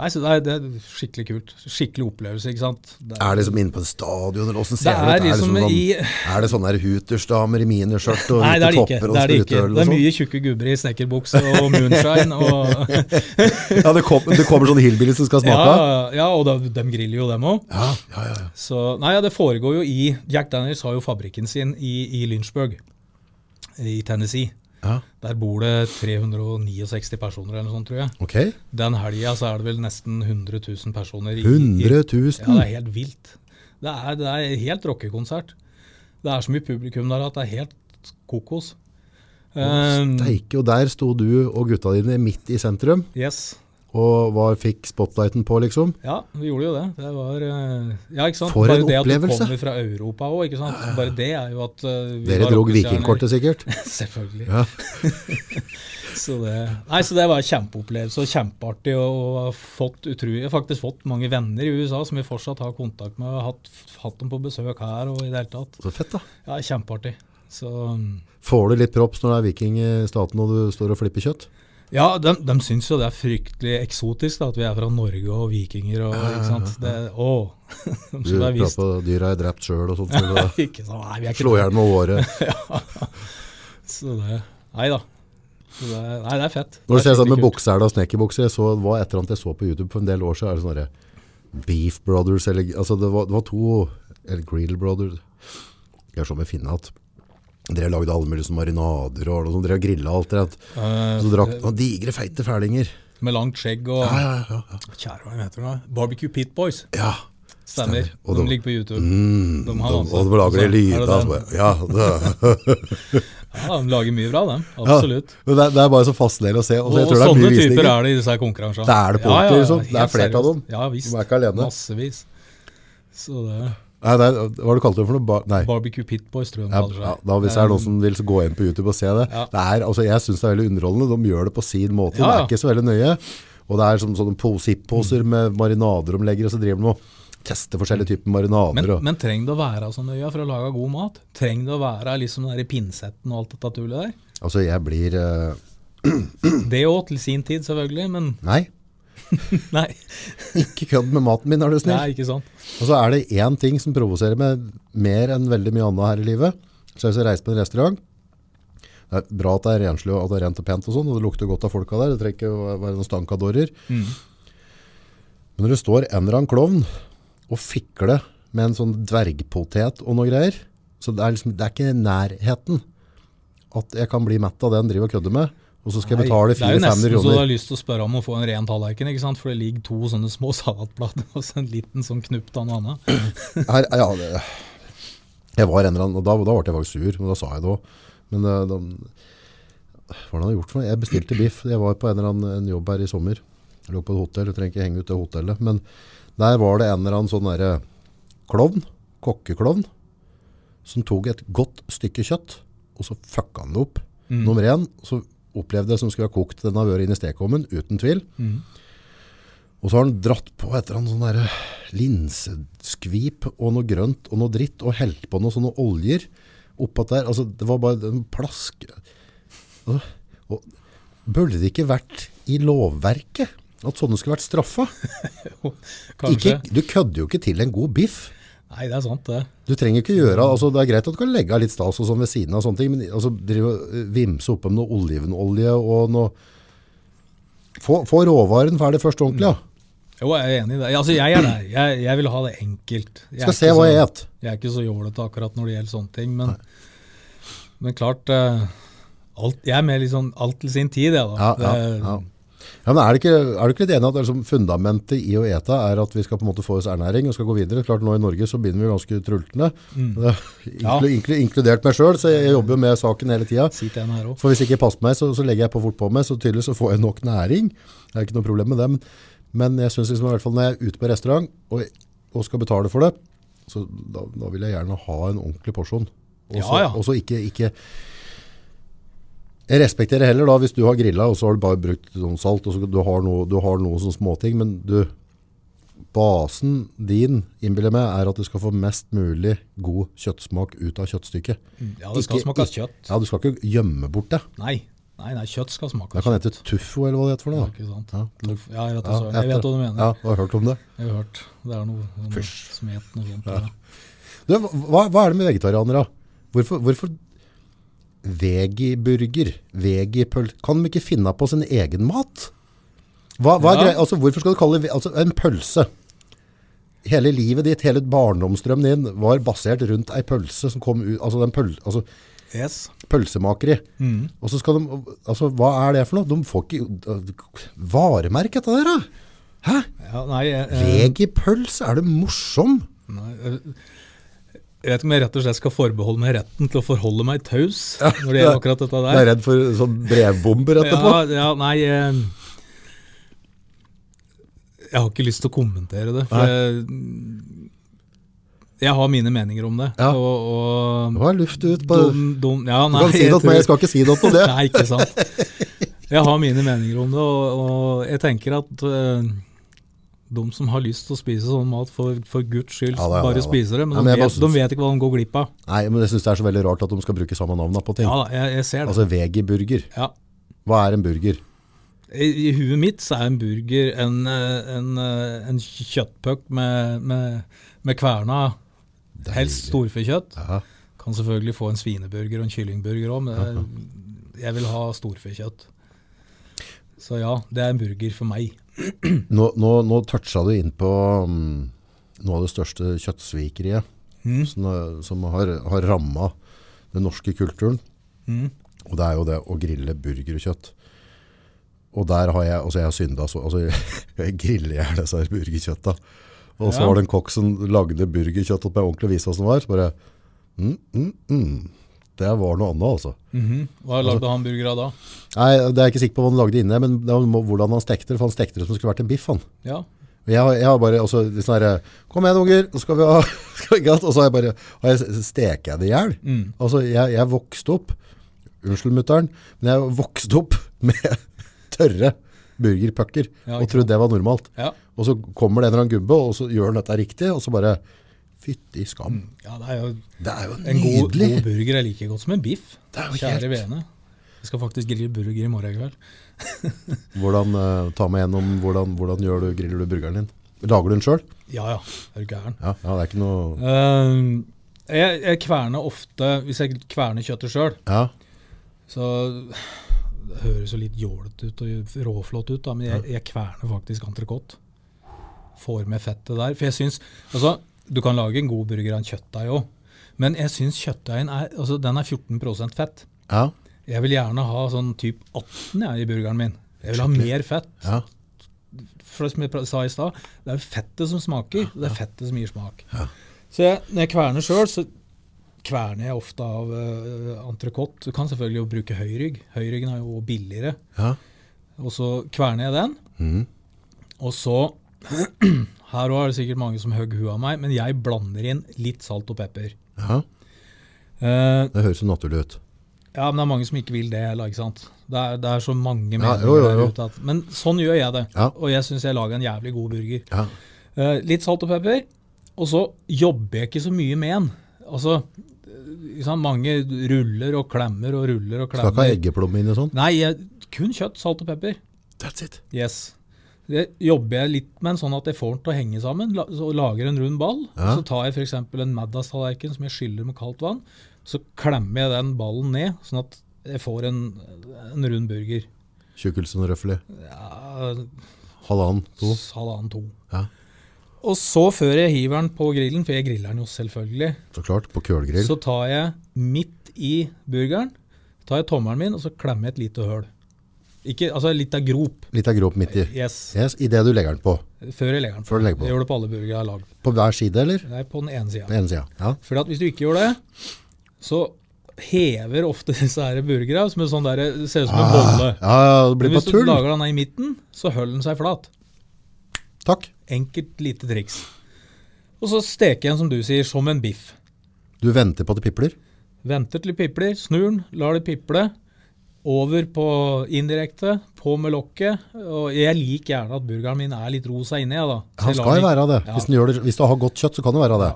S1: Nei, så det er, det er skikkelig kult. Skikkelig opplevelse, ikke sant. Det
S2: Er det liksom inne på en stadion, eller åssen ser
S1: Det
S2: det ut?
S1: er liksom
S2: sånn,
S1: i-
S2: er det sånne der Hooters-damer i miniskjørt og
S1: Nei, det er det ikke.
S2: hvitekopper og
S1: Det er, det ikke.
S2: sprutøl
S1: Det
S2: og
S1: er
S2: sånn?
S1: mye tjukke gubber i snekkerbukse og moonshine. Og,
S2: Ja, det, kom, det kommer sånne hillbillies som skal
S1: ja,
S2: smake?
S1: ja, og da, dem griller jo, dem òg.
S2: Ja, ja, ja. ja.
S1: Så, nei, ja, det foregår jo i Jack Daniels har jo fabrikken sin i, i Lynchburg i Tennessee.
S2: ja.
S1: Der bor det 369 personer eller noe sånt, tror jeg.
S2: Ok.
S1: Den helga så er det vel nesten 100 000 personer i, i
S2: 100
S1: Ja, det
S2: 000?
S1: er helt vilt. Det er, det er helt rockekonsert. Det er så mye publikum der at det er helt kokos. Um,
S2: Steike, og der sto du og gutta dine midt i sentrum,
S1: yes.
S2: og var, fikk spotlighten på, liksom.
S1: Ja, vi gjorde jo det. Det var eh, Ja, ikke sant.
S2: For
S1: Bare
S2: en
S1: det
S2: opplevelse.
S1: At du kommer fra Europa òg, ikke sant. Bare det er jo at eh, vi
S2: Dere
S1: var
S2: drog
S1: rockestjerner.
S2: vikingkortet, sikkert.
S1: Selvfølgelig.
S2: Ja.
S1: Så det, nei, så det var en kjempeopplevelse og kjempeartig. Og har fått, utrolig, jeg har faktisk fått mange venner i USA som vi fortsatt har kontakt med. og har Hatt, hatt dem på besøk her og i det hele tatt.
S2: Så fett, da.
S1: Ja, kjempeartig. Så
S2: Får du litt props når det er viking i staten og du står og flipper kjøtt?
S1: Ja, de, de syns jo det er fryktelig eksotisk da, at vi er fra Norge og vikinger og ikke sant. Det, å, de
S2: Du
S1: skulle ha
S2: prater
S1: visst.
S2: på dyra er drept sjøl og sånt. Så da
S1: Ikke sant, nei, vi er
S2: slå
S1: ikke
S2: i hjel med året.
S1: så det, Nei da. Så det, nei, det er fett.
S2: Når du
S1: Det er
S2: ser sånn med
S1: skikkelig kult.
S2: bukser og snekkerbukser, jeg så det var et eller annet jeg så på YouTube for en del år siden, er det sånne der Beef Brothers, eller altså det var, det var to, eller Grill Brothers, jeg så med finne at dere lagde alle mulige sånne marinader og noe sånt, dere grillet alt det, at-
S1: Eh,
S2: så drakk noen digre feite ferdinger.
S1: Med langt skjegg og
S2: Ja, ja, ja, ja.
S1: Kjære hva heter det? Barbecue Pit Boys.
S2: ja.
S1: Stemmer.
S2: Stemmer. Og
S1: de,
S2: de-
S1: ligger på YouTube. de, har
S2: Og
S1: altså-
S2: og de lager
S1: altså,
S2: de lyder,
S1: er
S2: altså,
S1: den?
S2: bare, ja, det,
S1: Ja, de lager mye bra, dem.
S2: ja.
S1: Absolutt.
S2: Men Det, er- det er bare så fascinerende å se, og
S1: Og,
S2: så
S1: og
S2: jeg tror det
S1: sånne
S2: er mye
S1: typer
S2: visninger.
S1: er det i disse her konkurransene.
S2: Det er det på ordentlig, liksom. Det er
S1: helt
S2: flere av
S1: seriøst.
S2: dem.
S1: Ja visst.
S2: De er ikke alene.
S1: Massevis. Så det
S2: Nei, nei, hva har du kalt det for noe? Ba- Nei.
S1: Barbecue Pit Boys, tror jeg de
S2: Ja,
S1: kaller seg.
S2: ja, da Hvis det er noen som vil så gå inn på YouTube og se det.
S1: Ja.
S2: det er, altså, jeg syns det er veldig underholdende. De gjør det på sin måte.
S1: Ja,
S2: Det
S1: ja. Mm.
S2: er ikke så veldig nøye. Og det er som sånne posipposer med marinader de legger, og så driver de og tester forskjellige typer marinader.
S1: Men,
S2: og,
S1: men trenger det å være så nøye for å lage god mat? Trenger det å være liksom den der pinsetten og alt dette tullet der?
S2: altså, jeg blir eh,
S1: Det òg, til sin tid selvfølgelig, men
S2: Nei,
S1: nei.
S2: ikke kødd med maten min, er du
S1: nei
S2: snill.
S1: ikke sant.
S2: Og så er det én ting som provoserer meg mer enn veldig mye annet her i livet. Så hvis jeg reiser på en restaurant Det er bra at det er renslig og at det er rent og pent og sånn, og det lukter godt av folka der. Det trenger ikke å være noen stankadorrer.
S1: Mm.
S2: Men når det står en eller annen klovn og fikler med en sånn dvergpotet og noe greier, så det er, liksom, det er ikke nærheten at jeg kan bli mett av det han driver og kødder med, og så skal jeg betale
S1: det er jo
S2: 4-5
S1: nesten så du
S2: kroner.
S1: har lyst til å spørre om å få en ren tallerken, ikke sant? for det ligger to sånne små salatblader og så en liten sånn knupp av noe annet.
S2: Her, ja, det, jeg var en eller annen, og da, da ble jeg faktisk sur, men da sa jeg det også. Men eh, da, hva har han gjort for noe? Jeg bestilte biff, jeg var på en eller annen en jobb her i sommer. Jeg lå på et hotell, jeg trenger ikke henge ut det hotellet, men der var det en eller annen sånn der klovn, kokkeklovn, som tok et godt stykke kjøtt, og så fucka han det opp. Nummer én, så opplevde jeg som skulle ha kokt den avøret inn i stekommen, uten tvil. Og så har han dratt på et eller annet sånn der linseskvip og noe grønt og noe dritt, og helt på noe sånne oljer oppå der. Altså, det var bare en plask. Altså, Og Burde det ikke vært i lovverket at sånne skulle vært straffa?
S1: Kanskje.
S2: Ikke, du kødder jo ikke til en god biff.
S1: Nei, det er sant, det.
S2: Du trenger ikke gjøre, altså Det er greit at du kan legge av litt stas og sånn ved siden av, sånne ting, men altså, drive, og, eh, vimse opp med noe olivenolje og noe Få, få råvaren ferdig først ordentlig, ja.
S1: Mm. Jo, jeg er enig i det. Altså, jeg er der. Jeg, jeg vil ha det enkelt. Jeg er
S2: Skal se
S1: ikke
S2: hva
S1: så-
S2: jeg et.
S1: Jeg er ikke så jålete akkurat når det gjelder sånne ting, men, men klart eh, alt, Jeg er mer litt sånn alt til sin tid, jeg, da.
S2: Ja, ja,
S1: Det-
S2: ja. ja, men er du ikke, er du ikke litt enig i at det er liksom fundamentet i å ete er at vi skal på en måte få oss ernæring og skal gå videre? Klart Nå i Norge så begynner vi jo ganske trultende, Det er
S1: Mm. Ja.
S2: inklu, inklu, inkludert meg sjøl, så jeg jobber jo med saken hele tida.
S1: Sitter en her òg.
S2: For hvis jeg ikke passer meg, så, så legger jeg på fort på meg, så tydelig så får jeg nok næring. Det er ikke noe problem med det, men, men jeg synes liksom, i hvert fall når jeg er ute på restaurant og, og skal betale for det, så da, da vil jeg gjerne ha en ordentlig porsjon. Og så
S1: Ja, ja.
S2: og så ikke, ikke jeg respekterer heller da, hvis du har grilla, og så har du bare brukt noen salt, og så du har noe, du har noe sånn småting, men du, basen din, innbiller jeg meg, er at du skal få mest mulig god kjøttsmak ut av kjøttstykket.
S1: Ja, det skal
S2: Ikke-
S1: smake kjøtt.
S2: Ja, du skal ikke gjemme bort det.
S1: Nei, nei, nei kjøtt skal smake
S2: Det kan hete Tuffo eller hva det heter for noe. da.
S1: Ikke sant?
S2: Ja.
S1: Tuff- Ja, jeg vet,
S2: Ja,
S1: altså, jeg vet hva du mener.
S2: Ja, du har hørt om det.
S1: Jeg har hørt. Det er noe, noe som het noe sånt. Ja.
S2: Du, hva, hva er det med vegetarianere? Hvorfor, hvorfor vegiburger, vegipøl, kan de ikke finne på sin egen mat? Hva, hva er
S1: Ja.
S2: grei, altså, hvorfor skal du kalle det ve- altså, en pølse? Hele livet ditt, hele barndomsdrømmen din var basert rundt ei pølse som kom ut, altså, den pøl, altså
S1: Yes.
S2: pølsemakeri.
S1: Mm.
S2: Og så skal de, altså, hva er det for noe? De får ikke varemerke etter det der, da. Hæ?
S1: Ja, nei, jeg, eh,
S2: Vegipølse, er du morsom?
S1: nei, eh, jeg vet ikke om jeg rett og slett skal forbeholde meg retten til å forholde meg taus når det gjelder akkurat dette
S2: Jeg er
S1: der.
S2: redd for sånn brevbomber etterpå.
S1: Ja, ja, nei eh, Jeg har ikke lyst til å kommentere det. For jeg, jeg har mine meninger om det.
S2: Ja.
S1: Og, og
S2: Hva er luft ut på
S1: dum, dum, ja,
S2: Du
S1: nei,
S2: kan si
S1: jeg
S2: det til meg,
S1: tror-
S2: jeg skal ikke si det til det.
S1: Nei, ikke sant. Jeg har mine meninger om det, og, og jeg tenker at eh, de som har lyst til å spise sånn mat, for, for guds skyld,
S2: Ja, det er det,
S1: bare
S2: det er det.
S1: spiser det. Men,
S2: Ja, men jeg
S1: de,
S2: bare
S1: vet, de
S2: synes-
S1: vet ikke hva de går glipp av.
S2: Nei, men jeg syns det er så veldig rart at de skal bruke samme navn da på ting.
S1: Ja da, jeg, jeg ser det.
S2: Altså vegiburger.
S1: ja.
S2: Hva er en burger?
S1: I, I huet mitt så er en burger en, eh, en, eh, en kjøttpuck med, med, med kverna, helst storfekjøtt.
S2: Ja.
S1: Kan selvfølgelig få en svineburger og en kyllingburger òg, men jeg- jeg vil ha storfekjøtt. Så ja, det er en burger for meg.
S2: Nå, nå, nå toucha du inn på mm, noe av det største kjøttsvikeriet som, eh, som har, har ramma den norske kulturen. Og det er jo det å grille burgerkjøtt. Og der har jeg altså jeg har synda så altså, Jeg griller i hjel disse her burgerkjøtta. Og så
S1: Ja.
S2: var det en kokk som lagde burgerkjøtt til meg ordentlig viste åssen det var. Så bare mm, mm, mm. Det var noe annet, altså.
S1: Hva lagde han burger av da?
S2: Nei, Det er jeg ikke sikker på hva han lagde inne, men det var hvordan han stekte det. For han stekte det som skulle vært en biff. han.
S1: Ja.
S2: Og Jeg, har- jeg har bare altså, litt sånn her, Kom igjen, unger, nå skal vi ha skal vi ha Og så har jeg bare har jeg, steker jeg det i hjel.
S1: Mm.
S2: Altså, jeg, jeg vokste opp Unnskyld, mutter'n, men jeg vokste opp med tørre burgerpucker
S1: Ja,
S2: og
S1: ikke
S2: trodde det var normalt.
S1: Ja.
S2: Og så kommer det en eller annen gubbe, og så gjør han dette riktig, og så bare Fytti skam.
S1: ja, det er jo
S2: Det er jo
S1: Mm. en god,
S2: nydelig.
S1: god burger er like godt som en biff.
S2: Det er jo
S1: Kjære
S2: helt-
S1: vene. Jeg skal faktisk grille burger i morgen kveld.
S2: Hvordan, eh, ta meg gjennom hvordan, hvordan gjør du, griller du burgeren din? Lager du den sjøl?
S1: Ja ja, er du gæren.
S2: Ja, ja, det er ikke noe
S1: Ehm, jeg, jeg kverner ofte, hvis jeg kverner kjøttet sjøl,
S2: Ja,
S1: så det høres jo litt jålete ut og råflott ut, da, men jeg, jeg kverner faktisk entrecôte. Får med fettet der. For jeg syns Altså, du kan lage en god burger av en kjøttdeig òg, men jeg syns kjøttdeigen er altså, Den er 14 fett.
S2: ja,
S1: Jeg vil gjerne ha sånn typ 18 jeg, i burgeren min. Jeg vil ha mer fett.
S2: ja.
S1: For som jeg pra- sa i stad, det er jo fettet som smaker. Det er fettet som gir smak. Så jeg, når jeg kverner sjøl, så kverner jeg ofte av uh, entrecôte. Du kan selvfølgelig jo bruke høyrygg. Høyryggen er jo også billigere.
S2: ja.
S1: Og så kverner jeg den. Og så Her òg er det sikkert mange som hogger huet av meg, men jeg blander inn litt salt og pepper.
S2: ja.
S1: Eh,
S2: Det høres jo naturlig ut.
S1: Ja, men det er mange som ikke vil det heller, ikke sant. Det er, det er så mange meninger
S2: Ja, jo, jo, jo.
S1: der ute. At, men sånn gjør jeg det.
S2: Ja.
S1: Og jeg syns jeg lager en jævlig god burger.
S2: Ja.
S1: Eh, litt salt og pepper, og så jobber jeg ikke så mye med den. Altså, eh, ikke sant? mange ruller og klemmer og ruller og
S2: Skal ikke ha
S1: klemmer.
S2: eggeplomme inn i sånn?
S1: Nei, jeg kun kjøtt, salt og pepper.
S2: That's it.
S1: Yes. Det jobber jeg litt med en sånn at jeg får den til å henge sammen. La, så lager en rund ball.
S2: Ja.
S1: Så tar jeg f.eks. en Maddas-tallerken som jeg skyller med kaldt vann. Så klemmer jeg den ballen ned, sånn at jeg får en, en rund burger.
S2: Tjukkelsen og røffelig.
S1: Ja,
S2: Halvannen, to.
S1: s- halvannen to.
S2: Ja.
S1: Og så, før jeg hiver den på grillen, for jeg griller den jo selvfølgelig,
S2: Så klart, på kølgrill.
S1: så tar jeg midt i burgeren tar jeg tommelen min og så klemmer jeg et lite høl. Ikke, altså litt av grop.
S2: Litt av gråp midt i.
S1: Yes.
S2: Yes, I det du legger den på.
S1: Før jeg legger den på.
S2: Før du legger på.
S1: Jeg gjør det på alle burgere jeg har lagd.
S2: På hver side, eller?
S1: Nei, på den ene
S2: På
S1: sida.
S2: den ene sida. Ja.
S1: For at hvis du ikke gjør det, så hever ofte disse her burgere som en sånn der, det ser ut som en bolle.
S2: Ja, ja, det
S1: Men
S2: Ah, blir
S1: hvis
S2: på
S1: du
S2: tull.
S1: lager den her i midten, så holder den seg flat.
S2: Takk.
S1: Enkelt lite triks. Og så steker jeg den, som du sier, som en biff.
S2: Du venter på at det pipler.
S1: Venter til det pipler, snur den, lar det piple. Over på indirekte, på med lokket. Og jeg liker gjerne at burgeren min er litt rosa inni. jeg, da. Så
S2: Han
S1: jeg lar
S2: skal jo
S1: den-
S2: være det.
S1: Ja.
S2: Hvis, den gjør det. hvis du har godt kjøtt, så kan det være det.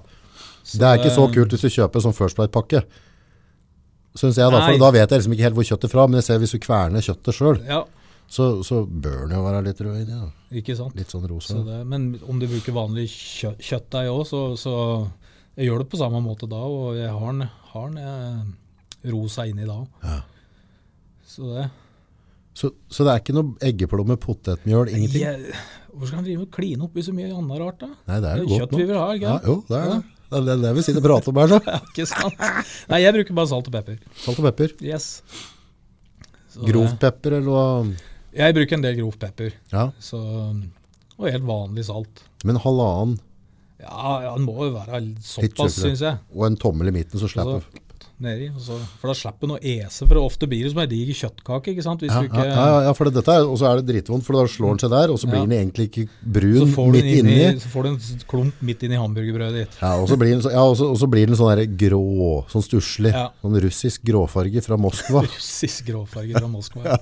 S2: Det er ikke så kult hvis du kjøper sånn First Bite-pakke. Synes jeg Da
S1: Nei.
S2: for da vet jeg liksom ikke helt hvor kjøttet er fra, men jeg ser hvis du kverner kjøttet sjøl,
S1: Ja,
S2: så, så bør den jo være litt rød inni. da.
S1: ikke sant.
S2: Litt sånn rosa.
S1: Så det, men om du bruker vanlig kjø kjøttdeig òg, så, så jeg gjør det på samme måte da. Og jeg har den, har den eh, rosa inni da òg.
S2: Ja.
S1: Så det
S2: Så, så det er ikke noe eggeplomme, potetmjøl, ingenting?
S1: jeg, Hvorfor skal han drive med å kline opp i så mye annet rart, da?
S2: Nei, det er
S1: Det
S2: jo
S1: er
S2: godt
S1: kjøtt vi vil ha, ikke
S2: Ja,
S1: sant?
S2: jo, det er det. Det er det- det vi sitter og prater om her, så.
S1: Ja, ikke sant? Nei, jeg bruker bare salt og pepper.
S2: Salt og pepper.
S1: Yes. Så
S2: Grov
S1: det-
S2: pepper eller hva?
S1: Jeg bruker en del grov pepper.
S2: Ja.
S1: Så, og helt vanlig salt.
S2: Men halvannen
S1: Ja, ja, den må jo være
S2: Litt
S1: såpass,
S2: tjukkere.
S1: syns jeg.
S2: og en tommel i midten, så
S1: Og
S2: slipper du.
S1: så Altså, nedi, og så, for da slipper en å ese, for ofte blir det som ei diger kjøttkake. ikke sant? Hvis
S2: Ja,
S1: du ikke,
S2: ja, ja, ja, for det- dette er, og så er det dritvondt, for da slår den seg der, og så blir
S1: Ja.
S2: den egentlig ikke
S1: Så,
S2: brun
S1: får du
S2: midt
S1: den inn
S2: inni.
S1: i- så får du en s- klump midt inn i hamburgerbrødet ditt.
S2: Ja, og så blir den, så, ja, og så, og så blir den sånn der grå, sånn stusslig,
S1: Ja.
S2: sånn russisk gråfarge fra Moskva.
S1: Siste gråfarge fra Moskva.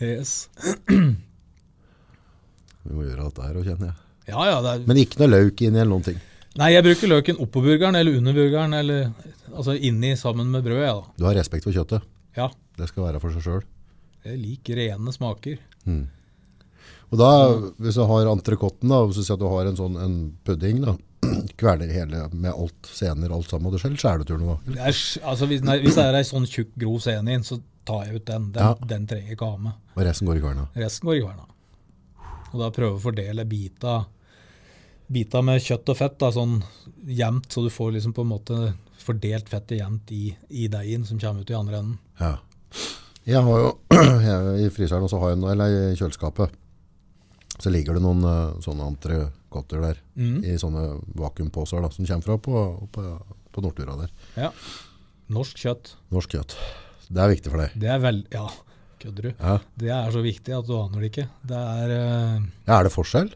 S1: Yes.
S2: Vi må gjøre dette her, og kjenner jeg.
S1: Ja, ja, det er,
S2: Men ikke noe lauk inni eller noen ting.
S1: nei, jeg bruker løken oppå burgeren eller under burgeren, eller altså inni sammen med brødet. jeg,
S2: Du har respekt for kjøttet.
S1: da. Ja,
S2: Det skal være for seg sjøl.
S1: jeg liker rene smaker.
S2: Og da, hvis du har entrecôten, da, hvis du sier at du har en sånn en pudding, da, kverner hele med alt, sener, alt sammen, og du selv skjærer du turen da.
S1: Det er, s- altså, hvis, nei, hvis det er ei sånn tjukk, grov scene inn, så tar jeg ut den. Den,
S2: Ja.
S1: den trenger jeg ikke ha med.
S2: Og resten går i kverna.
S1: Resten går i kverna. Og da prøve å fordele bita, bita med kjøtt og fett da, sånn jevnt, så du får liksom på en måte fordelt fettet jevnt i, i deigen som kommer ut i andre enden.
S2: Ja. Jeg har jo, jeg, i fryseren også har jeg noe, eller i kjøleskapet, så ligger det noen eh, sånne entrecôter der, i sånne vakuumpåser da, som kommer fra på, på, på Nordtura der.
S1: Ja. Norsk kjøtt,
S2: Norsk kjøtt. Det er viktig for deg.
S1: det er vel... Ja, kødder du?
S2: Ja.
S1: Det er så viktig at du aner det ikke. Det er... eh,
S2: Ja, er det forskjell?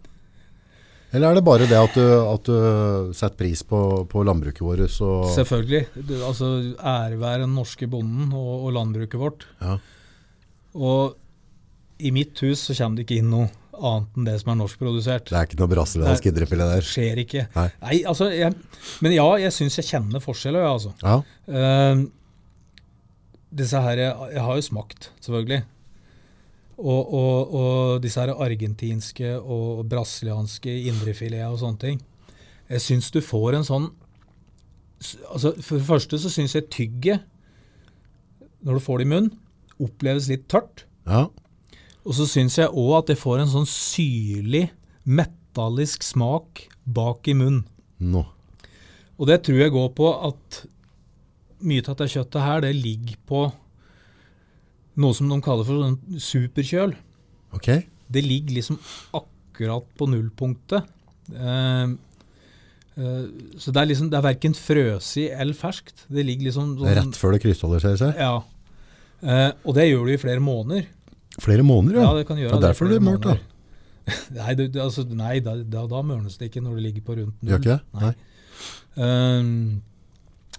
S2: Eller er det bare det at du, at du setter pris på, på landbruket vårt? Og,
S1: Selvfølgelig. Det, altså, ære være den norske bonden og, og landbruket vårt.
S2: Ja.
S1: Og i mitt hus så kommer det ikke inn noe annet enn det som er norskprodusert.
S2: det er ikke noe brasiliansk
S1: Nei.
S2: idrettspille
S1: Det
S2: der.
S1: skjer ikke.
S2: Nei.
S1: altså, jeg, men ja, jeg syns jeg kjenner forskjeller, ja, altså.
S2: Ja.
S1: Ehm, disse her, jeg har jo smakt, selvfølgelig. Og, og, og disse her argentinske og brasilianske indrefilet og sånne ting. Jeg syns du får en sånn s- altså For det første så syns jeg tygget, når du får det i munnen, oppleves litt tørt.
S2: Ja.
S1: Og så syns jeg òg at det får en sånn syrlig, metallisk smak bak i munnen.
S2: Nå.
S1: Og det tror jeg går på at mye av dette kjøttet her, det ligger på noe som de kaller for sånn superkjøl.
S2: Ok.
S1: Det ligger liksom akkurat på nullpunktet. Eh, eh, så det er liksom, det er verken frøsig eller ferskt. Det ligger liksom sånn,
S2: Rett før det krystalliserer seg.
S1: Ja. Eh, og det gjør du i flere måneder.
S2: Flere måneder, ja.
S1: Ja, det kan gjøre
S2: Ja,
S1: det i
S2: derfor
S1: flere
S2: blir det mørkt, da.
S1: måneder. Nei, det, det- altså, nei da, da, da mørnes det ikke når det ligger på rundt null.
S2: Gjør ikke det? Nei.
S1: Ehm,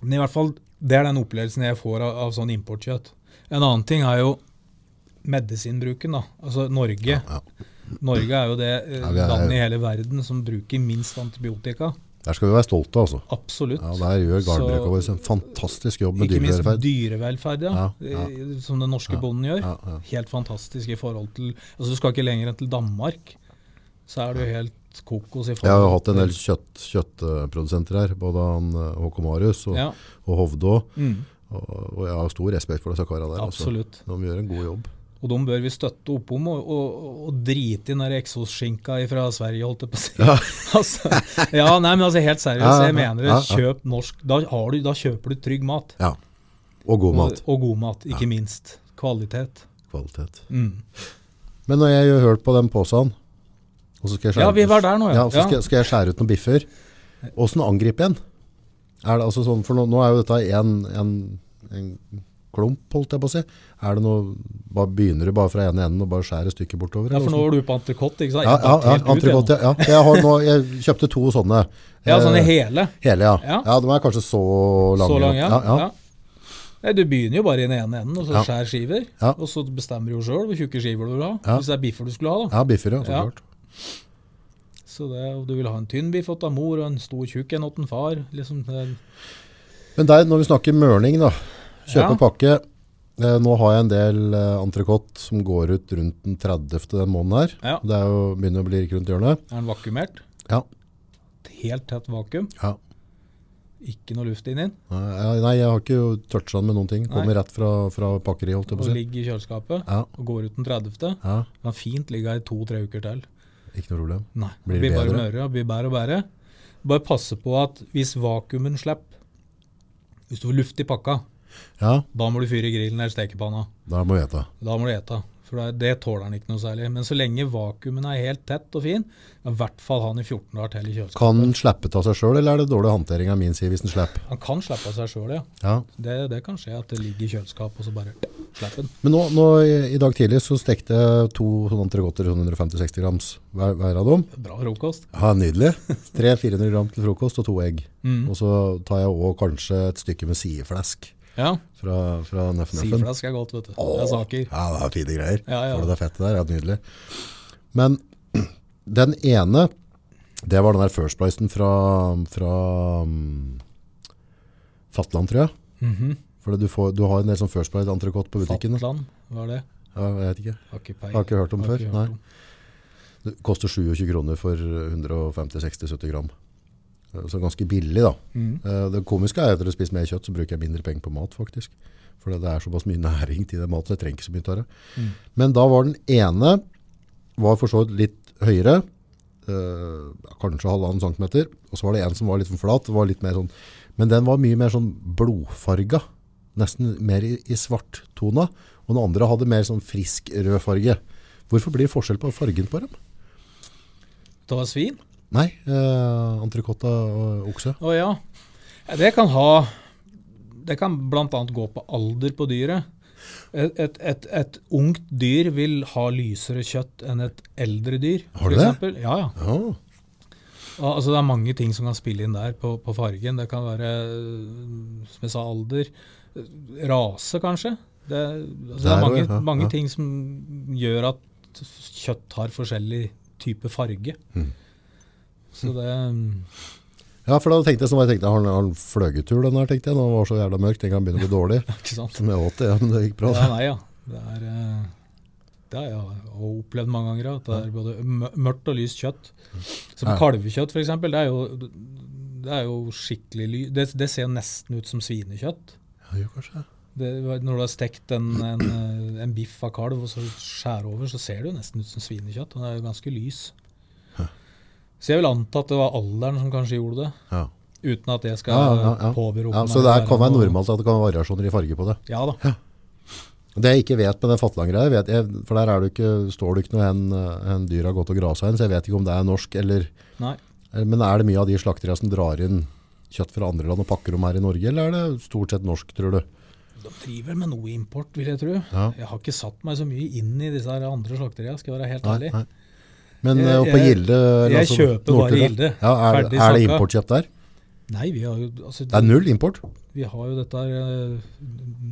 S1: men i hvert fall, det er den opplevelsen jeg får av, av sånn importkjøtt. En annen ting er jo medisinbruken. da. Altså Norge
S2: Ja.
S1: Norge er jo det eh,
S2: Ja, vi er-
S1: landet i hele verden som bruker minst antibiotika.
S2: Der skal vi være stolte, altså.
S1: Absolutt.
S2: Ja, Der gjør
S1: Så-
S2: gardbrøka vår en fantastisk jobb med
S1: Ikke minst
S2: dyrevelferd.
S1: dyrevelferd, ja.
S2: Ja,
S1: Eh, Som den norske bonden gjør. Helt fantastisk i forhold til Altså, du skal ikke lenger enn til Danmark, så er du helt kokos i forhold
S2: Jeg har jo hatt en del kjøtt, kjøttprodusenter her, både han eh, Håkon Marius og,
S1: Ja.
S2: og Hovde òg.
S1: Mm,
S2: Og, og jeg har stor respekt for disse karene der.
S1: Absolutt.
S2: Altså. De gjør en god jobb.
S1: Og dem bør vi støtte opp om, og, og, og drite i den der eksosskinka fra Sverige, holdt jeg på å si. Ja, altså, ja nei, men altså helt
S2: Ja,
S1: seriøst,
S2: ja,
S1: jeg mener det.
S2: ja, ja.
S1: Kjøp norsk. Da, har du, da kjøper du trygg mat.
S2: Ja. Og god mat.
S1: Og, og god mat, ikke minst. Kvalitet.
S2: Kvalitet.
S1: Mm.
S2: Men når jeg har hørt på den påsen og så skal jeg skjære,
S1: Ja, vi var der nå, ja.
S2: ja. så
S1: Ja.
S2: skal, skal jeg skjære ut noen biffer. Åssen angriper jeg en? Er det altså sånn, for nå, nå er jo dette en, en, en klump, holdt jeg på å si. Er det noe, bare begynner du bare fra ene enden og bare skjærer stykket bortover?
S1: Ja,
S2: eller
S1: for nå
S2: hvordan?
S1: var du på entrecôte, ikke sant?
S2: sånn- ja, ja, ja,
S1: Helt ut,
S2: entrecôte,
S1: jeg nå.
S2: ja. ja. Jeg, har nå, jeg kjøpte to sånne.
S1: Ja, sånne
S2: Eh,
S1: hele.
S2: hele, ja. ja.
S1: Ja.
S2: de er kanskje så lange.
S1: Så lang, ja.
S2: ja, ja.
S1: Ja. Nei, du begynner jo bare i den ene enden, og så
S2: Ja.
S1: skjærer skiver.
S2: Ja.
S1: Og så bestemmer du jo sjøl hvor tjukke skiver du vil ha.
S2: Ja.
S1: Hvis det er biffer du skulle ha, da.
S2: Ja, biffer, ja, så
S1: Ja.
S2: klart.
S1: Så det, og du vil ha en tynn biff åt av mor, og en stor tjukk en åt en far. Liksom. det-
S2: Men der, når vi snakker mørning da, kjøpe
S1: Ja.
S2: pakke. Eh, nå har jeg en del eh, entrecôte som går ut rundt den 30. den måneden her.
S1: Ja.
S2: Det er jo, begynner å bli rundt hjørnet.
S1: Er den vakuumert?
S2: Ja.
S1: Helt tett vakuum.
S2: ja.
S1: Ikke noe luft inni den.
S2: Nei, nei, jeg har ikke jo touchet den med noen ting. Kommer rett fra, fra pakkeriet, holdt
S1: Og
S2: jeg på å si.
S1: ligger i kjøleskapet.
S2: Ja.
S1: Og går ut den 30.
S2: ja,
S1: Kan fint ligge i to-tre uker til.
S2: ikke noe problem.
S1: Nei.
S2: Blir
S1: Blir,
S2: det
S1: bare
S2: bedre?
S1: mørere, blir bedre og bedre. Bare passe på at hvis vakuumen slipper Hvis du får luft i pakka,
S2: Ja,
S1: da må du fyre grillen eller stekepanna.
S2: da må jeg ete.
S1: Da må du ete. For det, det tåler den ikke noe særlig. Men så lenge vakuumen er helt tett og fin, ja, i hvert fall ha den i 14 dager til i kjøleskapet.
S2: Kan den slippe av seg selv, eller er det dårlig håndtering av min side hvis den slipper?
S1: Han kan slippe av seg sjøl, ja.
S2: Ja.
S1: Det, det kan skje at det ligger i kjøleskapet, og så bare slipper den.
S2: Men nå, nå i, i dag tidlig så stekte jeg to sånne entrecôter, sånn 150-60 grams hver, hver av dem.
S1: Bra frokost.
S2: Ja, nydelig. 300-400 gram til frokost og to egg.
S1: Mm.
S2: Og så tar jeg også kanskje et stykke med sideflesk
S1: Ja.
S2: fra, fra Nøffen Nøffen.
S1: Siflask er godt, vet du. Det er saker.
S2: Ja, det er fine greier.
S1: Ja, ja.
S2: For det er fett det der, ja, nydelig. Men den ene, det var den der first pricen fra, fra mm, Fatland, tror jeg. For du, får, du har en del sånn first price entrecôte på butikken. da.
S1: Mhm. Fatland, hva er det?
S2: Ja, jeg vet ikke.
S1: Har ikke peiling.
S2: Jeg har ikke hørt om
S1: Har
S2: før.
S1: ikke hørt
S2: Nei.
S1: om.
S2: Det koster 27 kroner for 150-60-70 gram. Så ganske billig da.
S1: Mm.
S2: Eh, Det komiske er at når jeg spiser mer kjøtt, så bruker jeg mindre penger på mat faktisk. For det er såpass mye næring til det maten, så jeg trenger ikke så mye av det.
S1: Mm.
S2: Men da var den ene, var for så vidt litt høyere, eh, kanskje halvannen centimeter, og så var det en som var litt sånn flat, var litt mer sånn, men den var mye mer sånn blodfarga, nesten mer i, i svart tona, og den andre hadde mer sånn frisk rød farge. Hvorfor blir det forskjell på fargen på dem?
S1: Det var svin?
S2: Nei, eh, entrecôte og okse.
S1: Å ja. Ja, Det kan ha Det kan bl.a. gå på alder på dyret. Et, et, et, et ungt dyr vil ha lysere kjøtt enn et eldre dyr.
S2: Har
S1: for
S2: du det?
S1: eksempel. Ja, ja.
S2: Ja,
S1: Al- Altså, det er mange ting som kan spille inn der på, på fargen. Det kan være, øh, som jeg sa, alder. øh, Rase, kanskje. Det, altså, det
S2: Der
S1: er
S2: også,
S1: mange,
S2: ja, ja.
S1: mange ting som gjør at kjøtt har forskjellig type farge.
S2: Mm.
S1: Så det
S2: ja for da tenkte jeg sånn, jeg tenkte, har han- har han fløgetur den her, tenkte jeg, når det var så jævla mørkt, tenkte jeg han begynner å gå dårlig.
S1: Ikke sant?
S2: Som jeg åt det, ja, men det gikk bra.
S1: Ja, nei, ja. Det er eh, det har jeg jo opplevd mange ganger. At det er både mø- mørkt og lyst kjøtt. Som
S2: Ja.
S1: kalvekjøtt, f.eks. Det, er jo- det er jo skikkelig ly... Det, det ser nesten ut som svinekjøtt.
S2: Ja, jo, kanskje.
S1: Det, når du har stekt en, en, eh, en biff av kalv og så skjærer over, så ser det jo nesten ut som svinekjøtt. Og det er jo ganske lys. Så jeg vil anta at det var alderen som kanskje gjorde det.
S2: Ja.
S1: Uten at jeg
S2: Ja,
S1: skal
S2: ja, ja.
S1: påberope
S2: ja, så det er, kan være normalt at det kan være variasjoner i farge på det.
S1: Ja da.
S2: Det jeg ikke vet med den fattelanggreia, vet jeg, for der er det jo ikke, står det ikke noe en, en dyr har gått og grasa inn, så jeg vet ikke om det er norsk, eller,
S1: Nei.
S2: eller, men er det mye av de slakterier som drar inn kjøtt fra andre land og pakker dem her i Norge, eller er det stort sett norsk, tror du?
S1: De driver med noe import, vil jeg tro.
S2: Ja.
S1: Jeg har ikke satt meg så mye inn i disse her andre slakteriene, skal jeg være helt ærlig.
S2: Men
S1: Jeg-
S2: eh, oppe på
S1: jeg-
S2: Gilde eller
S1: jeg kjøper bare
S2: Nordtuna?
S1: Gilde.
S2: Ja, er,
S1: Ferdig
S2: er det
S1: snakka.
S2: importkjøpt der?
S1: Nei, vi har jo, altså,
S2: Det er null import.
S1: vi har jo dette her, eh,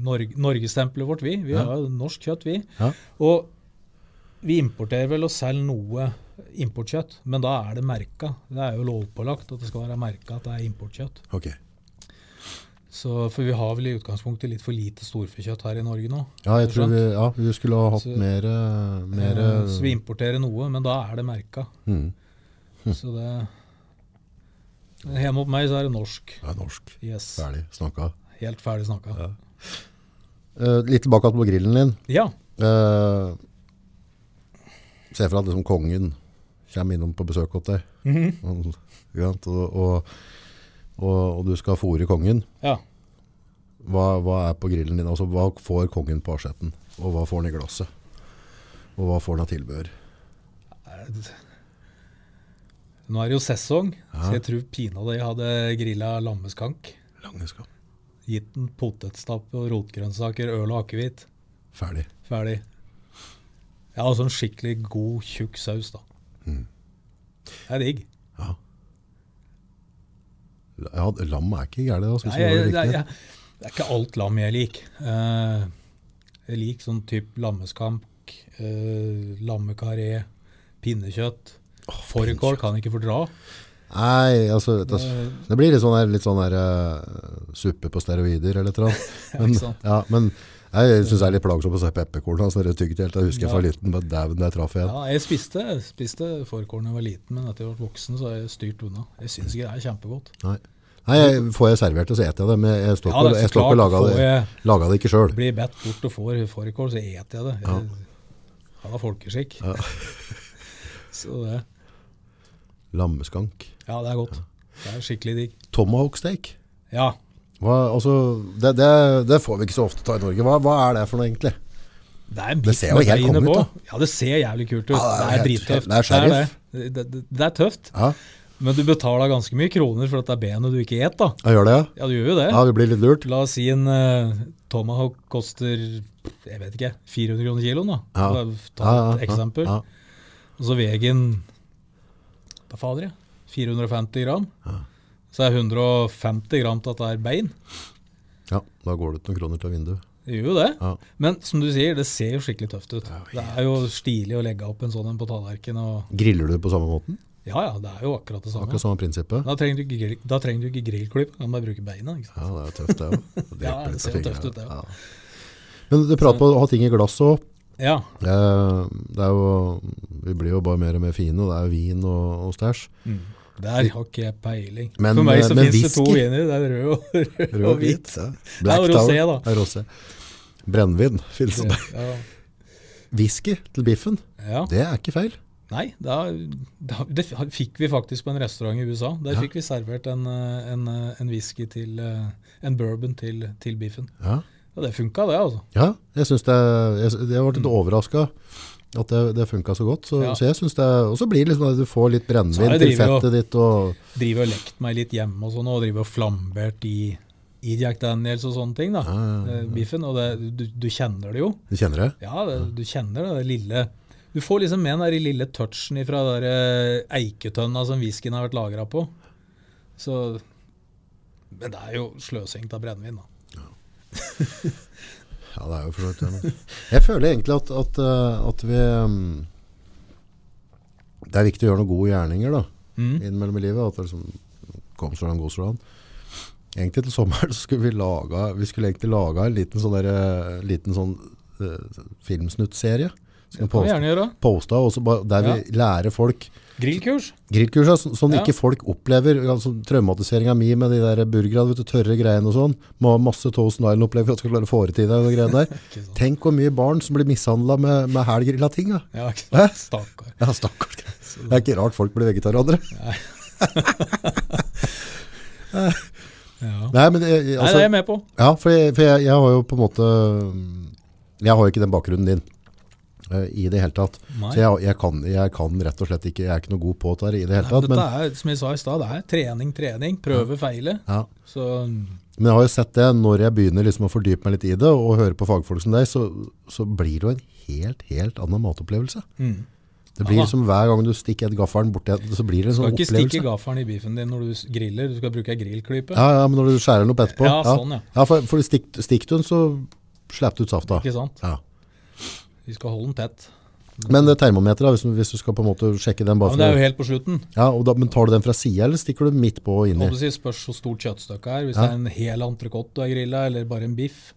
S1: Norg, Norgestempelet vårt, vi. Vi har jo norsk kjøtt, vi.
S2: Ja.
S1: Og vi importerer vel og selger noe importkjøtt, men da er det merka. Det er jo lovpålagt at det skal være merka at det er importkjøtt.
S2: Ok.
S1: Så, for vi har vel i utgangspunktet litt for lite storfekjøtt her i Norge nå.
S2: Ja, jeg tror
S1: Skjønt.
S2: vi, ja, vi skulle ha hatt
S1: Så-
S2: mer, eh, mer
S1: Eh,
S2: eh,
S1: Så vi importerer noe, men da er det merka.
S2: mm.
S1: Så det men Hjemme hos meg så er det norsk.
S2: Det er norsk.
S1: Yes.
S2: Ferdig snakka.
S1: Helt ferdig snakka. Ja.
S2: Eh, litt tilbake på grillen din.
S1: ja.
S2: Eh, se for deg at liksom kongen kommer innom på besøk hos deg.
S1: Mhm.
S2: Og- ikke sant? og, og, og, og du skal fôre kongen. Hva, hva er på grillen din? Altså, hva får kongen på asjetten? Og hva får han i glasset? Og hva får han av tilbehør?
S1: Er det- Nå er det jo sesong, så jeg tror pinadø jeg hadde grilla lammeskank.
S2: Langeskap.
S1: Gitt den potetstappe og rotgrønnsaker, øl og akevitt.
S2: Ferdig.
S1: Ferdig. Ja, og sånn skikkelig god, tjukk saus, da. Det er digg.
S2: Ja. ja lam er ikke gærent, altså,
S1: Nei,
S2: hvis du gjør
S1: jeg,
S2: det
S1: det, er-
S2: riktig.
S1: jeg, det er ikke alt lam jeg liker. Eh, jeg liker sånn type lammeskamp, eh, lammekaré, pinnekjøtt. Fårikål kan jeg ikke fordra.
S2: Nei, altså, vet du, det blir litt sånn der, litt sånn der eh, suppe på steroider eller noe. Men,
S1: Ikke sant?
S2: ja, men jeg synes det er litt plagsomt å se pepperkorn. Altså, det er tykt helt, jeg husker jeg fra
S1: Ja.
S2: liten, men dæven, der traff jeg en.
S1: Ja, jeg spiste, spiste fårikål da jeg var liten, men etter jeg ble voksen, så har jeg styrt unna. Jeg syns ikke det er kjempegodt.
S2: Nei. Nei, jeg, får jeg servert det, så eter jeg det, men jeg står
S1: Ja,
S2: ikke
S1: det er så
S2: jeg står ikke og
S1: klart,
S2: lager det,
S1: får
S2: lager det ikke selv.
S1: Blir bedt bort og får fårikål, så eter jeg det. Jeg
S2: Ja.
S1: har da folkeskikk. så det
S2: Lammeskank.
S1: Ja, det er godt. Det er skikkelig digg.
S2: Tomahawk steak.
S1: Ja,
S2: Hva, altså, det, det, det får vi ikke så ofte ta i Norge. Hva, hva er det for noe egentlig?
S1: Det, er en
S2: Det
S1: bit
S2: ser jo
S1: med
S2: helt
S1: beinet
S2: konge ut,
S1: på. Ja, det ser jævlig kult ut.
S2: Ja, det er
S1: det
S2: helt-
S1: er drittøft.
S2: det er sheriff.
S1: Det, er det. Det, det, det er tøft.
S2: Ja,
S1: Men du betaler ganske mye kroner for at det er benet du ikke et, da.
S2: jeg gjør det, ja.
S1: Ja, du gjør jo det.
S2: Ja, vi blir litt lurt.
S1: La oss si en eh, Tomahawk koster jeg vet ikke, 400 kroner kiloen, da.
S2: Ja.
S1: Bare Ta
S2: Ja, ja,
S1: et
S2: ja,
S1: eksempel.
S2: Ja,
S1: Og så vegen Da fader jeg. 450 gram. Så er 150 gram til at det er bein.
S2: ja, da går det ut noen kroner til vinduet.
S1: Det gjør jo det.
S2: Ja.
S1: Men som du sier, det ser jo skikkelig tøft ut.
S2: er jo
S1: Det er jo stilig å legge opp en sånn en på tallerkenen. og...
S2: Griller du på samme måten?
S1: Ja, ja, det er jo akkurat det samme.
S2: Akkurat samme prinsippet?
S1: Da trenger du ikke, grill, da trenger du ikke grillklipp, kan bare bruke beina. Ikke sant?
S2: Ja, det er jo tøft det òg.
S1: Ja, det ser jo tøft ut, det, ja.
S2: Men du prater på å ha ting i glass òg.
S1: Ja,
S2: Det er jo, vi blir jo bare mer og mer fine, og det er jo vin og, og stæsj.
S1: der har ikke jeg peiling.
S2: Men,
S1: For meg
S2: eh,
S1: så
S2: men
S1: finnes det to
S2: whisky?
S1: viner, det er rød og, rød
S2: Rød og hvit. ja. Black
S1: Ja, og rosé,
S2: Tower.
S1: da.
S2: Ja, rosé. Brennevin. finnes det.
S1: Ja.
S2: Whisky til biffen,
S1: Ja.
S2: det er ikke feil.
S1: Nei, da, da, det fikk vi faktisk på en restaurant i USA. Der fikk vi servert en, eh, en, eh, en whisky til eh, En bourbon til, til biffen.
S2: Ja,
S1: Ja, det funka, det, altså.
S2: ja jeg syns det Jeg, jeg ble litt overraska. At det, det funka så godt. Så,
S1: Mm. Ja.
S2: så jeg synes det, Og så blir det liksom at du får litt
S1: Så
S2: brennevin
S1: jeg
S2: til
S1: driver jo-
S2: fettet ditt. Og,
S1: Driver og lekt meg litt hjemme og sånn, og driver og flambert i, i Jack Daniels og sånne ting, da.
S2: Ah,
S1: eh, Biffen. Og det, du, du kjenner det jo.
S2: du kjenner det?
S1: Ja, det, du kjenner det, det lille Du får liksom med den der lille touchen fra den der eh, eiketønna som whiskyen har vært lagra på. Så Men det er jo sløsing av brennevin, da.
S2: Ja, det er jo for så vidt det. men- Jeg føler egentlig at, at, eh, at vi mm, Det er viktig å gjøre noen gode gjerninger da,
S1: Mm.
S2: innimellom i livet. At det liksom kom så langt, god så langt. Egentlig til sommeren så skulle vi laga Vi skulle egentlig laga en liten sånn, der, eh, liten sånn eh, filmsnuttserie. Som
S1: Det kan vi gjerne gjøre.
S2: posta, og så bare, der vi lærer folk
S1: Grillkurs.
S2: grillkursa, så- sånn
S1: Ja.
S2: ikke folk opplever altså, traumatiseringa mi med de der burgerne, vet du, tørre greiene og sånn. Må ha masse Thousand Island opplever for at du skal klare å få det til deg. og de greiene der.
S1: Ikke sant.
S2: Tenk hvor mye barn som blir mishandla med, med helgrilla ting. Da.
S1: Ja, ikke sant? Stakkar.
S2: Ja, stakkars. Det er ikke rart folk blir vegetarianere.
S1: Ja.
S2: Nei,
S1: Nei,
S2: men jeg- jeg-
S1: det er
S2: altså,
S1: jeg med på.
S2: ja, for, jeg, for jeg, jeg har jo på en måte mm, Jeg har jo ikke den bakgrunnen din eh, i det hele tatt.
S1: Nei.
S2: Så jeg, jeg, kan, jeg kan rett og slett ikke Jeg er ikke noe god på det i det hele
S1: Nei, men
S2: tatt.
S1: dette
S2: Men,
S1: er, som jeg sa i stad, det er trening, trening. Prøve, feile.
S2: ja.
S1: Så mm,
S2: Men jeg har jo sett det, når jeg begynner liksom å fordype meg litt i det, og høre på fagfolk som deg, så, så blir det jo en helt, helt annen matopplevelse. Det blir
S1: Mm. Ja da.
S2: liksom hver gang du stikker et gaffelen borti et, så blir det
S1: du skal
S2: en sånn
S1: ikke
S2: opplevelse.
S1: stikke gaffelen i biffen din når du s- griller. Du skal bruke ei grillklype.
S2: Ja, ja, men når du skjærer den opp etterpå.
S1: Ja, sånn, ja.
S2: for, for stikk, stikk du den, så slipper du ut safta.
S1: Ikke sant?
S2: Ja.
S1: Vi skal holde den tett.
S2: Men eh, termometer, da, hvis, du- hvis du skal på en måte sjekke den
S1: Ja,
S2: bare
S1: men det er
S2: for
S1: jo
S2: å-
S1: helt på slutten.
S2: Altså, ja, og da, Men tar du den fra sida, eller stikker du midt på og
S1: Hva
S2: inni?
S1: du sier, spørs hvor stort kjøttstykket er. Hvis
S2: Ja.
S1: det er en hel entrecôte du har grilla, eller bare en biff.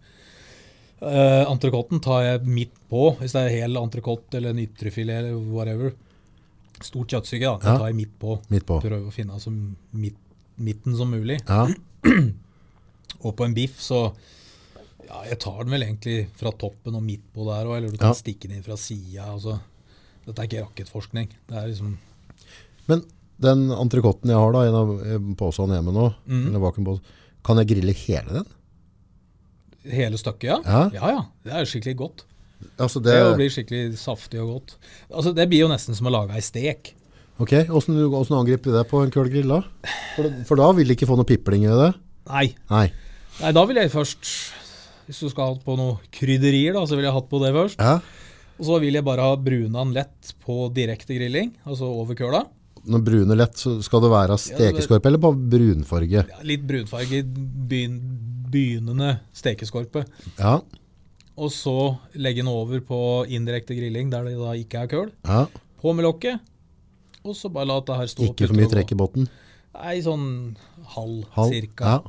S1: Uh, Entrecôten tar jeg midt på, hvis det er hel entrecôte eller en ytrefilet eller whatever. Stort kjøttstykke, da. Det
S2: Ja.
S1: tar jeg midt på.
S2: Midt på.
S1: Prøver å finne så midt, midten som mulig.
S2: Ja,
S1: Og på en biff så ja, Jeg tar den vel egentlig fra toppen og midt på der òg, eller du kan
S2: Ja.
S1: stikke den inn fra sida. Altså. Dette er ikke rakettforskning. Det er liksom
S2: Men den entrecôten jeg har da, en av eh, posene hjemme nå,
S1: Mm.
S2: eller vakuumpose, kan jeg grille hele den?
S1: hele stykket, ja.
S2: Ja.
S1: ja. ja. Det er skikkelig godt.
S2: Altså
S1: Det
S2: det,
S1: jo blir skikkelig saftig og godt. Altså, det blir jo nesten som å lage ei stek.
S2: ok, hvordan, du- hvordan angriper du det på en køl grill da? For, for da vil du ikke få noe pipling i det?
S1: Nei.
S2: Nei.
S1: Nei, da vil jeg først Hvis du skal ha på noe krydderier, da, så vil jeg ha hatt på det først.
S2: Ja.
S1: Og så vil jeg bare ha bruna den lett på direkte grilling, altså over køla.
S2: Når brune lett, så skal det være stekeskorpe eller bare brunfarge?
S1: Ja, litt brunfarge i begyn begynnende stekeskorpe.
S2: Ja,
S1: Og så legge den over på indirekte grilling der det da ikke er køl.
S2: ja.
S1: På med lokket, og så bare la det her stå.
S2: Ikke for mye trekk i båten.
S1: Nei, sånn halv,
S2: Halv.
S1: cirka.
S2: Ja.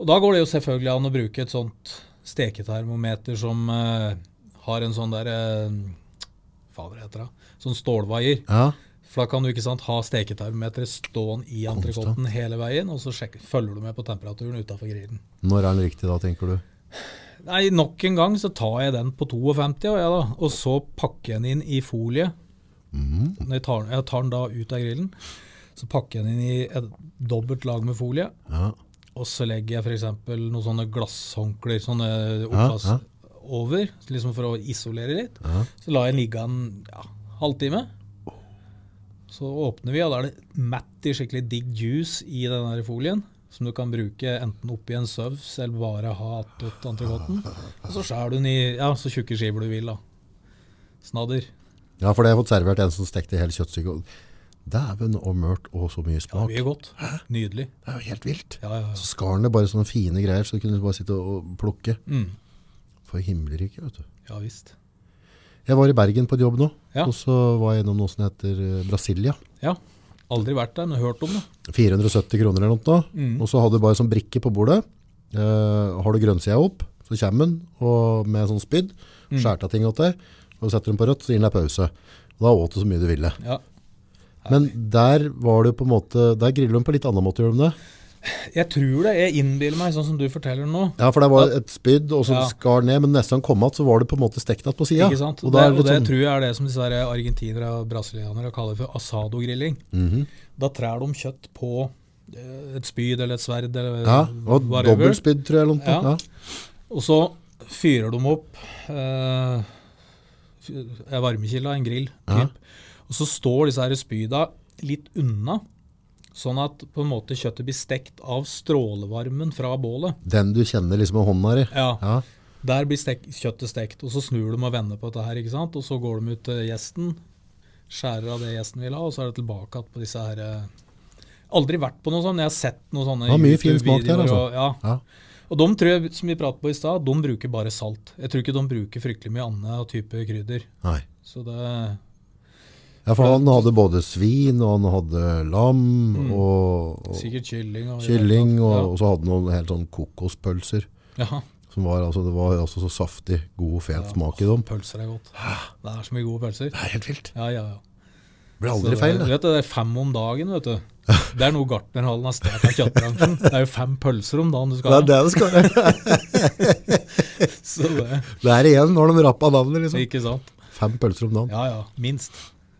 S1: Og da går det jo selvfølgelig an å bruke et sånt steketermometer som eh, har en sånn der uh, Faen, hva heter det? Sånn stålvaier.
S2: Ja.
S1: For da kan du ikke sant, ha steketermometeret stående i entrecôten hele veien, og så sjekker, følger du med på temperaturen utafor grillen.
S2: Når er den riktig da, tenker du?
S1: Nei, nok en gang så tar jeg den på 52, og, jeg da, og så pakker jeg den inn i folie. Når jeg, tar, den- jeg tar den da ut av grillen. Så pakker jeg den inn i et dobbelt lag med folie.
S2: Ja.
S1: Og så legger jeg f.eks. noen sånne glasshåndklær sånne
S2: Ja,
S1: oppvask
S2: ja.
S1: over, liksom for å isolere litt.
S2: Ja.
S1: Så lar jeg den ligge en ja, halvtime. Så åpner vi, og da er det matt i skikkelig digg juice i den her folien. Som du kan bruke enten oppi en saus eller bare ha attåt entrecôten. Og så skjærer du den i ja, så tjukke skiver du vil. da. Snadder.
S2: ja, for det har jeg fått servert en som stekte hele kjøttstykket. og Dæven og mørt og så mye
S1: Ja,
S2: smak.
S1: mye godt. Nydelig.
S2: Det er jo helt vilt.
S1: Ja, ja, ja.
S2: Så skar han det bare sånne fine greier, så du kunne bare sitte og plukke.
S1: Mm.
S2: For himmelriket, vet du.
S1: ja visst.
S2: Jeg var i Bergen på et jobb nå,
S1: Ja.
S2: og så var jeg innom noe som heter eh, Brasilia.
S1: Ja. Aldri vært der, men hørt om det.
S2: 470 kroner eller noe. da.
S1: Mm.
S2: Og så hadde du bare sånn brikke på bordet. Eh, har du grønnsida opp, så kommer den og med sånn spyd.
S1: Mm.
S2: Skjærte av ting åt deg. Og setter den på rødt, så gir den deg pause. Og da åt du så mye du ville.
S1: Ja.
S2: Men der var du på en måte, der griller du på en litt annen måte, gjør de det?
S1: Jeg tror det. Jeg innbiller meg, sånn som du forteller nå.
S2: Ja, for det var et spyd, og så
S1: Ja.
S2: skar ned, men nesten kom igjen, så var det på en måte stekt igjen på sida.
S1: Ikke sant?
S2: Og
S1: det,
S2: da er
S1: og det
S2: det litt sånn,
S1: tror jeg er det som disse her argentinere og brasilianere kaller for asado-grilling.
S2: Mhm.
S1: Da trær de kjøtt på eh, et spyd eller et sverd eller
S2: ja, og dobbelt spyd, tror jeg. Eller noe.
S1: Ja.
S2: Ja.
S1: Og så fyrer de opp eh, fy- en varmekilde, en grill.
S2: Ja.
S1: typ. Og så står disse her spyda litt unna, sånn at på en måte kjøttet blir stekt av strålevarmen fra bålet.
S2: Den du kjenner liksom med hånda di.
S1: Ja.
S2: Ja.
S1: Der blir stek kjøttet stekt, og så snur de og vender på dette her, ikke sant? Og så går de ut til gjesten, skjærer av det gjesten vil ha, og så er det tilbake igjen på disse her eh, Aldri vært på noe sånt, men jeg har sett noen sånne
S2: Ja, mye fin smak
S1: YouTube-videoer,
S2: der, altså.
S1: Og, ja.
S2: Ja.
S1: og de tror jeg, som vi pratet på i stad, de bruker bare salt. Jeg tror ikke de bruker fryktelig mye annet type krydder.
S2: Nei.
S1: Så det
S2: Ja, for han hadde både svin, og han hadde lam,
S1: Mm.
S2: og, og
S1: Sikkert kylling og
S2: kylling, og, og så hadde han noen helt sånn kokospølser.
S1: Ja. ja.
S2: Som var, altså, det var altså så saftig, god og fet smak i dem.
S1: Pølser er godt. Det er så mye gode pølser.
S2: Det er helt vilt.
S1: Ja, ja, ja.
S2: Det blir
S1: Så
S2: aldri feil,
S1: det.
S2: det.
S1: Vet du, det er fem om dagen, vet du. Det er noe gartnerhallen har stjålet av kjøttbransjen. Det er jo fem pølser om dagen du skal ha.
S2: Det er det det skal være.
S1: Så det,
S2: Det er igjen når de rappa navnet, liksom.
S1: ikke sant?
S2: Fem pølser om dagen.
S1: Ja ja, minst.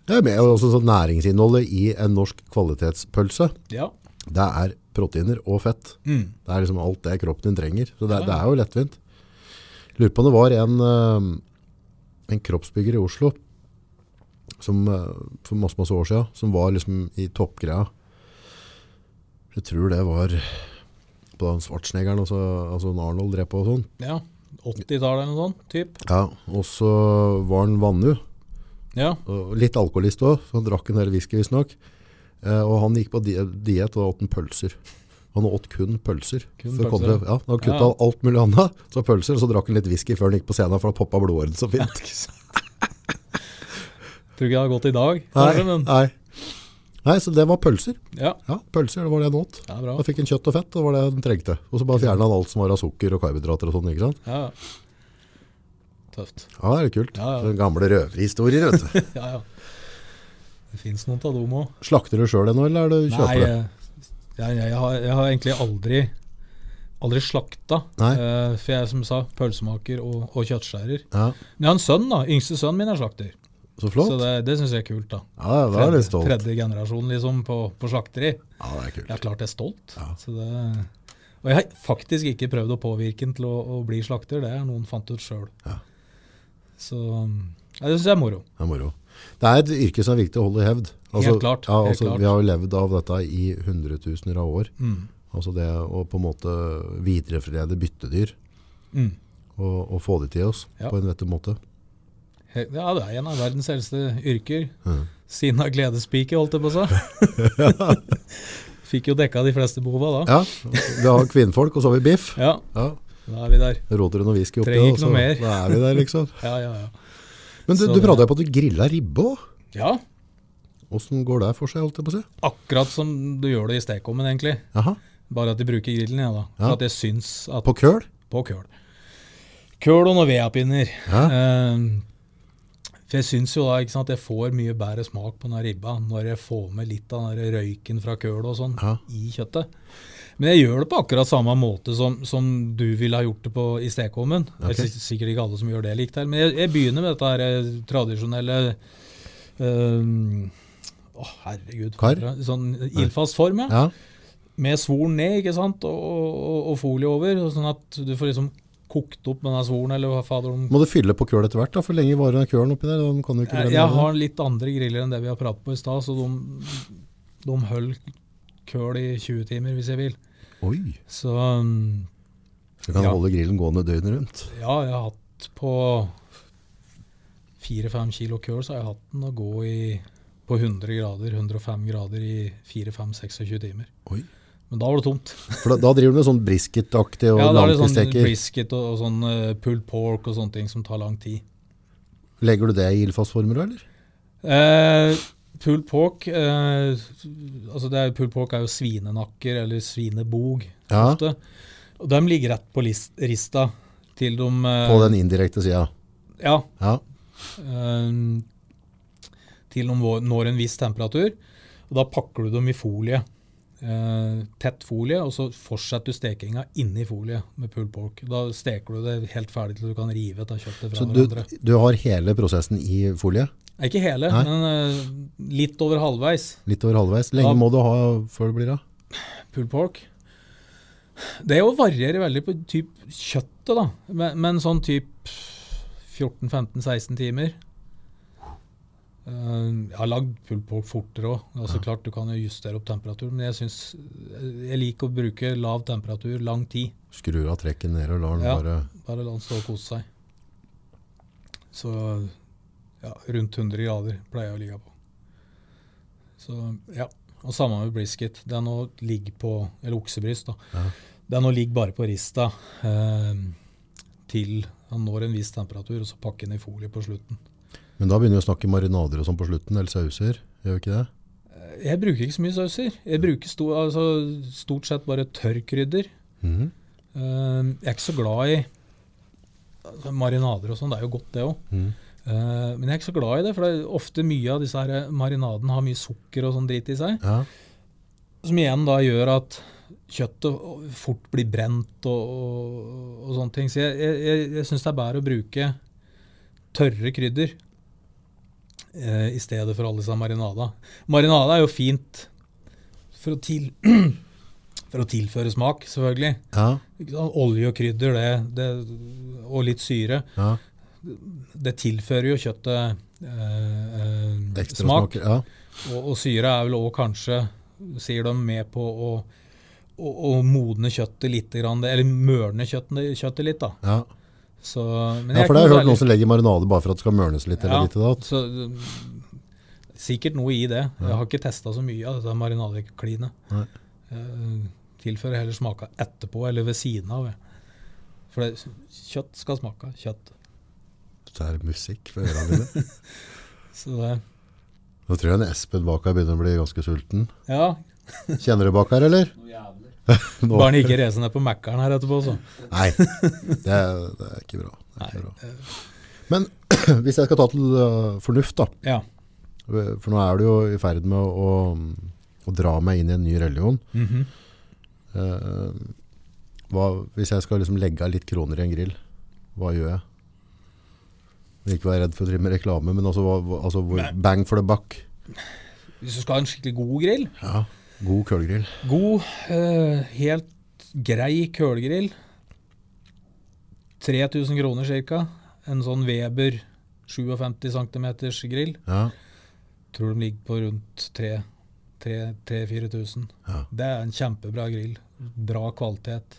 S2: Det er med, og også sånn næringsinnholdet i en norsk kvalitetspølse.
S1: Ja.
S2: Det er proteiner og fett. Det er liksom alt det kroppen din trenger. Så det, er- det er jo lettvint. Lurer på om det var en, eh, en kroppsbygger i Oslo som, eh, for masse, masse år siden, som var liksom i toppgreia. Jeg tror det var på den svartsnegeren, altså, altså en Arnold drev på og sånn.
S1: ja. 80-tallet eller noe sånt, typ.
S2: Ja, og så var han vannu,
S1: Ja.
S2: og litt alkoholist også, så han drakk en del whisky visstnok. Eh, og han gikk på di diet og åt en pølser. Han åt kun pølser.
S1: Kun
S2: Så kom
S1: pølser,
S2: Det, ja, han kutta
S1: Ja.
S2: alt mulig annet, så pølser, og så drakk han litt whisky før han gikk på scenen, for da poppa blodåren så fint.
S1: Tror ikke det har gått i dag, kanskje,
S2: Nei,
S1: men
S2: nei. nei, så det var pølser.
S1: ja,
S2: Ja, pølser, det var det han åt.
S1: det er bra.
S2: Da fikk han kjøtt og fett, det var det han trengte. Og så bare fjerna han alt som var av sukker og karbohydrater og sånn, ikke sant?
S1: Ja, ja. Tøft.
S2: Ja, det er kult.
S1: Ja, ja.
S2: Den gamle røverhistorien, vet du.
S1: Ja, ja. Det fins noen av dem òg.
S2: Slakter du sjøl ennå, eller er du
S1: Nei,
S2: kjøper det?
S1: eh, jeg, jeg, har, jeg har egentlig aldri, aldri slakta.
S2: Nei.
S1: Eh, for jeg er som sa pølsemaker og, og kjøttskjærer.
S2: Ja,
S1: Men jeg har en sønn, da. Yngste sønnen min er slakter.
S2: så flott.
S1: Så det, det syns jeg er kult. da.
S2: Ja, da er du stolt.
S1: tredje generasjon liksom på, på slakteri.
S2: Ja, det er
S1: Jeg
S2: kult.
S1: er klart jeg er stolt.
S2: Ja.
S1: Så det, og jeg har faktisk ikke prøvd å påvirke den til å, å bli slakter. Det er noen fant ut sjøl.
S2: Ja.
S1: Så ja, det syns jeg er moro.
S2: Det er moro. Det er et yrke som er viktig å holde i hevd.
S1: klart,
S2: Ja,
S1: helt
S2: altså,
S1: klart.
S2: Vi har jo levd av dette i hundretusener av år.
S1: Mm.
S2: Altså det å på en måte viderefrede byttedyr
S1: Mm.
S2: og, og få de til oss
S1: Ja.
S2: på en vettig måte.
S1: He- Ja, det er en av verdens eldste yrker.
S2: Mhm.
S1: Siden av gledespike, holdt jeg på å si. Fikk jo dekka de fleste behova da.
S2: Ja, vi har kvinnfolk, og så har vi biff.
S1: Ja,
S2: Ja,
S1: da er vi der.
S2: Råder det noe whisky oppi,
S1: Trenger
S2: og
S1: ikke
S2: så
S1: noe mer.
S2: da er vi der, liksom.
S1: Ja, ja, ja.
S2: Men du,
S1: Så
S2: du
S1: det-
S2: prata jo på at du grilla ribbe òg.
S1: ja
S2: Åssen går det for seg, holdt jeg på å si?
S1: akkurat som du gjør det i stekeovnen, egentlig.
S2: Jaha,
S1: Bare at de bruker grillen, ja da.
S2: Ja.
S1: For at jeg syns at
S2: På køl?
S1: På køl. Køl og noen vedpinner.
S2: Ja.
S1: Ehm, for jeg syns jo da ikke sant, at jeg får mye bedre smak på den her ribba når jeg får med litt av den her røyken fra kølet og sånn
S2: Ja.
S1: i kjøttet. Men jeg gjør det på akkurat samme måte som, som du ville ha gjort det på i stekeovnen. Det er
S2: Ok.
S1: sik- sikkert ikke alle som gjør det likt her, men jeg, jeg begynner med dette her eh, tradisjonelle ehm, Å, herregud.
S2: Kar?
S1: Sånn ildfast form,
S2: Ja.
S1: med svoren ned ikke sant? Og, og, og folie over, og sånn at du får liksom kokt opp med den svoren, eller hva fader om
S2: Må du fylle på køl etter hvert, da? For lenge varer den kølen oppi der? Den kan du ikke
S1: jeg,
S2: brenne
S1: jeg
S2: ned.
S1: har litt andre griller enn det vi har pratet på i stad, så de, de holder køl i 20 timer hvis jeg vil.
S2: Oi,
S1: Så um,
S2: så kan
S1: Ja.
S2: holde grillen gående døgnet rundt.
S1: ja, jeg har hatt på 4-5 kilo køl, så har jeg hatt den å gå i på 100 grader, 105 grader i 4-5-26 timer.
S2: Oi.
S1: Men da var det tomt.
S2: For da, da driver du med sånn brisket-aktig og
S1: Ja, da er det sånn
S2: langtidssteker.
S1: brisket og, og sånn eh, pulled pork og sånne ting som tar lang tid.
S2: Legger du det i ildfastformer, eller?
S1: Eh, pulled pork eh, altså det er, Pulled pork er jo svinenakker eller svinebog.
S2: Ja.
S1: ofte. Og De ligger rett på list, rista til de eh,
S2: På den indirekte sida.
S1: Ja.
S2: Ja.
S1: eh, til de vår- når en viss temperatur. Og da pakker du dem i folie. Eh, tett folie, og så fortsetter du stekinga inni folie med pulled pork. Da steker du det helt ferdig til du kan rive dette kjøttet fra
S2: Så du,
S1: hverandre.
S2: du har hele prosessen i folie?
S1: Nei, Ikke hele,
S2: Nei.
S1: men eh, litt over halvveis.
S2: Litt over halvveis. Lenge
S1: Da-
S2: må du ha før det blir av?
S1: pulled pork. Det jo varierer veldig på typ kjøttet, da. Men, men sånn typ 14-15-16 timer. Eh, jeg har lagd pulled pork fortere òg. Altså, Klart du kan jo justere opp temperaturen, men jeg syns Jeg liker å bruke lav temperatur lang tid.
S2: Skrur av trekken ned og lar den
S1: Ja.
S2: bare
S1: Bare la den stå og kose seg. Så ja, rundt 100 grader pleier jeg å ligge på. Så ja, Og samme med brisket. Den nå ligger på, eller oksebryst, da.
S2: Ja.
S1: Den nå ligger bare på rista eh, til han når en viss temperatur, og så pakker den i folie på slutten.
S2: Men da begynner vi å snakke marinader og sånn på slutten, eller sauser. Gjør vi ikke det?
S1: Jeg bruker ikke så mye sauser. Jeg bruker sto, altså, stort sett bare tørrkrydder.
S2: Mhm.
S1: Eh, jeg er ikke så glad i altså, marinader og sånn. Det er jo godt, det òg.
S2: Mhm.
S1: Eh, men jeg er ikke så glad i det, for det er ofte mye av disse her eh, marinadene har mye sukker og sånn drit i seg,
S2: Ja.
S1: som igjen da gjør at kjøttet fort blir brent og, og, og sånne ting. Så jeg, jeg, jeg, jeg syns det er bedre å bruke tørre krydder eh, i stedet for alle disse marinada. Marinada er jo fint for å, til, for å tilføre smak, selvfølgelig.
S2: ja.
S1: Ikke sant? Olje og krydder det, det, og litt syre
S2: ja.
S1: det tilfører jo kjøttet eh, eh,
S2: Ekstra
S1: smak.
S2: smak. Ja.
S1: Og, og syre er vel òg kanskje, sier de, med på å, å, å modne kjøttet litt, grann, eller mørne kjøttet, kjøttet litt. da.
S2: Ja.
S1: Så, men
S2: ja,
S1: jeg er
S2: for det har
S1: ikke
S2: jeg
S1: noe
S2: hørt noen
S1: særlig-
S2: som legger marinade bare for at det skal mørnes litt. eller litt i
S1: ja,
S2: datt.
S1: så, mm, Sikkert noe i det. Jeg har ikke testa så mye av dette marinadeklinet.
S2: Nei.
S1: Jeg Tilfører heller smaka etterpå eller ved siden av. jeg. For det, kjøtt skal smake kjøtt.
S2: Det er musikk for ørene mine.
S1: Så det,
S2: Nå tror jeg en Espen bak her begynner å bli ganske sulten.
S1: Ja.
S2: Kjenner du bak her, eller? Nå.
S1: Bare han ikke reiser ned på Mækkern her etterpå, så.
S2: Nei, det, er- det er ikke bra. Det er ikke bra. Men hvis jeg skal ta til øh, fornuft, da.
S1: Ja.
S2: For nå er du jo i ferd med å, å dra meg inn i en ny religion.
S1: Mhm.
S2: Eh, hva, hvis jeg skal liksom legge av litt kroner i en grill, hva gjør jeg? Jeg vil ikke være redd for å drive med reklame, men altså, hva, hva- altså hvor, bang for the buck.
S1: Hvis du skal ha en skikkelig god grill,
S2: Ja, god kølgrill.
S1: God, eh, helt grei kølegrill. 3000 kroner ca. En sånn Weber 57 cm grill.
S2: Ja,
S1: Tror de ligger på rundt 3000-4000.
S2: Ja.
S1: Det er en kjempebra grill. Bra kvalitet.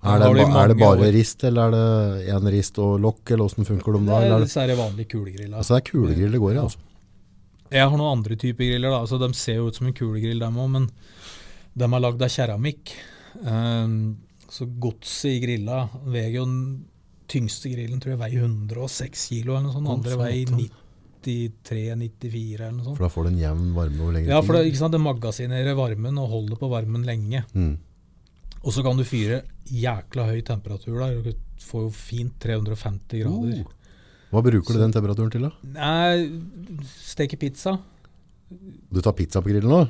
S2: Er
S1: Den har du
S2: det,
S1: i
S2: ba, er det
S1: mange
S2: bare
S1: år.
S2: rist, eller er det en rist og lokk, eller hvordan funker de da?
S1: Det
S2: Eller
S1: er
S2: er det,
S1: disse her vanlige kulegrillene.
S2: altså det er kulegrill det går i, altså.
S1: Jeg har noen andre typer griller. da, altså De ser jo ut som en kulegrill, dem òg, men de er lagd av keramikk. Ehm, så godset i grilla veier jo den tyngste grillen tror jeg veier 106 kilo eller noe sånt. Den andre veier 93-94 eller noe sånt.
S2: For da får du en jevn varme over lengre
S1: Ja, for det,
S2: tid.
S1: ikke sant, det magasinerer varmen og holder på varmen lenge.
S2: Mm.
S1: Og så kan du fyre jækla høy temperatur der. Du får jo fint 350 grader.
S2: Hva bruker du den temperaturen til da?
S1: Nei, steke pizza.
S2: Du tar pizza på grillen nå?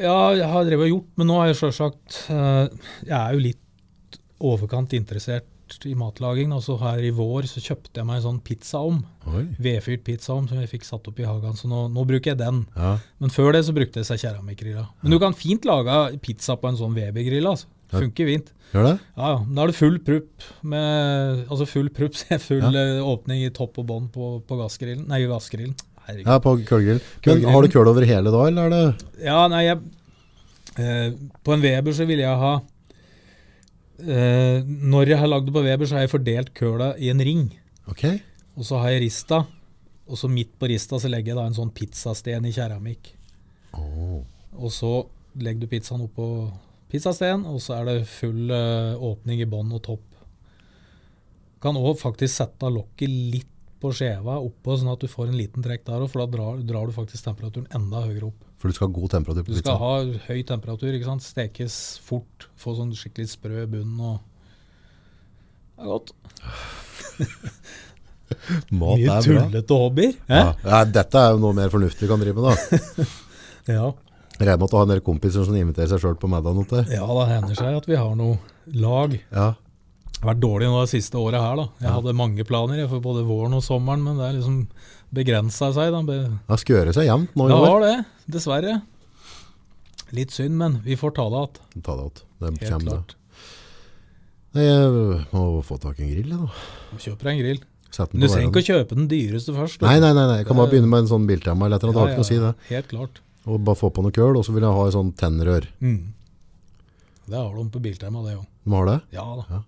S1: Ja, jeg har drevet og gjort, men nå er jeg sjølsagt eh, Jeg er jo litt overkant interessert i matlaging. Og så her i vår så kjøpte jeg meg en sånn pizzaovn.
S2: Oi.
S1: Vedfyrt pizzaovn som jeg fikk satt opp i hagen. Så nå, nå bruker jeg den.
S2: Ja.
S1: Men før det så brukte jeg seg keramikkgrilla. Men du kan fint lage pizza på en sånn Weber-grill. Altså. Funker fint.
S2: Gjør det?
S1: Ja, ja. men Da er det full prupp. Med, altså full prupp, så er full
S2: Ja.
S1: eh, åpning i topp og bånd på, på gassgrillen. Nei, gassgrillen. Herregud.
S2: Ja, på kølgrill. Men
S1: Kølgrillen.
S2: har du køl over hele da, eller er det
S1: Ja, nei, jeg, eh, på en Weber så ville jeg ha eh, Når jeg har lagd det på Weber, så har jeg fordelt køla i en ring.
S2: Ok.
S1: Og så har jeg rista. Og så midt på rista så legger jeg da en sånn pizzasten i keramikk.
S2: Åh.
S1: Og så legger du pizzaen oppå pizzasten, og så er det full eh, åpning i bånn og topp. Kan òg faktisk sette av lokket litt på skjeva oppå, sånn at du får en liten trekk der òg, for da drar, drar du faktisk temperaturen enda høyere opp.
S2: For du skal ha god temperatur på
S1: Du
S2: pizza.
S1: skal ha høy temperatur, ikke sant? stekes fort, få sånn skikkelig sprø bunn. og det er godt.
S2: Mat
S1: Mye
S2: er bra.
S1: tullete hobbyer.
S2: Ja.
S1: hæ?
S2: Nei, dette er jo noe mer fornuftig vi kan drive med da.
S1: Ja.
S2: Regner med at du har en del kompiser som inviterer seg selv på middag nå til.
S1: ja, da hender seg at vi har noe lag. Det
S2: Ja.
S1: har vært dårlig nå det siste året her. da. Jeg hadde mange planer jeg, for både våren og sommeren, men det er liksom begrensa seg. da. Be
S2: Det skal gjøre seg jevnt nå i
S1: det
S2: år.
S1: har det, dessverre. Litt synd, men vi får ta det igjen.
S2: Ta det alt. Det
S1: Helt
S2: kommer det.
S1: klart.
S2: Nei, Jeg må få tak i en grill jeg, da.
S1: Du Kjøper deg en grill.
S2: Sett den
S1: Men du
S2: på
S1: trenger
S2: verden.
S1: ikke å kjøpe den dyreste først.
S2: Nei, nei, nei, nei. Jeg kan bare begynne med en sånn biltema eller et eller annet. Det har ikke noe å si det.
S1: Helt klart.
S2: Og bare få på noe køl, og så vil jeg ha en sånn tennrør.
S1: Mm. Det har de på Biltema, det òg.
S2: Du må ha det?
S1: Ja da.
S2: Ja.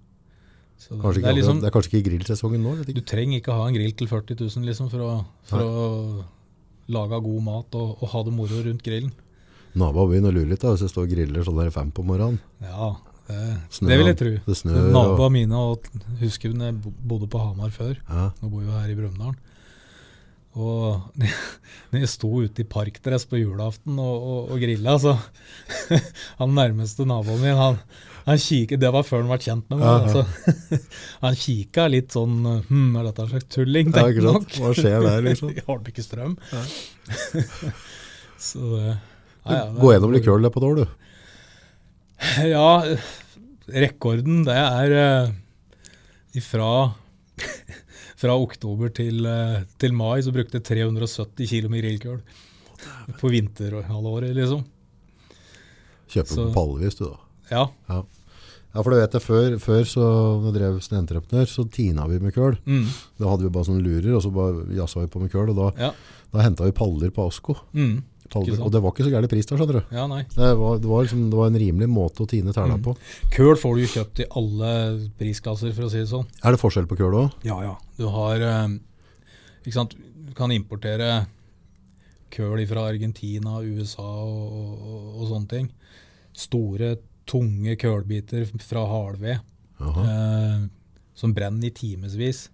S1: Så det,
S2: Kanskje
S1: det
S2: ikke,
S1: er liksom,
S2: akkurat- det er kanskje ikke grillsesongen nå? Jeg vet
S1: du
S2: ikke.
S1: trenger ikke ha en grill til 40 000 liksom, for, å, for å lage god mat og, og ha det moro rundt grillen.
S2: Naboen begynner å lure litt da, hvis det står griller sånn der fem på morgenen.
S1: Ja, det,
S2: Snø,
S1: det vil jeg tro.
S2: det snør,
S1: Naboene
S2: og-
S1: mine og husker når jeg bo- bodde på Hamar før.
S2: Ja.
S1: Nå bor jeg jo her i Brumunddal. Og når jeg sto ute i parkdress på julaften og, og, og grilla, så Han nærmeste naboen min, han, han kiket, det var før han ble kjent med meg. altså. Han kika litt sånn Hm, er dette en slags tulling?
S2: Ja, ikke
S1: tenkte
S2: sant?
S1: nok.
S2: Hva skjer der, liksom?
S1: Jeg har ikke strøm. så det, ja, ja, det-
S2: Gå gjennom litt køl der på et år, du.
S1: ja, rekorden det er eh, fra, fra oktober til, eh, til mai så brukte jeg 370 kilo med grillkøl. På vinterhalvåret, liksom.
S2: Kjøper
S1: Så-
S2: på pallevis, du da.
S1: Ja.
S2: Ja. ja, for du vet det, før, før så når jeg drev som entreprenør, så tina vi med køl.
S1: Mm,
S2: Da hadde vi bare sånne lurer, og så bare jassa vi på med køl, og da,
S1: ja.
S2: da hentet vi paller på Asko.
S1: Mm,
S2: Paller,
S1: Ikke sant?
S2: og det var ikke så gærlig pris der, skjønner du.
S1: ja, nei.
S2: Det var, det, var liksom, det var en rimelig måte å tine tæla
S1: Mm.
S2: på.
S1: Køl får du jo kjøpt i alle prisklasser, for å si det sånn.
S2: Er det forskjell på køl også?
S1: Ja, ja. Du har eh, Ikke sant, du kan importere køl fra Argentina, USA og, og, og sånne ting. Store, tunge kølbiter fra hardved
S2: Jaha.
S1: eh, som brenner i timevis.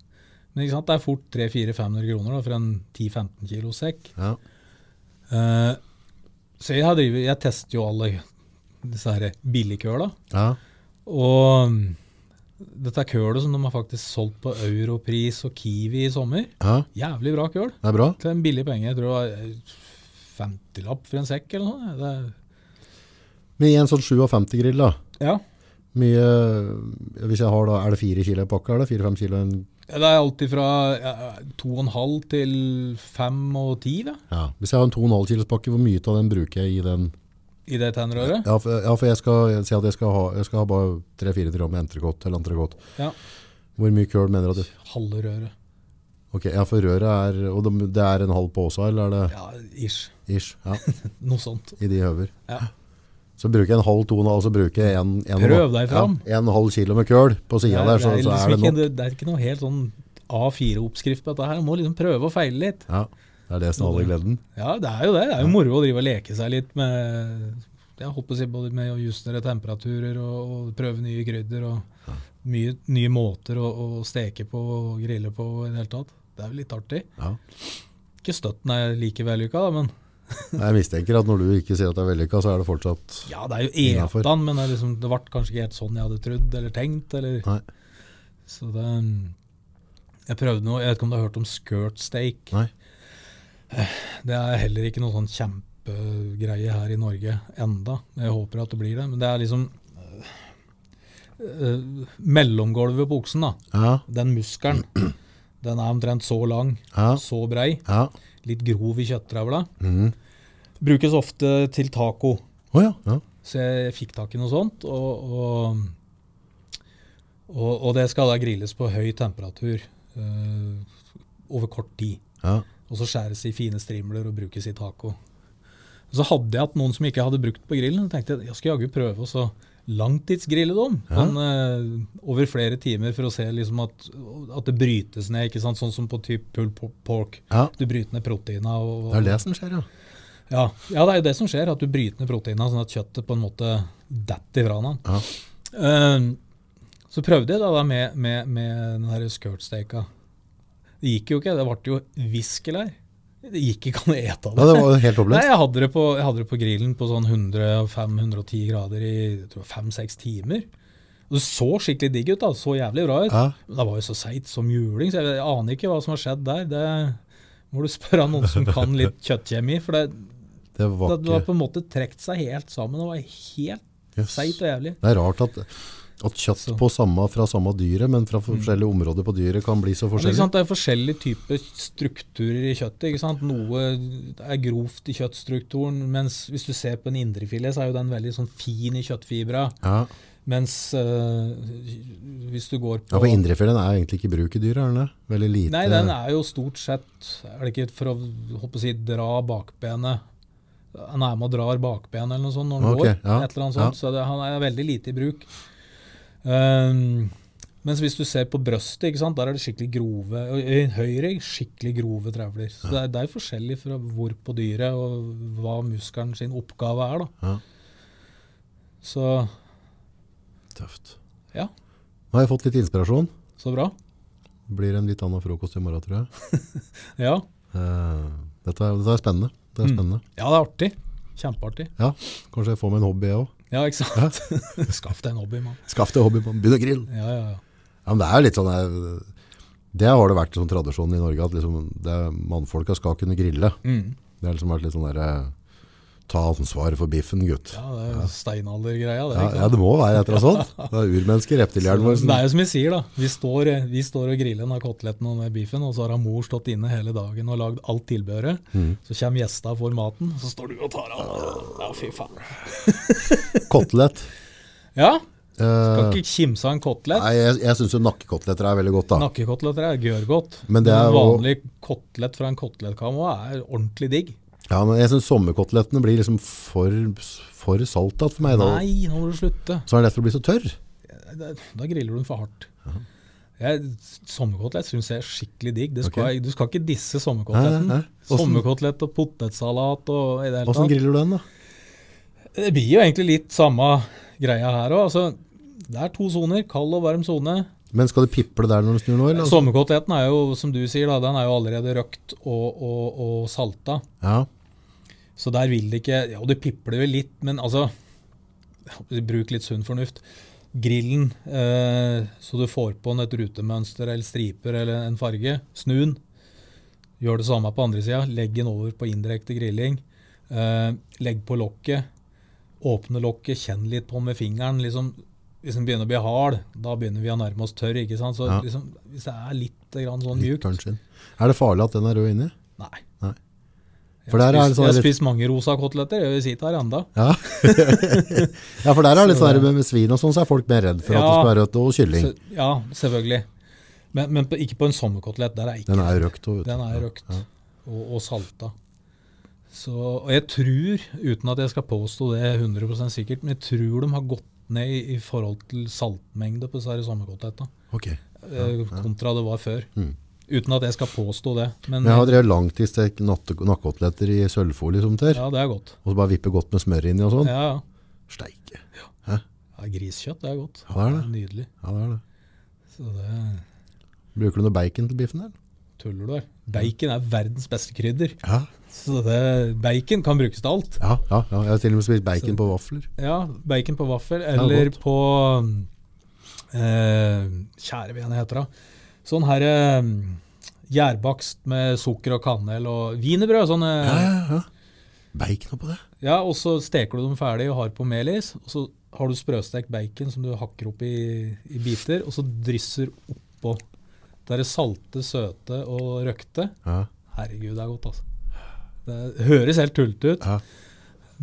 S1: Men ikke sant, det er fort 300-400-500 kroner da, for en 10-15 kilo sekk.
S2: Ja.
S1: Eh, så jeg, har drivet, jeg tester jo alle disse her billigkøla.
S2: Ja.
S1: Og mm, dette er kølet som de har faktisk solgt på Europris og Kiwi i sommer.
S2: ja,
S1: Jævlig bra køl.
S2: det er bra.
S1: Til en billig penge. Jeg tror det var eh, 50-lapp for en sekk eller noe. Det, er-
S2: Men i en sånn 57-grill da,
S1: ja.
S2: mye, hvis jeg har da, er det 4 kilo i pakka, er det 4-5 kilo? i en-
S1: Ja, Det er alltid fra ja, 2,5 til 5 og 10 det,
S2: Ja. Hvis jeg har en 2,5 kilos pakke, hvor mye av den bruker jeg i den?
S1: i det tennrøret.
S2: Ja, for, ja, for jeg skal jeg sier at jeg skal ha, jeg skal ha bare 3-4 gram med entrekott eller entrekott.
S1: Ja.
S2: Hvor mye køl mener du? at du-
S1: Halve røret.
S2: Ok, ja, for røret er, og de- det er en halv påse, eller er det
S1: Ja, ish.
S2: ish? Ja,
S1: Noe sånt.
S2: i de høver.
S1: Ja.
S2: Så bruker jeg en halv tone, og så bruker jeg en, en,
S1: Prøv deg fram.
S2: Ja, en halv kilo med køl på sida der, så, så er det
S1: ikke,
S2: nok.
S1: det, det er ikke noe helt sånn A4-oppskrift på dette her. Man må liksom prøve og feile litt.
S2: Ja, det er det som er alle gleden.
S1: Ja, det er jo det. Det er jo moro å drive og leke seg litt med jeg holdt på å si både med å justere temperaturer og, og prøve nye krydder og mye, nye måter å, å steke på og grille på i det hele tatt. Det er jo litt artig.
S2: Ja.
S1: Ikke støtten er like vellykka, da, men
S2: Jeg mistenker at når du ikke sier at det er vellykka, så er det fortsatt
S1: ja, det er jo
S2: Innenfor.
S1: etan, men det, er liksom, det ble kanskje ikke helt sånn jeg hadde trodd eller tenkt. Eller,
S2: Nei.
S1: så det Jeg prøvde noe, jeg vet ikke om du har hørt om skirt steak?
S2: Nei.
S1: Det er heller ikke noe sånn kjempegreie her i Norge enda. Jeg håper at det blir det, men det er liksom øh, øh, mellomgulvet på oksen, da.
S2: Ja,
S1: Den muskelen. Den er omtrent så lang,
S2: ja,
S1: så brei,
S2: ja.
S1: litt grov i kjøttrævla. Brukes ofte til taco.
S2: Å ja. ja.
S1: Så jeg fikk tak i noe sånt, og, og, og, og det skal da grilles på høy temperatur øh, over kort tid.
S2: ja.
S1: Og så skjæres det i fine strimler og brukes i taco. Så hadde jeg hatt noen som ikke hadde brukt på grillen, så tenkte jeg jeg skal jaggu prøve å så langtidsgrille dem sånn, eh, over flere timer for å se liksom at, at det brytes ned, ikke sant? sånn som på typ pull pork.
S2: Ja.
S1: Du bryter ned proteina. Og,
S2: Det er det som skjer, ja.
S1: Ja. ja, det er jo det som skjer, at du bryter ned proteina sånn at kjøttet på en måte detter ifra den.
S2: Ja.
S1: Ehm, så prøvde jeg da, da med, med, med den her skirtsteika. Det gikk jo ikke, det ble jo viskel her. Det gikk ikke an å ete av
S2: ja
S1: det.
S2: det var jo helt
S1: Nei,
S2: opplest.
S1: jeg hadde det på, jeg hadde det på grillen på sånn 105-110 grader i 5-6 timer. Og det så skikkelig digg ut, da. Det så jævlig bra ut.
S2: Ja.
S1: Men det var jo så seigt som juling, så jeg, jeg aner ikke hva som har skjedd der. Det må du spørre noen som kan litt kjøttkjemi, for det,
S2: Det
S1: det,
S2: var
S1: det var
S2: ikke
S1: på en måte trukket seg helt sammen. Det var helt
S2: Jøss.
S1: seigt og jævlig.
S2: Det er rart at, at kjøtt
S1: Så. Mm.
S2: på samme, fra samme dyret, men fra forskjellige områder på dyret, kan bli så
S1: Ja, men ikke
S2: forskjellig.
S1: sant? Det er forskjellige typer strukturer i kjøttet. Ikke sant? Noe er grovt i kjøttstrukturen, mens hvis du ser på en indrefilet, så er jo den veldig sånn fin i kjøttfibra.
S2: Ja,
S1: Mens øh, hvis du går på
S2: ja for indrefilen er egentlig ikke bruk i dyret, er den det? Veldig lite
S1: Nei, den er jo stort sett Er det ikke for å håper å si, dra bakbenet Han er med og drar bakbenet eller noe sånt når han
S2: Ok,
S1: går.
S2: ja,
S1: et eller annet sånt, Så det, han er veldig lite i bruk. Um, mens hvis du ser på brøstet, ikke sant, der er det skikkelig grove og i høyre skikkelig grove trevler. Så det er, det er forskjellig fra hvor på dyret og hva muskelen sin oppgave er. da.
S2: Ja.
S1: Så
S2: Tøft.
S1: ja,
S2: Nå har jeg fått litt inspirasjon.
S1: så bra.
S2: Det blir en litt annen frokost i morgen, tror jeg.
S1: Ja,
S2: Eh, dette, er, dette er spennende. Det
S1: Mm.
S2: er spennende.
S1: ja det er artig. Kjempeartig.
S2: Ja, kanskje jeg får meg en hobby, jeg òg.
S1: Ja, ikke sant? Skaff deg en hobby, mann.
S2: Skaff deg hobby, mann. Begynn å grille!
S1: Ja, ja, ja.
S2: Ja, men det er jo litt sånn eh, Det har det vært sånn tradisjon i Norge, at liksom, det er- mannfolka skal kunne grille.
S1: Mm.
S2: Det har liksom vært litt sånn derre Ta ansvar for biffen, gutt.
S1: Ja, det er jo steinaldergreia. Det,
S2: Ja,
S1: ikke
S2: ja,
S1: sant?
S2: det sånn må være et eller annet sånt. Det er urmennesker, reptilhjernen vår.
S1: det
S2: som-
S1: er jo som jeg sier, da. Vi står, vi står og griller den av koteletten og den biffen, og så har han mor stått inne hele dagen og lagd alt tilbehøret.
S2: Mm.
S1: Så kommer gjestene og får maten, og så står du og tar av. Ja, fy faen.
S2: Kotelett.
S1: Ja, kan
S2: Eh,
S1: ikke kimse av en kotelett.
S2: nei, jeg, jeg syns jo nakkekoteletter er veldig godt, da.
S1: Nakkekoteletter er gørrgodt.
S2: Men det er
S1: en
S2: jo-
S1: vanlig kotelett fra en kotelettkam også er ordentlig digg.
S2: Ja, men jeg syns sommerkotelettene blir liksom for, for saltet for meg, da.
S1: Nei, nå må du slutte.
S2: Så er det lett for å bli så tørr.
S1: Da da griller du den for hardt. Jeg, sommerkotelett syns jeg er skikkelig digg. Det skal,
S2: Ok.
S1: jeg- Du skal ikke disse
S2: Nei, nei,
S1: sommerkoteletten.
S2: nei. Åssen-
S1: Sommerkotelett og potetsalat og i det hele
S2: Åssen
S1: tatt.
S2: griller du den, da?
S1: Det blir jo egentlig litt samme greia her òg. Altså, det er to soner, kald og varm sone.
S2: Men skal du piple der når du snur nå, eller?
S1: Sommerkoteletten er jo, som du sier, da, den er jo allerede røkt og, og, og salta.
S2: Ja.
S1: Så der vil det ikke Ja, det pipler vel litt, men altså Bruk litt sunn fornuft. Grillen, eh, så du får på den et rutemønster eller striper eller en farge. Snu den. Gjør det samme på andre sida. Legg den over på indirekte grilling. Eh, legg på lokket. Åpne lokket, kjenn litt på med fingeren. liksom Hvis den begynner å bli hard, da begynner vi å nærme oss tørr. ikke sant? Så
S2: Ja.
S1: liksom, Hvis det er litt grann sånn
S2: Litt
S1: mjukt
S2: punch inn. Er det farlig at den er rød inni?
S1: Nei.
S2: Nei.
S1: Jeg
S2: For
S1: har
S2: der er det
S1: spist-
S2: sånn
S1: jeg har
S2: litt-
S1: spist mange rosa koteletter. Jeg vil si det her enda.
S2: Ja. ja, for der er det litt sånn her med, med svin og sånn, så er folk mer redd for at det
S1: Ja.
S2: skal være rødt og kylling.
S1: Så, ja, selvfølgelig. Men, men på, ikke på en sommerkotelett. Der er ikke
S2: Den er jo røkt. og-
S1: Den er røkt
S2: Ja.
S1: og, og salta. Så, og jeg tror, uten at jeg skal påstå det 100 sikkert, men jeg tror de har gått ned i, i forhold til saltmengde på disse her sommerkotelettene.
S2: Ok.
S1: eh, Kontra det var før.
S2: Mm.
S1: Uten at jeg skal påstå det. Men
S2: Men jeg har drevet langtidsstekt natte- nakkekoteletter i sølvfolie som tør,
S1: ja, det er godt.
S2: og så bare vippe godt med smør inni og sånn.
S1: Ja, ja.
S2: Steike.
S1: ja griskjøtt det er godt.
S2: Ja, det er det.
S1: Nydelig.
S2: Ja, det er det.
S1: Så det
S2: Bruker du noe bacon til biffen der?
S1: tuller du vel. Bacon er verdens beste krydder.
S2: Ja.
S1: Så det, bacon kan brukes til alt.
S2: Ja, ja, ja. Jeg har til og med spist bacon på vafler.
S1: Ja, bacon på vaffel,
S2: er
S1: eller
S2: godt.
S1: på eh, Kjære vene, heter det. Sånn her eh, gjærbakst med sukker og kanel og wienerbrød. Sånn, eh,
S2: Ja, ja, ja. Bacon oppå det?
S1: ja, og så steker du dem ferdig og har på melis. Og så har du sprøstekt bacon som du hakker opp i, i biter, og så drysser oppå. Det er det salte, søte og røkte.
S2: Ja.
S1: Herregud, det er godt, altså. Det høres helt tullete ut,
S2: Ja.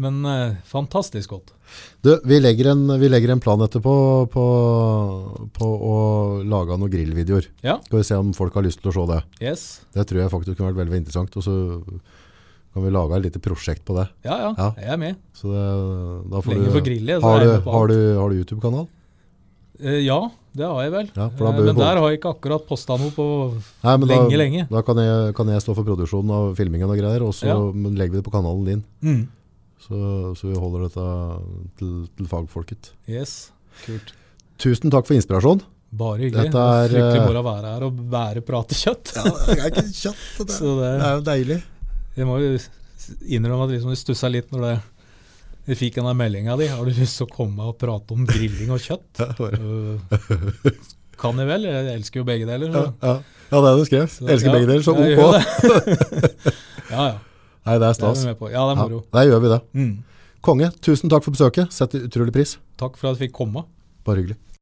S1: men eh, fantastisk godt.
S2: Du, vi legger en, vi legger en plan etterpå på, på å lage noen grillvideoer.
S1: Ja,
S2: Skal vi se om folk har lyst til å se det.
S1: yes.
S2: Det tror jeg faktisk kunne vært veldig interessant, og så kan vi lage et lite prosjekt på det.
S1: Ja, ja,
S2: Ja.
S1: jeg er med.
S2: Så det, da får
S1: Lenge
S2: du,
S1: for grillet, så er
S2: har,
S1: jeg
S2: du,
S1: med på alt.
S2: har, du, har du YouTube-kanal?
S1: Eh, ja, det har jeg vel.
S2: Ja, for da
S1: Eh,
S2: bør
S1: men
S2: vi holde-
S1: der har jeg ikke akkurat posta noe på
S2: Nei, men
S1: Lenge,
S2: da,
S1: lenge.
S2: Da kan jeg, kan jeg stå for produksjonen av filmingen og greier, og så
S1: Ja.
S2: men legger vi det på kanalen din.
S1: mm.
S2: Så, så vi holder dette til, til fagfolket.
S1: Yes. Kult.
S2: Tusen takk for inspirasjon.
S1: Bare hyggelig.
S2: Dette er,
S1: Det var Fryktelig
S2: eh,
S1: moro å være her og være prate kjøtt.
S2: det er ikke kjatt,
S1: Så det,
S2: jo deilig.
S1: jeg må jo innrømme at liksom jeg stussa litt når det jeg fikk den meldinga di. Har du lyst til å komme og prate om grilling og kjøtt? Eh, kan jeg vel? Jeg elsker jo begge deler. Så.
S2: Ja, ja det er det du skrev.
S1: Så-
S2: Elsker
S1: ja,
S2: begge deler, så
S1: jeg gjør
S2: ok.
S1: det. ja, ja.
S2: Nei,
S1: Det er
S2: det er stas.
S1: vi med på. Ja, det er
S2: Ja,
S1: moro.
S2: der gjør vi det.
S1: Mm.
S2: Konge, tusen takk for besøket. Setter utrolig pris.
S1: Takk for at jeg fikk komme.
S2: Bare hyggelig.